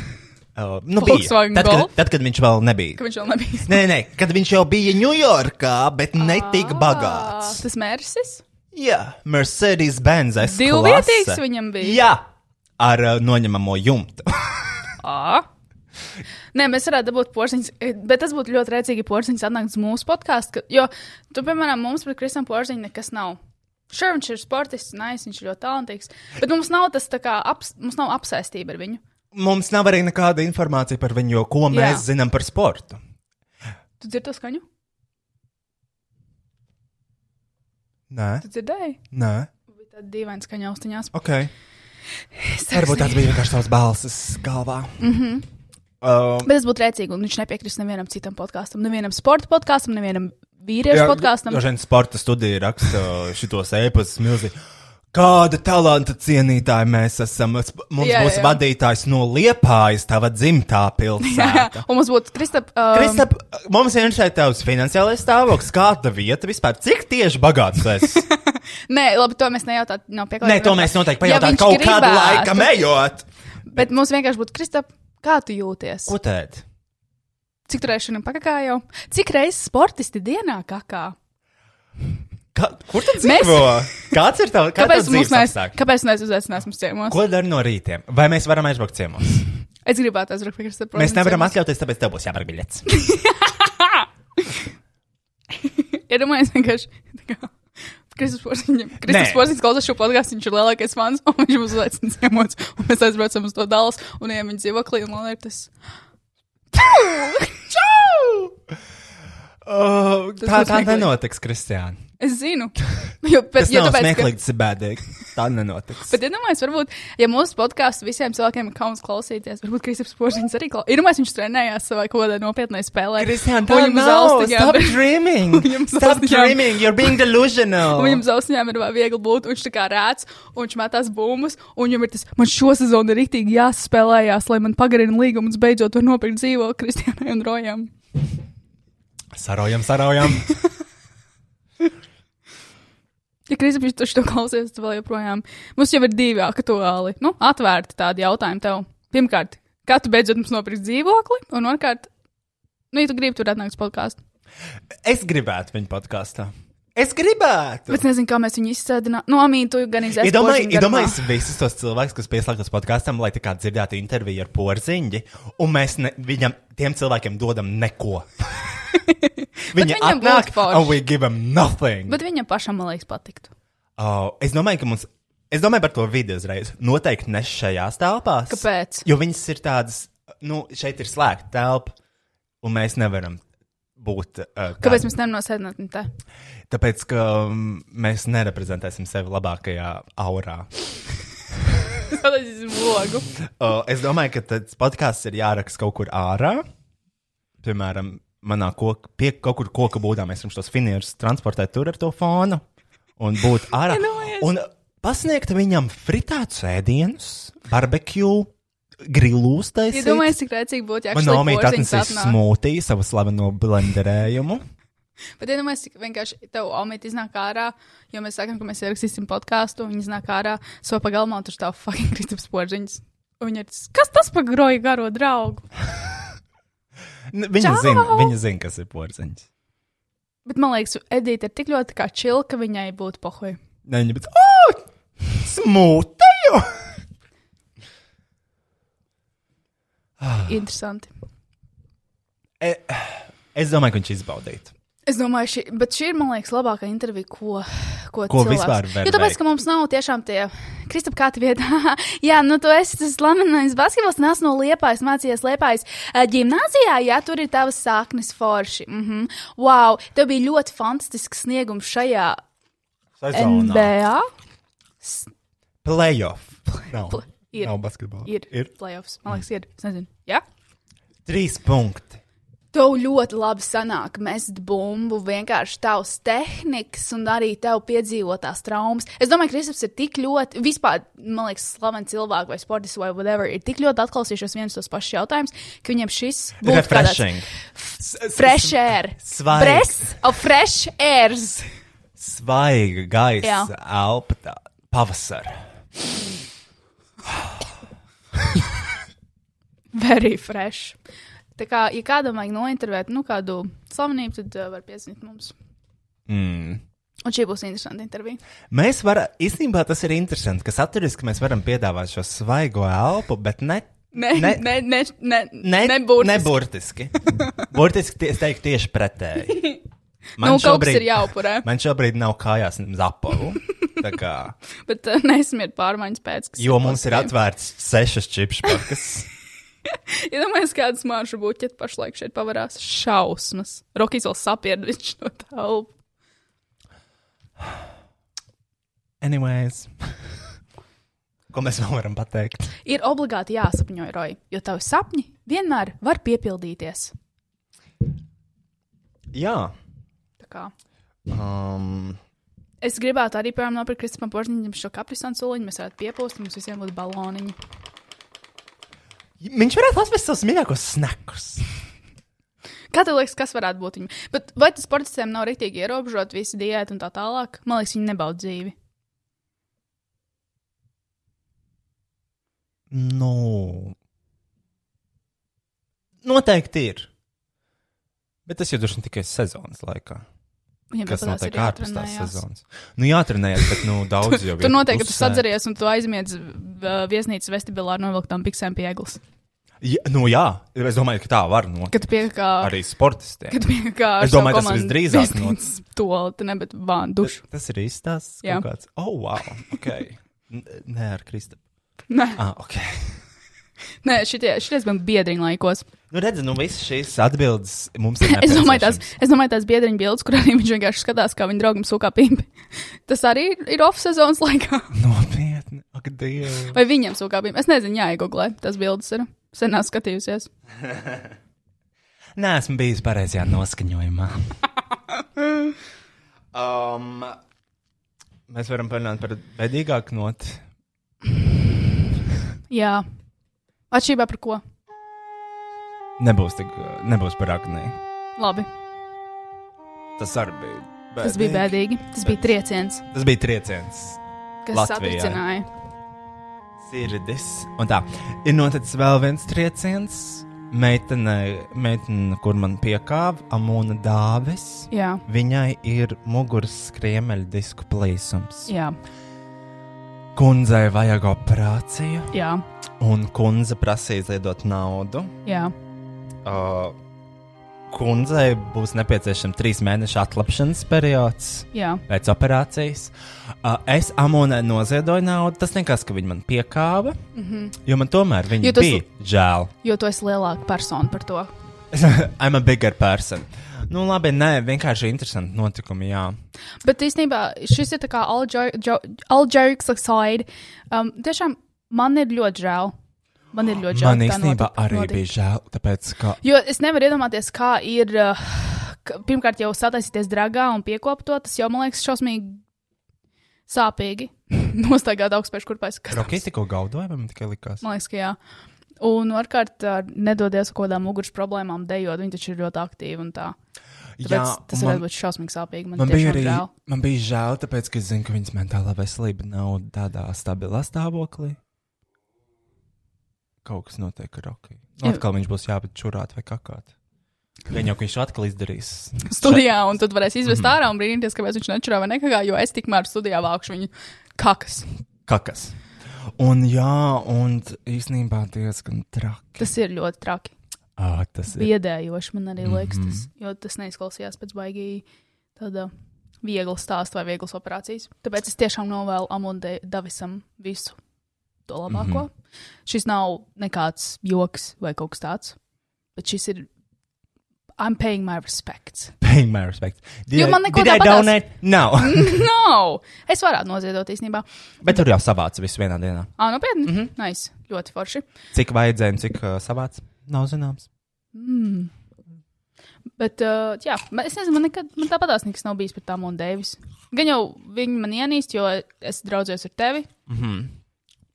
Speaker 3: Uh, nu, bija.
Speaker 2: Volkswagen
Speaker 3: tad, kad,
Speaker 2: Golf?
Speaker 3: tad, kad viņš vēl nebija.
Speaker 2: ka viņš vēl nebija.
Speaker 3: Nē, nē, kad viņš jau bija Ņujorkā, bet ne tik
Speaker 2: Ah.
Speaker 3: bagāts.
Speaker 2: Tas mērķis.
Speaker 3: Jā, Mercedes-Benz. S
Speaker 2: Divvietīgs
Speaker 3: klase.
Speaker 2: viņam bija?
Speaker 3: Jā, ar uh, noņemamo jumtu.
Speaker 2: Nē, mēs varētu būt porziņš, e, bet tas būtu ļoti rēcīgi porziņš atnākt uz mūsu podkāstu. Jo, tu, piemēram, mums par Kristam porziņu nekas nav. Šur viņš ir sportists, nice, viņš ir ļoti talantīgs. Bet mums nav tas tā kā aps, mums nav apsēstība ar viņu.
Speaker 3: Mums nav arī nekāda informācija par viņu, jo ko mēs
Speaker 2: Jā.
Speaker 3: zinām par sportu.
Speaker 2: Tu dzirdi to skaņu?
Speaker 3: Nē,
Speaker 2: Tu dzirdēji?
Speaker 3: nē,
Speaker 2: Bija tāda dīvaina skaņa austiņās.
Speaker 3: ok. Varbūt tāds bija vienkārši tavs balss galvā. Mm
Speaker 2: Mhm.
Speaker 3: -hmm. um,
Speaker 2: Bet tas būtu rēcīgi, un viņš nepiekrist nevienam citam podkāstam, nevienam sporta podkāstam, nevienam vīriešu podkāstam.
Speaker 3: Dažiem sporta studiju raksta uh, šitos ēpastus milzīgi. Kāda talanta cienītāja mēs esam? Es- Mums
Speaker 2: Jā, jā,
Speaker 3: būs
Speaker 2: jā.
Speaker 3: vadītājs no Liepājas, tava dzimtā pilsēta.
Speaker 2: Un mums būtu Kristap. Um,
Speaker 3: Kristap, mums ir interesē tavs finansiālais stāvoklis, kāda vieta vispār, cik tieši bagāts tu esi?
Speaker 2: Nē, labi, to mēs nejautāt. Nav pieklājīgi.
Speaker 3: Nē, to mēs noteikti
Speaker 2: Ja
Speaker 3: pajautājam
Speaker 2: viņš
Speaker 3: kaut kādu
Speaker 2: gribētu,
Speaker 3: laiku ejot.
Speaker 2: Bet mums vienkārši būtu Kristap, kā tu jūties?
Speaker 3: Ko tēt?
Speaker 2: Cik tur ēšana pakakā jau? Cik reizes sportisti dienā kakā?
Speaker 3: Kā, kur tu
Speaker 2: Mēs-
Speaker 3: dzīvo? Kāds ir tavs kā
Speaker 2: Kāpēc
Speaker 3: tavs
Speaker 2: mums
Speaker 3: dzīves
Speaker 2: nes,
Speaker 3: apstākļi?
Speaker 2: kāpēc mēs uzaicinās mums ciemos? Ko?
Speaker 3: Ko dara no rītiem? Vai mēs varam aizbraukt ciemos?
Speaker 2: Es gribētu aizbraukt pie Kristap.
Speaker 3: Mēs nevaram
Speaker 2: ciemos.
Speaker 3: atļauties, tāpēc tev būs jāpērk biļets.
Speaker 2: Iedomājies vienkārši. tā kā, Kristus Porziņš. Kristus
Speaker 3: Nē.
Speaker 2: Porziņš klausās šo podkāstu, viņš ir lielākais fans, un viņš mums uzaicina ciemos, un mēs aizbraucam uz to dalas, un ejam viņa dzīvoklī, un man ir tas. Čau!
Speaker 3: Oh, tā
Speaker 2: Tas būs
Speaker 3: tā
Speaker 2: smieklīgi.
Speaker 3: nenotiks, Kristiāna.
Speaker 2: Es zinu. Jo, bet,
Speaker 3: Tas
Speaker 2: jo,
Speaker 3: nav
Speaker 2: tāpēc, ka,
Speaker 3: smieklīgi, tas ir bēdīgi. Tā nenotiks.
Speaker 2: bet iedomājieties, varbūt, ja mūsu podkāstu visiem cilvēkiem ir kauns klausīties, varbūt Kristaps Porziņš arī klausās. Ir mēs viņš trenējās savā kaut kādā nopietnā spēlē.
Speaker 3: Kristiāna,
Speaker 2: Un
Speaker 3: tā
Speaker 2: viņam uz
Speaker 3: nav.
Speaker 2: austiņām
Speaker 3: Stop
Speaker 2: ir- Viņam
Speaker 3: dreaming.
Speaker 2: uz
Speaker 3: Stop
Speaker 2: austiņām-
Speaker 3: dreaming. You're being delusional.
Speaker 2: Un viņam zvaigznājām ir vēl viegli būt. un Viņš tā kā rāds, un viņš metās bumbuļus, un viņam ir tas, man šo sezonu ir rīktīgi jāspēlējās, lai man pagarina līgumu, un es beidzot var nopirkt dzīvo Kristianai un Rojam.
Speaker 3: Sarojam, sarojam.
Speaker 2: Ja Kristians to šito klausies, tad vēl joprojām mums jau ir divi aktuāli, nu, atvērti tādi jautājumi tev. Pirmkārt, kā tu beidzot mums nopirkt dzīvokli, un otrkārt, nu, ja tu gribi tur atnākt uz podkāstu.
Speaker 3: Es gribētu viņu podkāstā. Es gribētu.
Speaker 2: Bet es nezinu, kā mēs viņu izsēdinām. Nu, amīni, tu gan izsēdi.
Speaker 3: Iedomājieties, visus tos cilvēkus, kas pieslēdzas podkāstam, lai tā kā dzirdētu interviju ar porziņģi, un mēs ne, viņam, tiem cilvēkiem dodam neko. Viņi
Speaker 2: viņam
Speaker 3: atnāk,
Speaker 2: būtu forši.
Speaker 3: un we give them nothing.
Speaker 2: Bet viņam pašam, man liekas, patiktu.
Speaker 3: Oh, es domāju, ka mums. Es domāju par to video uzreiz. Noteikti ne šajās telpās.
Speaker 2: Kāpēc?
Speaker 3: Jo viņas ir tādas, nu, šeit ir slēgta telpa, un mēs nevaram būt. Uh, tādi.
Speaker 2: Kāpēc mēs nevaram nosēdināt viņu te?
Speaker 3: Tāpēc, ka um, mēs nereprezentēsim sevi labākajā aurā.
Speaker 2: Sādājis uz logu.
Speaker 3: Uh, es domāju, ka tas podkāsts ir jāraksta kaut kur ārā. Piemēram, manā koka, pie kaut kur koka būdā mēs varam šos finierus transportēt tur ar to fonu un būt ārā.
Speaker 2: Iedomājies.
Speaker 3: un pasniegt viņam fritātu sēdienus, barbekju, grilūs
Speaker 2: Ja
Speaker 3: taisīt.
Speaker 2: domāju, cik rēcīgi būtu, ja
Speaker 3: Man nomīta atnesīs
Speaker 2: smuku.
Speaker 3: smūtiju, savu slaveno blenderējumu.
Speaker 2: Bet iedomājieties, cik vienkārši tev omīte iznāk ārā, jo mēs sakām, ka mēs ierakstīsim podkāstu, un viņi iznāk ārā savā pagalmā, un tur stāv fucking Kristaps Porziņš. Un Viņa ir tas, kas tas par groju garo draugu.
Speaker 3: Nu, Viņa
Speaker 2: Čau!
Speaker 3: zina, viņa zin, kas ir porziņš.
Speaker 2: Bet man liekas, Edita ir tik ļoti kā čila, ka viņai būtu pohoja.
Speaker 3: Ne, Viņa pēc, oh, smūtiju!
Speaker 2: Interesanti.
Speaker 3: Es domāju, ka viņš izbaudītu.
Speaker 2: Es domāju, šī, bet šī ir, man liekas, labākā intervija, ko, ko,
Speaker 3: Ko
Speaker 2: cilvēks-
Speaker 3: vispār var
Speaker 2: Jo tāpēc,
Speaker 3: veikt?
Speaker 2: ka mums nav tiešām tie Kristap, kā tev iet? jā, nu tu esi tas slamenais basketbols, nāc no liepājas, mācījies liepājas eh, ģimnāzijā, jā, tur ir tavas sāknes forši. Mhm. Wow, tev bija ļoti fantastisks sniegums šajā
Speaker 3: Sezonā.
Speaker 2: NBA.
Speaker 3: Playoff. Nav,
Speaker 2: Ir.
Speaker 3: nav basketbolā.
Speaker 2: Ir, ir
Speaker 3: ir.
Speaker 2: playoffs, man liekas, ir. Es nezinu. Jā?
Speaker 3: Trīs punkti.
Speaker 2: Tev ļoti labi sanāk mest bumbu, vienkārši tavs tehnikas un arī tev piedzīvotās traumas. Es domāju, ka Kristaps ir tik ļoti, vispār, man liekas, slavens cilvēks vai sports vai whatever, ir tik ļoti atklausījušies viens tos pašus jautājumus, ka viņiem šis būtu
Speaker 3: Refreshing.
Speaker 2: kāds fresh air.
Speaker 3: Svaigs.
Speaker 2: Breath of fresh airs.
Speaker 3: Svaiga gaisa
Speaker 2: Jā.
Speaker 3: elpa tā, pavasara.
Speaker 2: Very fresh. Tā kā, ja kādam vajag nointervēt, nu, kādu slavenību, tad uh, var piezvanīt mums.
Speaker 3: Mm.
Speaker 2: Un šī būs interesanta intervija.
Speaker 3: Mēs varam, īstenībā tas ir interesanti, ka saturiski mēs varam piedāvāt šo svaigo elpu, bet ne.
Speaker 2: Nē, nē,
Speaker 3: Ne-
Speaker 2: nē, nē,
Speaker 3: Ne,
Speaker 2: nebūs.
Speaker 3: Neburtiski. Burtiski tie- es teiktu tieši pretēji.
Speaker 2: Nu, kaut kas ir jāupurē.
Speaker 3: Man šobrīd nav kājās nemaz apavu. tā Kā,
Speaker 2: Bet uh, nesmiet pārmaiņas pēc tam.
Speaker 3: jo mums ir atvērts sešas čipspakas.
Speaker 2: Ja domājat, kādas maršrutu būtu, ja pašlaik šeit pavarās šausmas. Rokīs vēl sapierd viņš no telpu.
Speaker 3: Anyways. Ko mēs vēl varam pateikt?
Speaker 2: Ir obligāti jāsapņo, Roja, jo tavi sapņi vienmēr var piepildīties.
Speaker 3: Jā.
Speaker 2: Tā kā.
Speaker 3: Um,
Speaker 2: Es gribētu arī, piemēram, nopirkt Kristupam Porziņam šo kaprisānu soliņu. Mēs varētu piepūst, mums visiem būtu baloniņi.
Speaker 3: viņš varētu atvest savus mīļākos snakus.
Speaker 2: Kā tev liekas, kas varētu būt viņa? Bet vai tas sportistiem nav rītīgi ierobežot visu diētu un tā tālāk? Man liekas, viņi nebaud dzīvi.
Speaker 3: Nu, noteikti ir. Bet tas jau droši vien tikai sezonas laikā.
Speaker 2: Viņiem
Speaker 3: Kas
Speaker 2: tāpēc
Speaker 3: notiek
Speaker 2: ir
Speaker 3: ārpus tās
Speaker 2: jāatrenējās.
Speaker 3: sezonas? Nu, jāatrenējas, bet nu, daudz jau ir.
Speaker 2: Tur noteikti tu
Speaker 3: pusē.
Speaker 2: sadzeries un tu aizmiedz uh, viesnīcas vestibilā ar novilktām piksēm pie eglis.
Speaker 3: Ja, nu, jā, es domāju, ka tā var notikt.
Speaker 2: Kad tu piekā kā.
Speaker 3: Arī sportistiem.
Speaker 2: Kad tu piekā kā.
Speaker 3: Es domāju, tas visdrīzāk
Speaker 2: To ne, bet vānu dušu.
Speaker 3: Tas ir īstās.
Speaker 2: Jā.
Speaker 3: Jā, kāds. Oh, wow. Okay. N- Nē, ar Kristu.
Speaker 2: Nē,
Speaker 3: Ah, okay.
Speaker 2: nē šitie, šities man biedriņu laikos.
Speaker 3: Nu, redzi, nu, visas šīs atbildes mums ir.
Speaker 2: Es domāju, tās,
Speaker 3: nepieciešamas.
Speaker 2: es domāju, tās biedriņu bildes, kur arī viņš vienkārši skatās, kā viņa draugam sūkā pimpi. Tas arī ir off sezonas laikā.
Speaker 3: Nopietni, ak, Dievs.
Speaker 2: Vai viņam sūkā pimpi? Es nezinu, jāieguglē. Tas bildes ir. Senās skatījusies.
Speaker 3: Nē, esmu bijis pareizajā noskaņojumā. um, mēs varam parunāt par bedīgāku notu.
Speaker 2: Jā. Atšķirībā par ko?
Speaker 3: Nebūs, tik, nebūs par aknī.
Speaker 2: Labi.
Speaker 3: Tas arī bija.
Speaker 2: Tas bija bēdīgi. Tas bija trieciens,
Speaker 3: Tas bija trieciens.
Speaker 2: kas
Speaker 3: Latvijā.
Speaker 2: satricināja.
Speaker 3: Sirdis. Un tā. Ir noticis vēl viens trieciens. Meitene, meitene kur man piekāva, Amūna Dāvis.
Speaker 2: Jā.
Speaker 3: Viņai ir muguras skriemeļa disku plīsums.
Speaker 2: Jā,
Speaker 3: Kundzei vajag operāciju.
Speaker 2: jā,
Speaker 3: Un kundze prasīja izliedot naudu.
Speaker 2: jā.
Speaker 3: Uh, kundzei būs nepieciešams trīs mēnešu atlapšanas periods
Speaker 2: jā.
Speaker 3: pēc operācijas. Uh, es amonē noziedoju naudu. Tas nekas, ka viņi man piekāva, mm -hmm. jo man tomēr
Speaker 2: Jo
Speaker 3: viņi
Speaker 2: tas-
Speaker 3: tas... bija žēl.
Speaker 2: Jo tu esi lielāka persona par to.
Speaker 3: I'm a bigger person. Nu, labi, nē, vienkārši interesanti notikumi. Jā.
Speaker 2: Bet īstenībā šis ir tā kā alģēriks aside. Um, tiešām man ir ļoti žēl. Man ir ļoti žēl.
Speaker 3: Man
Speaker 2: ka tā
Speaker 3: īstenībā
Speaker 2: notika-
Speaker 3: arī
Speaker 2: notika.
Speaker 3: bija žēl, tāpēc, ka
Speaker 2: Jo es nevaru iedomāties, kā ir. Uh, ka- pirmkārt, jau sataisīties dragā un piekopot to, tas jau man liekas šausmīgi sāpīgi. Nostājāt augstspēju kurpēs. Kas
Speaker 3: Rokas tikko gaudoja, vai man tikai likās?
Speaker 2: Man liekas, ka jā. Un otrkārt, ā, nedodies ar kaut kādām muguras problēmām, dejot. Viņi taču ir ļoti aktīvi un tā. Tāpēc jā, tas
Speaker 3: un
Speaker 2: man, var būt šausmīgi sāpīgi. Man,
Speaker 3: Man bija arī
Speaker 2: žēl.
Speaker 3: man bija žēl, tāpēc, ka es zinu, ka viņas mentālā veselība nav tādā stabilā stāvoklī. Kaut kas notiek ar Rocky. Nu,
Speaker 2: Jā.
Speaker 3: atkal viņš būs jābūt čurāt vai kakāt. Viņa jau ka viņš to atkal izdarīs.
Speaker 2: Studijā, un tad varēs izvest mm. ārā un brīnīties, kāpēc viņš nečurā vai nekā, jo es tikmēr studijā vākšu viņu kakas.
Speaker 3: Kakas. Un jā, un t- īsnībā diezgan traki.
Speaker 2: Tas ir ļoti traki.
Speaker 3: Ah, tas ir.
Speaker 2: Biedējoši man arī liekas, tas, jo tas neizklausījās pēc baigīgi tāda viegls stāsts vai viegls operācijas. Tāpēc es tiešām novēlu Amundai Davisam visu to labāko. Mm -hmm. Šis nav nekāds joks vai kaut kas tāds, bet šis ir. I'm paying my respects.
Speaker 3: Paying my respects. Did
Speaker 2: Jo
Speaker 3: I-
Speaker 2: man neko
Speaker 3: did I
Speaker 2: tāpat
Speaker 3: donate? No.
Speaker 2: no! Es varētu noziedot īstenībā.
Speaker 3: Bet tur jau savāca viss vienā dienā.
Speaker 2: Ah, nopietni. Mm -hmm. Nice. Ļoti forši.
Speaker 3: Cik vajadzēja un cik uh, savāca? Nav zināms.
Speaker 2: Mm. Bet, uh, jā, man- es nezinu, man nekad man tāpatās nekas nav bijis par tām un Deivis. Gan jau viņi man ienīst, jo es draudzējos ar tevi. Mm
Speaker 3: Mhm.
Speaker 2: -hmm.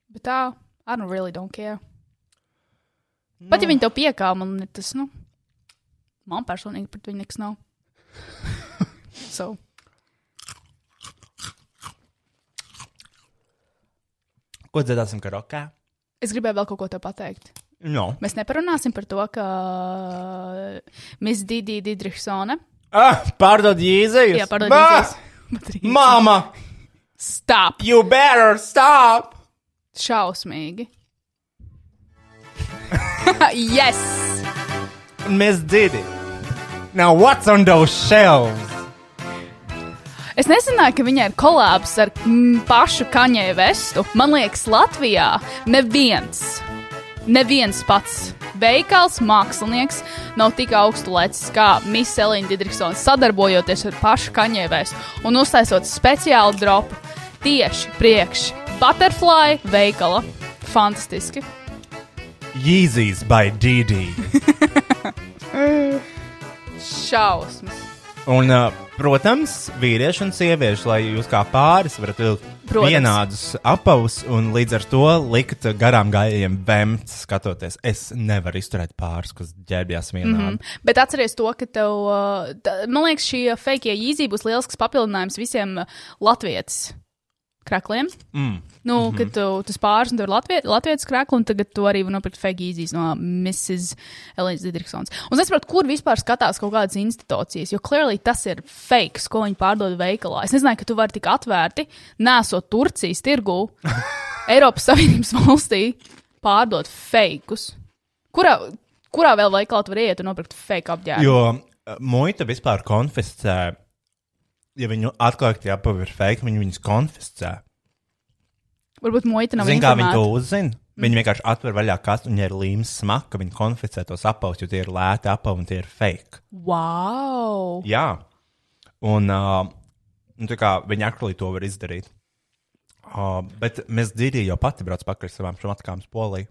Speaker 2: Bet tā, I don't really don't care. No. Pat ja viņi tev piekāp, man ir tas, nu, man personīgi pret viņu nekas nav. so.
Speaker 3: Ko dzirdēsim karokā?
Speaker 2: Es gribēju vēl kaut ko te pateikt.
Speaker 3: No.
Speaker 2: Mēs neparunāsim par to, ka Miss Didi Didrichsone.
Speaker 3: Ah, pārdod jēzus!
Speaker 2: Jā, parādīsies.
Speaker 3: Mama,
Speaker 2: Stop!
Speaker 3: you better stop!
Speaker 2: Šausmīgi. yes!
Speaker 3: Miss Didi. Now what's on those shelves?
Speaker 2: Es nezināju, ka viņai ir kolāps ar mm, pašu kaņēju vestu. Man liekas, Latvijā neviens, neviens pats veikals, mākslinieks nav tik augstu lecis kā Miselīna Didriksona, sadarbojoties ar pašu kaņēju vestu un uztaisot speciālu dropu tieši priekš Butterfly veikala. Fantastiski!
Speaker 3: Yeezys by Didi.
Speaker 2: Šausmas!
Speaker 3: Un, uh, protams, vīrieši un sievieši, lai jūs kā pāris varat vilkt
Speaker 2: Protams.
Speaker 3: vienādus apavus un līdz ar to likt garām gājējiem vēmt, skatoties. Es nevaru izturēt pāris, kas ģērbjās vienādi. Mm -hmm.
Speaker 2: Bet atceries to, ka tev, uh, tā- man liekas, šī uh, fake īzīme būs lielisks papildinājums visiem uh, latviešu krākliem. Mm. Nu,
Speaker 3: Mhm.
Speaker 2: mm -hmm. Kad tu, tu spāris un tur ir latviešu krāklis, un tagad tu arī nopirkt fake īzīs no Mrs. Elīnas Ziedriksons. Un es saprotu, kur vispār skatās kaut kādas institūcijas, jo clearly tas ir fake, ko viņi pārdod veikalā. Es nezināju, ka tu vari tik atvērti, nesot Turcijas tirgū, Eiropas Savienības valstī, pārdot fakeus. Kurā, kurā vēl veikalā tu vari iet un nopirkt fake apģērbu?
Speaker 3: Jo uh, muita vispār konfiscē, ja viņu atklāti apavi ir fake, viņi viņus konfiscē.
Speaker 2: Varbūt muita nav
Speaker 3: Zini, kā viņi to
Speaker 2: informēta.
Speaker 3: uzzina? Viņi vienkārši atver vaļā kastu un ja ir līmes smaka, viņi konfiscē tos apavus, jo tie ir lēti apavi un tie ir fake.
Speaker 2: Wow!
Speaker 3: Jā, un uh, nu, tā kā viņi aktuāli to var izdarīt. Uh, bet mēs dzirdējām, jau pati brauc pakaļ savām šmatkām uz Poliju.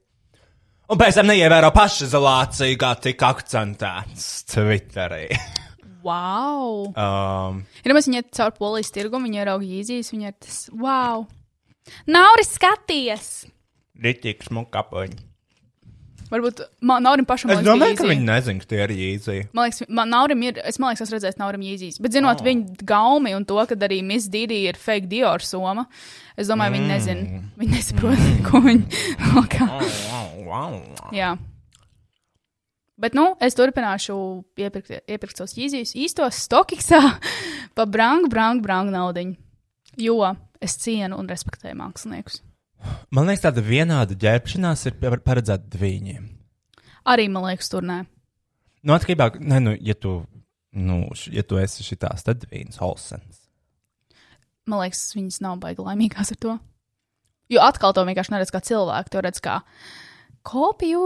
Speaker 3: Un pēc tam neievēro pašizolāciju, kā tika akcentēts Twitterī.
Speaker 2: wow.
Speaker 3: Um,
Speaker 2: Ir mēs viņai caur polijas tirgu, viņa ir augļīzijas, viņa ir tas wow! Nauri skaties!
Speaker 3: Rītīgi smuka apaļ.
Speaker 2: Varbūt man, Naurim pašam
Speaker 3: Es
Speaker 2: liekas,
Speaker 3: domāju,
Speaker 2: bija
Speaker 3: ka
Speaker 2: Yeezy.
Speaker 3: viņi nezina, ka tie ir īzija.
Speaker 2: Man liekas, man Naurim ir, es man liekas, esmu redzējis Naurim Jēzīs. Bet zinot oh. viņa gaumi un to, ka arī Miss Dīdī ir fake Dior soma, es domāju, mm. viņi nezina. Viņi nesaprot, mm. ko viņi lokā. Jā. Bet, nu, es turpināšu iepirkt, iepirkt savus īzijas īstos stokiksā pa brangu, brangu, brangu naudiņu. Jo es cienu un respektēju māksliniekus.
Speaker 3: Man liekas, tāda vienāda ģērbšanās ir par- paredzēta diviem.
Speaker 2: Arī, man liekas, tur nē.
Speaker 3: Nu, atkarībā, ne, nu, ja tu, nu, š- ja tu esi šitās, tad viens Holsens.
Speaker 2: Man liekas, viņas nav baigi laimīgās ar to. Jo atkal to vienkārši neredz kā cilvēku, to redz kā kopiju.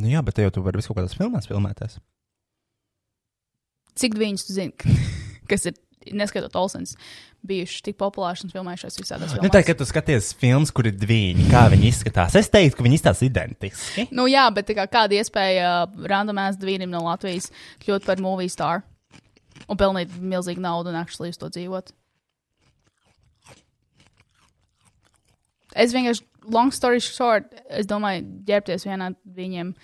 Speaker 3: Nu, jā, bet te jau tu vari visu kaut kādās filmās filmēties.
Speaker 2: Cik viņas tu zini, kas ir, neskaitot Olsens, bijušas tik populāras un filmējušās visādās
Speaker 3: Nu, tā,
Speaker 2: filmās.
Speaker 3: kad tu skaties filmas, kur ir divi, kā viņi izskatās, es teiktu, ka viņi izskatās identiski.
Speaker 2: Nu, jā, bet tā kā, kāda iespēja uh, randomēs diviem no Latvijas kļūt par movie star un pelnīt milzīgu naudu un akšlī uz to dzīvot? Es vienkārši, long story short, es domāju, ģērbties vienādi viņiem.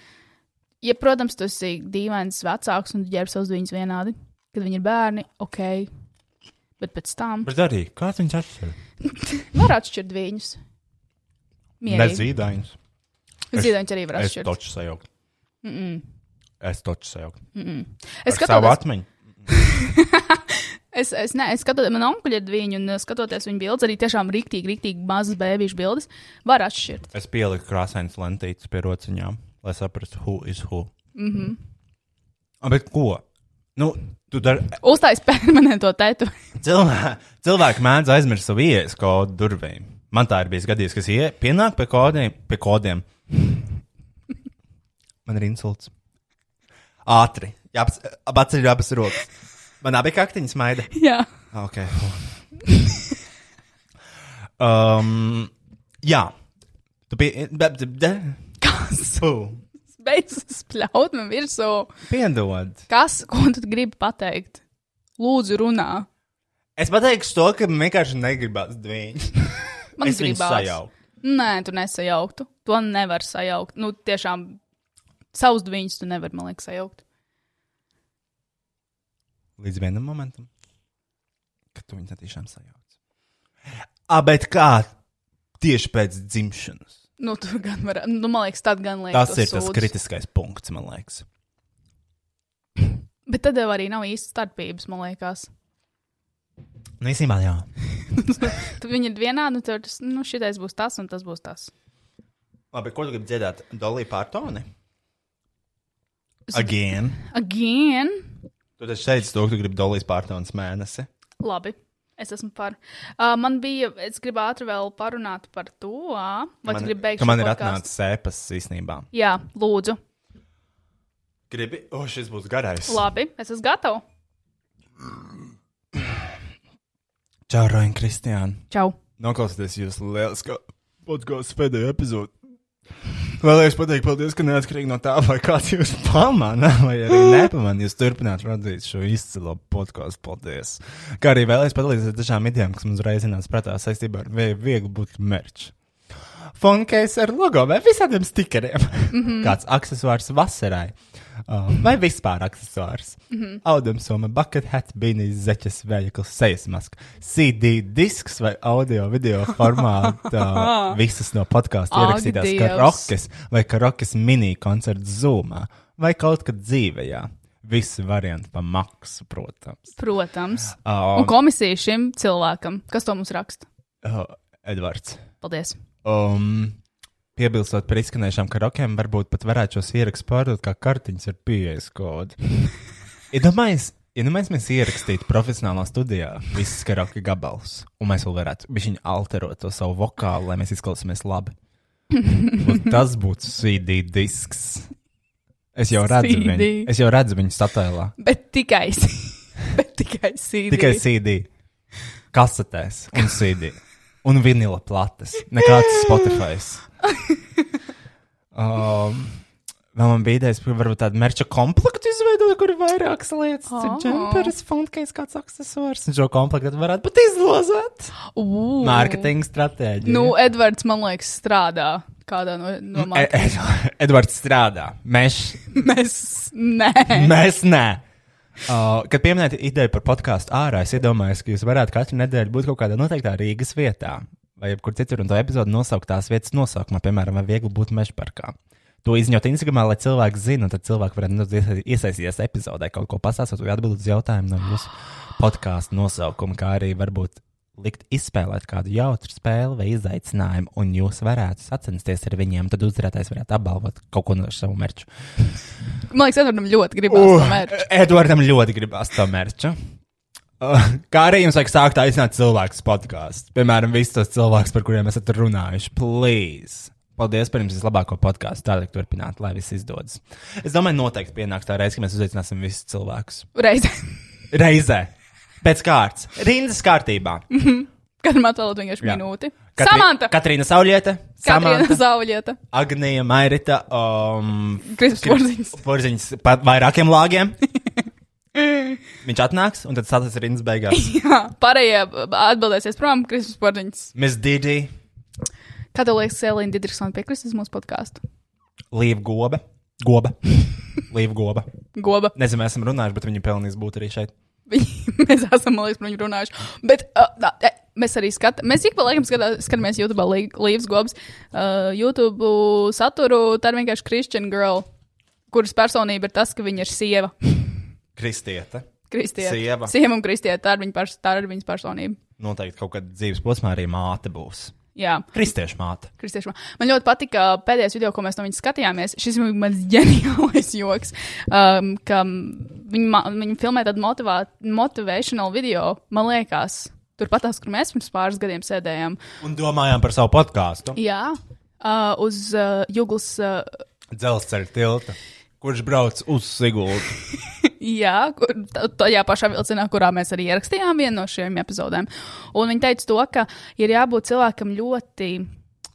Speaker 2: Ja, protams, tu esi dīvains vecāks un tu ģērbs savus viņus vienādi, kad viņi ir bērni, ok. Bet pēc tam
Speaker 3: Bet arī, kāds viņš atšķiras?
Speaker 2: var atšķirt viņus. Mierīgi.
Speaker 3: Nezīdains.
Speaker 2: Zīdaņš arī var
Speaker 3: Es
Speaker 2: atšķirt.
Speaker 3: toču sajaukt. Es toču sajaukt.
Speaker 2: Es
Speaker 3: Savu
Speaker 2: skatos,
Speaker 3: atmiņu.
Speaker 2: Es, es, ne, es skatos, man onkuļi ir divi, un eh, skatoties viņu bildes, arī tiešām rīktīgi, rīktīgi mazas bērnu bildes, var atšķirt.
Speaker 3: Es pieliku krāsainas lentītes pie rociņām, lai saprastu, who is who. Mhm. Mm bet ko? Nu, tu dari
Speaker 2: Uztais permanento tētu.
Speaker 3: Cilvē, cilvēki mēdz aizmirst savu ielas kodu durvīm. Man tā ir bijis gadījums, kas ie, pienāk pie kodiem, pie kodiem. Man ir insults. Ātri. Apceļ abas rokas. Man abi kaktiņas maida.
Speaker 2: Jā.
Speaker 3: Ah, Ok. um, jā. Tu pie... be- be- de-
Speaker 2: Kas
Speaker 3: Fu.
Speaker 2: beidz spļaut man virsū?
Speaker 3: Piedod.
Speaker 2: Kas, ko tu gribi pateikt? Lūdzu, runā.
Speaker 3: Es pateikšu to, ka man vienkārši negribas dviņu.
Speaker 2: Man
Speaker 3: es viņu
Speaker 2: gribās.
Speaker 3: sajaucu.
Speaker 2: Nē, tu nesajauktu. To nevar sajaukt. Nu, tiešām savus diviņus tu nevari, man liekas, sajaukt.
Speaker 3: Līdz vienam momentam, kad tu viņu tiešām sajauc. Ah, bet kā tieši pēc dzimšanas?
Speaker 2: Nu, tu gan vari. Nu, man liekas, tad gan liekas.
Speaker 3: Tas ir tas kritiskais punkts, man liekas.
Speaker 2: Bet tad jau arī nav īsti starpības, man liekas.
Speaker 3: Nu, īstenībā, jā.
Speaker 2: Tad viņi ir vienādi, un tev tas, nu, šitais būs tas, un tas būs tas.
Speaker 3: Labi, ko tu gribi dziedāt? Dolly Partoni? Again.
Speaker 2: Again!
Speaker 3: Tu taču teici, to, ka tu gribi Dolly Partoni mēnesi.
Speaker 2: Labi. Es esmu par. Uh, man bija, es gribu ātri vēl parunāt par to, vai tu gribi beigties?
Speaker 3: ka man ir atnācis sēpas īstenībā.
Speaker 2: Jā, lūdzu.
Speaker 3: Gribi, o, oh, šis būs garais.
Speaker 2: Labi, es esmu gatavs.
Speaker 3: Čau, Roin, Kristiāna.
Speaker 2: Čau!
Speaker 3: Noklausieties jūsu lielisko podkāstu pēdējo epizodu. Vēlējos pateikt, paldies, ka neatkarīgi no tā, vai kāds jūs pamana, vai arī nepamanā, jūs turpināt radīt šo izcilo podkāstu. Paldies! Kā arī vēlējos padalīties ar dažām idejām, kas man uzreiz ienāca prātā saistībā ar vēju vieglu būt merču. Funkēs ar logo vai visādiem stikeriem. Mm -hmm. Kāds accessors vasarai. Uh, vai vispār accessors. Mm -hmm. Audumsoma, bucket hat, bīnijas, zeķes, vējeklis, sejas maska, CD disks vai audio video formātā. visas no podkāstu
Speaker 2: Ak,
Speaker 3: ierakstītās
Speaker 2: Dievs.
Speaker 3: karaokes vai karaokes mini koncerts Zoomā vai kaut kad dzīvējā. Visi varianti pa maksu, protams.
Speaker 2: Protams.
Speaker 3: Uh,
Speaker 2: Un komisija šim cilvēkam, kas to mums raksta?
Speaker 3: uh, Edvards.
Speaker 2: Paldies.
Speaker 3: Um, piebilstot par izskanējušām karaokeām, varbūt pat varētu šos ierakstus pārdot kā kartiņas ar pieejas kodu. Iedomājieties, ja mēs ierakstītu profesionālā studijā visas karaoke gabalus, un mēs vēl varētu viņu alterot to savu vokālu, lai mēs izklausāmies labi. Un tas būtu CD disks. Es jau redzu viņu,
Speaker 2: CD.
Speaker 3: es jau redzu viņu statēlā.
Speaker 2: Bet tikai, bet tikai sīkā.
Speaker 3: Tikai CD. Kasetēs un CD. Un vinila plates. Nekāds Spotify. Um, vēl man bija idejas, ka varbūt tādu merča komplektu izveidot, kur ir vairākas lietas.
Speaker 2: Ah.
Speaker 3: Oh. Džemperis, funkcijas, kāds accessors. Un šo komplektu varētu pat izlozēt. Mārketinga stratēģija.
Speaker 2: Nu, Edvards, man liekas, strādā kādā no, no
Speaker 3: E-
Speaker 2: mārketinga.
Speaker 3: Ed- Edvards strādā. Mēs
Speaker 2: Mēs nē.
Speaker 3: Mēs nē. Uh, kad pieminējāt ideju par podkāstu ārā, es iedomājos, ka jūs varētu katru nedēļu būt kaut kādā noteiktā Rīgas vietā, vai kur citur, un to epizodu nosaukt tās vietas nosaukumā, piemēram, vai viegli būt meža parkā. To izņemt Instagram, lai cilvēki zinātu, un tad cilvēki varētu nedaudz iesa- iesaistīties epizodē, kaut ko pastāstīt, vai atbildēt uz jautājumu no jūsu podkāstu nosaukuma, kā arī varbūt likt izspēlēt kādu jautru spēli vai izaicinājumu, un jūs varētu sacensties ar viņiem, tad uzvarētājs varētu apbalvot kaut ko no savu merču.
Speaker 2: Man liekas, Edvardam ļoti gribās uh. tomēr.
Speaker 3: Edvardam ļoti gribās to mērķu. Uh, Kā arī jums vajag sākt aicināt cilvēkus podkāstu. Piemēram, visus tos cilvēkus, par kuriem esat runājuši. Please! Paldies par jums vislabāko podkāstu. Tālāk turpināt, lai viss izdodas. Es domāju, noteikti pienāks tā reize, kad mēs uzaicināsim visus cilvēkus.
Speaker 2: Reizē.
Speaker 3: Reizē! Pēc kārtas! Rindas kārtībā!
Speaker 2: Katram atvēlēt vienkārši
Speaker 3: Jā.
Speaker 2: minūti.
Speaker 3: Katri-
Speaker 2: Samanta!
Speaker 3: Katrīna Saulieta!
Speaker 2: Katrīna
Speaker 3: Samanta!
Speaker 2: Zauļieta.
Speaker 3: Agnija Mairita! Um,
Speaker 2: Kristaps Porziņš.
Speaker 3: Porziņš pa vairākiem lāgiem. Viņš atnāks un tad stāsies rindas beigās.
Speaker 2: Jā. Pārējie b- atbildēsies prom, Kristaps Porziņš.
Speaker 3: Miss Didi,
Speaker 2: Kā tev liekas, Elīna Digitrona piekristīs mūsu podkāstu?
Speaker 3: Līva Gobe. Gobe. Līva Gobe.
Speaker 2: Goba.
Speaker 3: Nezinu, mēs esam runājuši, bet viņa pelnīs būt arī šeit.
Speaker 2: Viņi- mēs esam, man liekas, par viņu runājuši. Bet uh, nā, e, mēs arī skatāmies, mēs ik pa laikam skatā- skatāmies YouTube, Līves Gobs, uh, YouTube saturu. Tā ir vienkārši Christian Girl, kuras personība ir tas, ka viņa ir sieva.
Speaker 3: Kristiete.
Speaker 2: Kristieta.
Speaker 3: Sieva.
Speaker 2: Sieva un kristieta. Tā ir, viņa pers tā ir viņas personība.
Speaker 3: Noteikti kaut kad dzīves posmā arī māte būs.
Speaker 2: Jā.
Speaker 3: Kristiešu māte.
Speaker 2: Kristiešu. Man ļoti patika uh, pēdējais video, ko mēs no viņas skatījāmies. Šis bija mans ģeniālais joks, um, ka Viņi, ma- viņi filmē tādu motivā- motivational video, man liekas, turpatās, kur mēs pirms pāris gadiem sēdējām.
Speaker 3: Un domājām par savu podkāstu.
Speaker 2: Jā, uh, uz uh, Juglas. Uh,
Speaker 3: Dzelzceļa tilta. Kurš brauc uz Sigūdu?
Speaker 2: Jā, kur, t- tajā pašā vilcienā, kurā mēs arī ierakstījām vienu no šiem epizodēm. Un viņi teica, to, ka ir jābūt cilvēkam ļoti.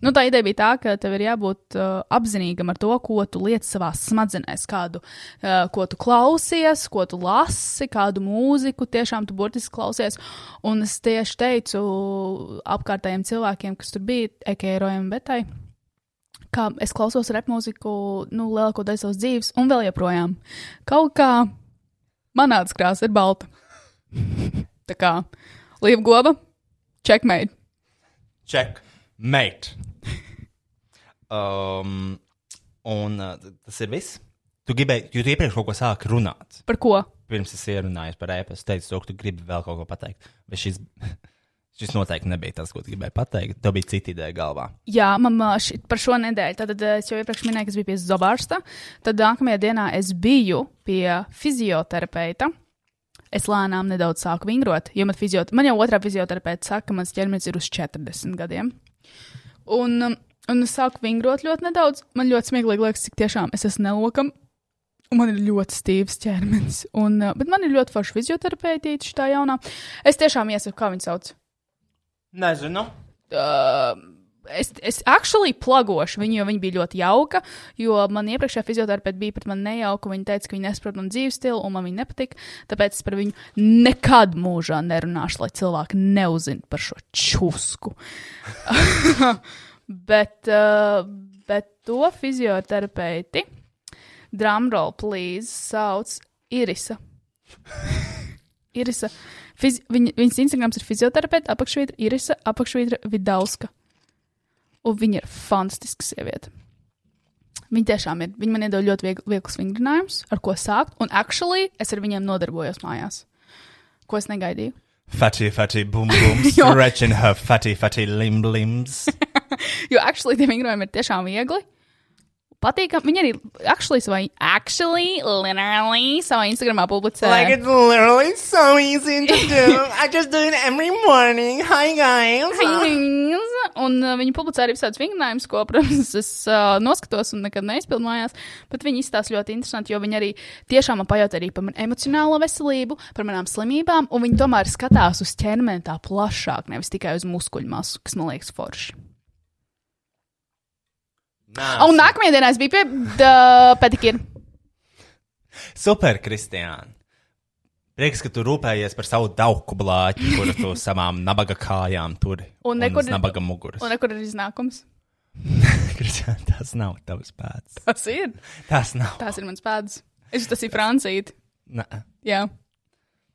Speaker 2: Nu, tā ideja bija tā, ka tev ir jābūt uh, apzinīgam ar to, ko tu lieti savā smadzenēs, kādu, uh, ko tu klausies, ko tu lasi, kādu mūziku tiešām tu burtiski klausies. Un es tieši teicu apkārtējiem cilvēkiem, kas tur bija, ekērojiem, betai, kā es klausos rap mūziku nu, lielāko daļu savas dzīves, un vēl joprojām. Kaut kā manāts krāsa ir balta. Tā kā Līta Goba, checkmate.
Speaker 3: Check, mate. Um, un uh, tas ir viss. Tu gribēji, jo tu iepriekš kaut ko sāki runāt.
Speaker 2: Par ko?
Speaker 3: Pirms es ierunāju par ēpastu, teicu, to, ka tu gribi vēl kaut ko pateikt. Bet šis, šis noteikti nebija tas, ko tu gribēji pateikt. Tev bija cita ideja galvā.
Speaker 2: Jā, man ā, ši, par šo nedēļu. Tad ā, es jau iepriekš minēju, ka es biju pie zobārsta. Tad nākamajā dienā es biju pie fizioterapeita. Es lēnām nedaudz sāku vingrot, jo man, fiziot... man jau otrā fizioterapeita saka, ka mans ķermenis ir uz 40 gadiem. Un, um, un es sāku vingrot ļoti nedaudz. Man ļoti smieklīgi liekas, cik tiešām es esmu nelokam. Un Man ir ļoti stīvs ķermenis. Un, uh, bet man ir ļoti forša fizioterapeita, šī jaunā. Es tiešām iesaku, kā viņu sauc.
Speaker 3: Nezinu.
Speaker 2: Uh, es, es actually plagošu viņu, jo viņa bija ļoti jauka. Jo man iepriekšējā fizioterapeita bija pret mani nejauka. Viņa teica, ka viņa nesaprot manu dzīves stilu, un man viņa nepatika. Tāpēc es par viņu nekad mūžā nerunāšu, lai cilvēki neuzzinātu par šo čusku. bet, uh, bet to fizioterapeiti, drumroll, please, sauc Irisa. Irisa. Fiz, viņa, viņas Instagrams ir fizioterapeits, apakšvītra, Irisa, apakšvītra Vidauska. Un viņa ir fantastiska sieviete. Viņa tiešām ir. Viņa man iedod ļoti viegl, vieglas vingrinājumus, ar ko sākt. Un actually es ar viņiem nodarbojos mājās. Ko es negaidīju?
Speaker 3: Fatty, fatty, boom, boom,
Speaker 2: Jo.
Speaker 3: stretching her fatty, fatty limb limbs.
Speaker 2: Jo actually tie vingrinājumi ir tiešām viegli. Patīkami. Viņa arī actually savā, actually, literally savā Instagramā publicē.
Speaker 3: literally so easy to do. I just do it every morning. Hi, guys.
Speaker 2: Things. Un uh, viņi publicē arī visādus vingrinājumus, ko, protams, es uh, noskatos un nekad neizpildīju mājās. Bet viņi izstāsta ļoti interesanti, jo viņi arī tiešām man pajautā arī par manu emocionālo veselību, par manām slimībām. Un viņi tomēr skatās uz ķermeni tā plašāk, nevis tikai uz muskuļu masu, kas man liekas forši. Un nākamajā dienā es biju pie uh, pedikīra.
Speaker 3: Super, Kristiāna. Prieks, ka tu rūpējies par savu dauku blāķi, kuru tu savām nabaga kājām turi.
Speaker 2: Un nekur-
Speaker 3: uz nabaga muguras.
Speaker 2: Un kur ir iznākums?
Speaker 3: Kristiāna, tas nav tavs pēds.
Speaker 2: Tas ir.
Speaker 3: Tas nav.
Speaker 2: Tās ir mans pēdas. Es tas ir Francija.
Speaker 3: Nē.
Speaker 2: Jā.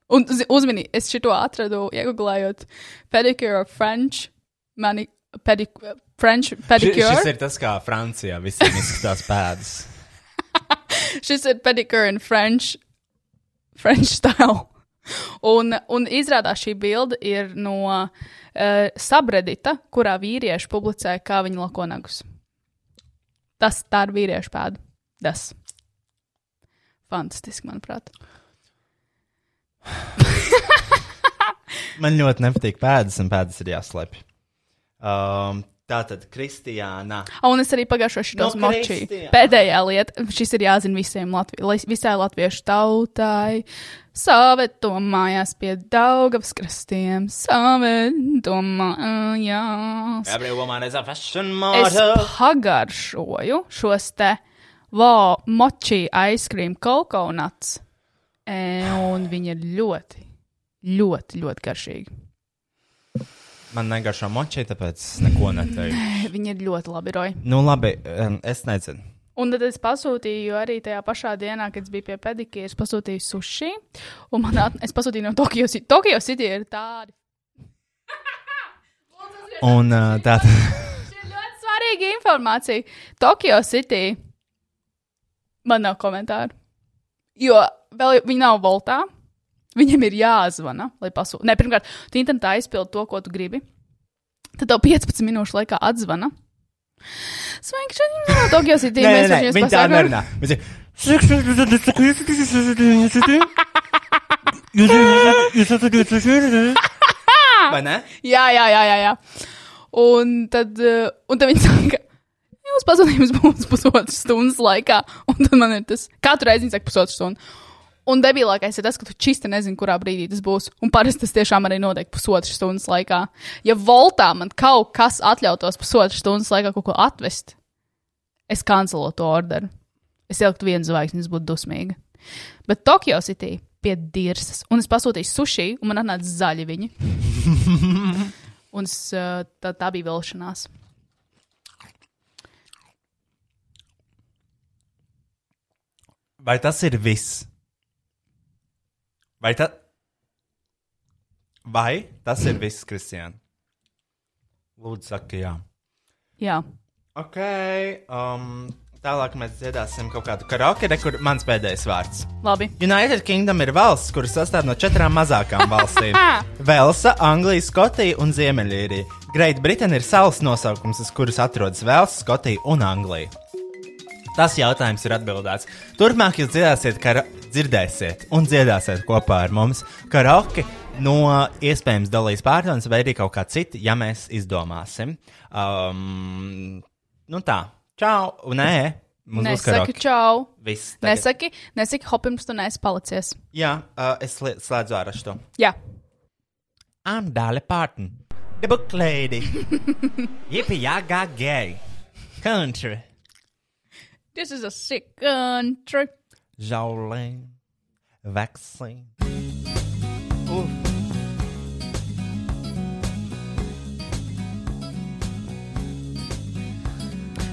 Speaker 2: Un zi- uzmini, es šo atradu, iegūlējot pedicure of French, mani pedic- French
Speaker 3: Ši,
Speaker 2: pedicure.
Speaker 3: šis ir tas, kā Francijā visiem izskatās pēdas.
Speaker 2: šis ir pedicure in French, French style. Un, un izrādās šī bilde ir no uh, subredita, kurā vīrieši publicē, kā viņi lako nagus. Tas tā ir vīriešu pēda. Tas. Fantastiski, manuprāt.
Speaker 3: Man ļoti nepatīk pēdas, un pēdas ir jāslēpj. Um, tā tad, Kristiāna.
Speaker 2: Ah, Un es arī pagājušajā gadā
Speaker 3: Nu,
Speaker 2: no močīju.
Speaker 3: Kristiāna.
Speaker 2: Pēdējā lieta, šis ir jāzina visiem Latvi lai- visai latviešu tautai. Saveto mājās pie Daugavas krastiem. Saveto mājās.
Speaker 3: Every woman is a fashion
Speaker 2: Es
Speaker 3: model.
Speaker 2: pagaršoju šos te vā močī aizskrīmu kokonats. Un viņi ir ļoti, ļoti, ļoti garšīgi.
Speaker 3: Man negaršo moči, tāpēc es neko neteikšu.
Speaker 2: Viņi ir ļoti labi roji.
Speaker 3: Nu, labi, em, es nezinu.
Speaker 2: Un tad es pasūtīju arī tajā pašā dienā, kad es biju pie pedikīras, pasūtīju sushi. Un man at... es pasūtīju no Tokijas. Tokijas City ir tādi.
Speaker 3: Un uh, tā tad.
Speaker 2: Šī ir ļoti svarīga informācija. Tokijas City. Man nav komentāru. Jo vēl viņi nav voltā. Viņam ir jāzvana, lai pasūtītu. Nē, pirmkārt, tu internetā aizpildi to, ko tu gribi. Tad tev 15 minūšu laikā atzvana. Sveiki, šodien no Tokijas City.
Speaker 3: Nē,
Speaker 2: Mēs
Speaker 3: nē, nē,
Speaker 2: esam
Speaker 3: viņa tā nerunā. Viņa Vai ne?
Speaker 2: Jā, jā, jā, jā. jā. Un tad, eh, un tad viņi saka, jūs pazudījums būs pusotras stundas laikā. Un tad man ir tas, katru reizi viņi saka pusotru stundu. Un debilākais ir tas, ka tu čīsti nezini, kurā brīdī tas būs. Un parasti tas tiešām arī notiek pusotras stundas laikā. Ja voltā man kaut kas atļautos pusotras stundas laikā kaut ko atvest, es kancelotu orderu. Es ieliktu vienu zvaigzni, es būtu dusmīga. Bet Tokio City pie dirzas, un es pasūtīju sushi, un man atnāca zaļi viņi. Un es, uh, tā, tā bija vilšanās.
Speaker 3: Vai tas ir viss? Vai, ta... Vai tas ir viss, Kristian? Lūdzu, saka, jā.
Speaker 2: Jā,
Speaker 3: Ok, um, tālāk mēs dziedāsim kaut kādu karaoke, re, kur mans pēdējais vārds.
Speaker 2: labi.
Speaker 3: United Kingdom ir valsts, kuras sastāv no četrām mazākām valstīm - Velsa, Anglija, Skotija un Ziemeļīrija. Great Britain ir salas nosaukums, uz kuras atrodas Velsa, Skotija un Anglija. Tas jautājums ir atbildēts. Turpmāk jūs dzirdēsiet, kara... dzirdēsiet un dziedāsiet kopā ar mums karaoke. No iespējams dalīs pārdomas, vai arī kaut kā cita, ja mēs izdomāsim. Um, nu tā, čau, nē, mums būs
Speaker 2: Nesaki
Speaker 3: karaoke.
Speaker 2: čau.
Speaker 3: Viss. tagad.
Speaker 2: Nesaki, nesaki hop, pirms tu neesi palicies.
Speaker 3: Jā, uh, es slie- slēdzu ārā šo.
Speaker 2: Jā,
Speaker 3: I'm Dolly Parton, the book lady. Yippee yaga gay. Country.
Speaker 2: this is a sick country.
Speaker 3: Jolene. Vaccine. Ooh.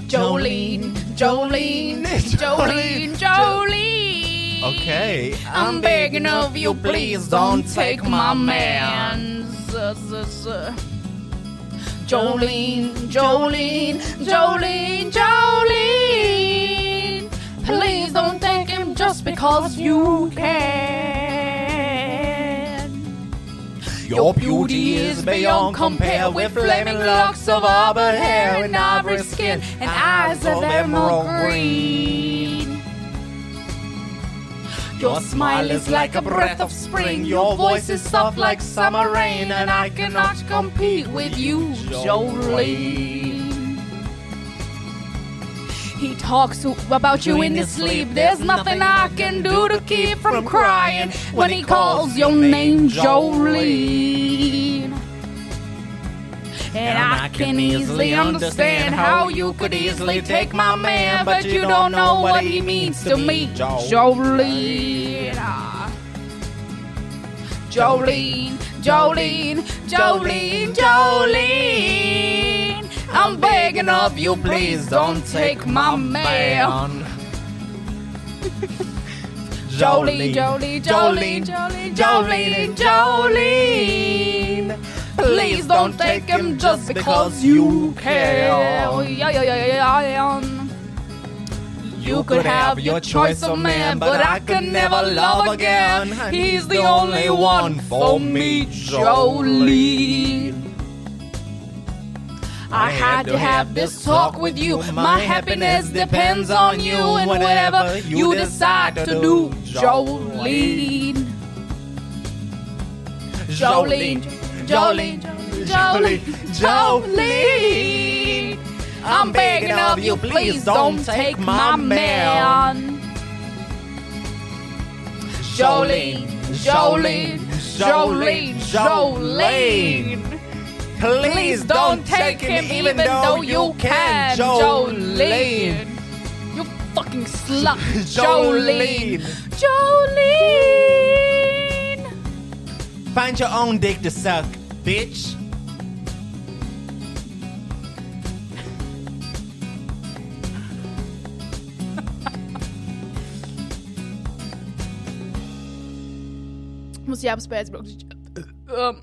Speaker 2: Jolene, Jolene, Jolene, Jolene.
Speaker 3: Okay.
Speaker 2: I'm begging of you, please don't take my man. Z- z- z- Jolene, Jolene, Jolene, Jolene. Please don't take him just because you can.
Speaker 3: Your beauty is beyond compare with flaming locks of auburn hair and ivory skin and eyes of emerald green. Your smile is like a breath of spring, your voice is soft like summer rain, and I cannot compete with you, Jolene.
Speaker 2: He talks about you in his sleep. There's nothing I can do to keep from crying when he calls your name Jolene. And I can easily understand how you could easily take my man, but you don't know what he means to me, Jolene. Ah. Jolene, Jolene, Jolene, Jolene. I'm begging of you, please don't take my man. Jolene, Jolene, Jolene, Jolene, Jolene, Jolene. Please don't take him just because you can. Yeah, yeah, yeah, yeah, yeah. You could have your choice of man, but I could never love again. He's the only one for me, Jolene. I had to have this talk with you. My happiness depends on you and whatever you decide to do, Jolene. Jolene, Jolene, Jolene, Jolene. I'm begging of you, please don't take my man. Jolene, Jolene, Jolene, Jolene. Please don't take him even though you can, Jolene. You fucking slut, Jolene. Jolene.
Speaker 3: Find your own dick to suck, bitch.
Speaker 2: Mums jāpaspēj aizbraukt. Um,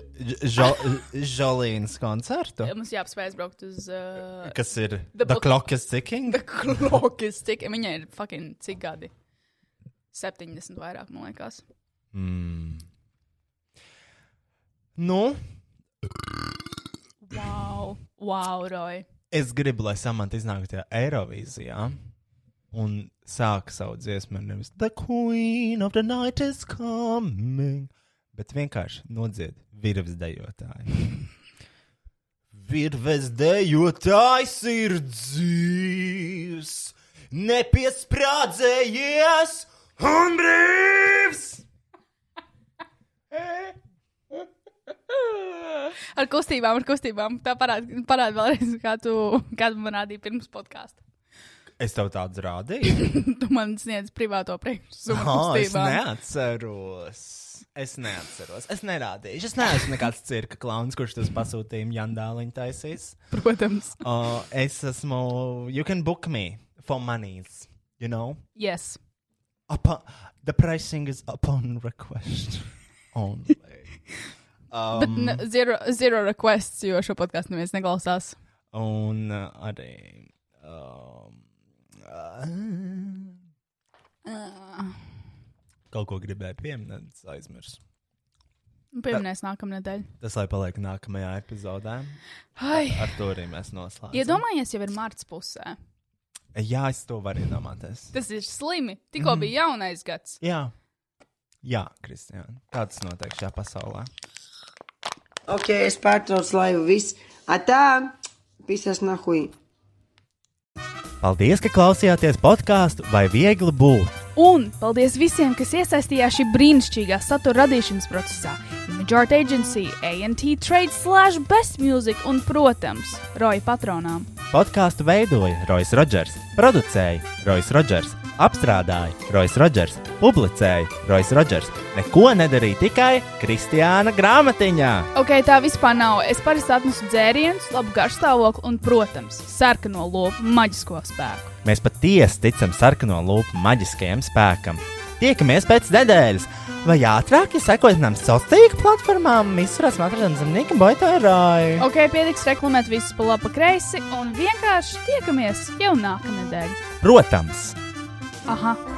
Speaker 3: Žolīnas koncertu.
Speaker 2: mums jāpaspēj aizbraukt uz. Uh,
Speaker 3: Kas ir?
Speaker 2: Um, The
Speaker 3: The
Speaker 2: book-
Speaker 3: clock is ticking.
Speaker 2: Klokas, cik viņai ir fucking cik gadi? 70 vairāk, man liekas.
Speaker 3: Nu,
Speaker 2: Wow, wow, Roy.
Speaker 3: es gribu, lai samanta iznāk tajā Eirovīzijā. un sāk savu dziesmu, ar nevis The Queen of the Night is coming, bet vienkārši nodzied virves dejotāju. Virves dejotājs ir dzīvs, nepiesprādzējies un brīvs!
Speaker 5: Ar kustībām, ar kustībām. Tā parāda parād vēlreiz, kā tu kādu man rādīji pirms podkāstu.
Speaker 3: Es tev tādu rādīju.
Speaker 5: Tu man sniedz privāto priekšsaku.
Speaker 3: Ah, es neatceros. Es neatceros. Es nerādīju. Es neesmu nekāds cirka klauns, kurš tas pasūtījuma jandāliņu taisīs.
Speaker 5: Protams.
Speaker 3: Uh, es esmu. You can book me for monies. You know?
Speaker 5: Yes.
Speaker 3: Upon, the pricing is upon request only. um,
Speaker 5: Ne, zero, zero requests, jo šo podkāstu neviens neklausās.
Speaker 3: un uh, arī. Um, kaut ko gribēju pieminēt, es aizmirsu.
Speaker 5: Nu, Pieminēs nākamnedēļ.
Speaker 3: Tas lai paliek nākamajā epizodē.
Speaker 5: Ai,
Speaker 3: Ar to arī mēs noslēdzam.
Speaker 5: iedomājies, jau ir marts pusē.
Speaker 3: Jā, es to varu iedomāties.
Speaker 5: Tas ir slimi.
Speaker 3: Mhm.
Speaker 5: Tikko bija jaunais gads.
Speaker 3: Jā, Jā Kristija. Kā tas notiek šajā pasaulē?
Speaker 6: Ok, es pārtraucu laivu. Viss. Atā! Pisas nahuj!
Speaker 3: Paldies, ka klausījāties podkāstu vai viegli būt.
Speaker 2: Un paldies visiem, kas iesaistījās šī brīnišķīgā satura radīšanas procesā. Image Art Agency, ANT Trade, Slash, Best Music un, protams, Roja patronām.
Speaker 3: Podkāstu veidoja Rois Rodžers, producēja Rois Rodžers, apstrādāja Rois Rodžers, publicēja Rois Rodžers. Neko nedarīja tikai Kristiāna grāmatiņā.
Speaker 2: Ok, tā vispār nav. Es parasti atnesu dzērienus, labu garšstāvokli un, protams, sarkano lopu maģisko spēku.
Speaker 3: Mēs patiesi ticam sarkano lupu maģiskajam spēkam. Tiekamies pēc nedēļas, vai ātrāk, ja sekojat mums sociālajām tīkla platformām, visurās matradienas zemnieka boitārāju.
Speaker 2: Ok, pietiks reklamēt visus pa labi, pa kreisi un vienkārši tiekamies jau nākamnedēļ.
Speaker 3: Protams!
Speaker 2: Aha!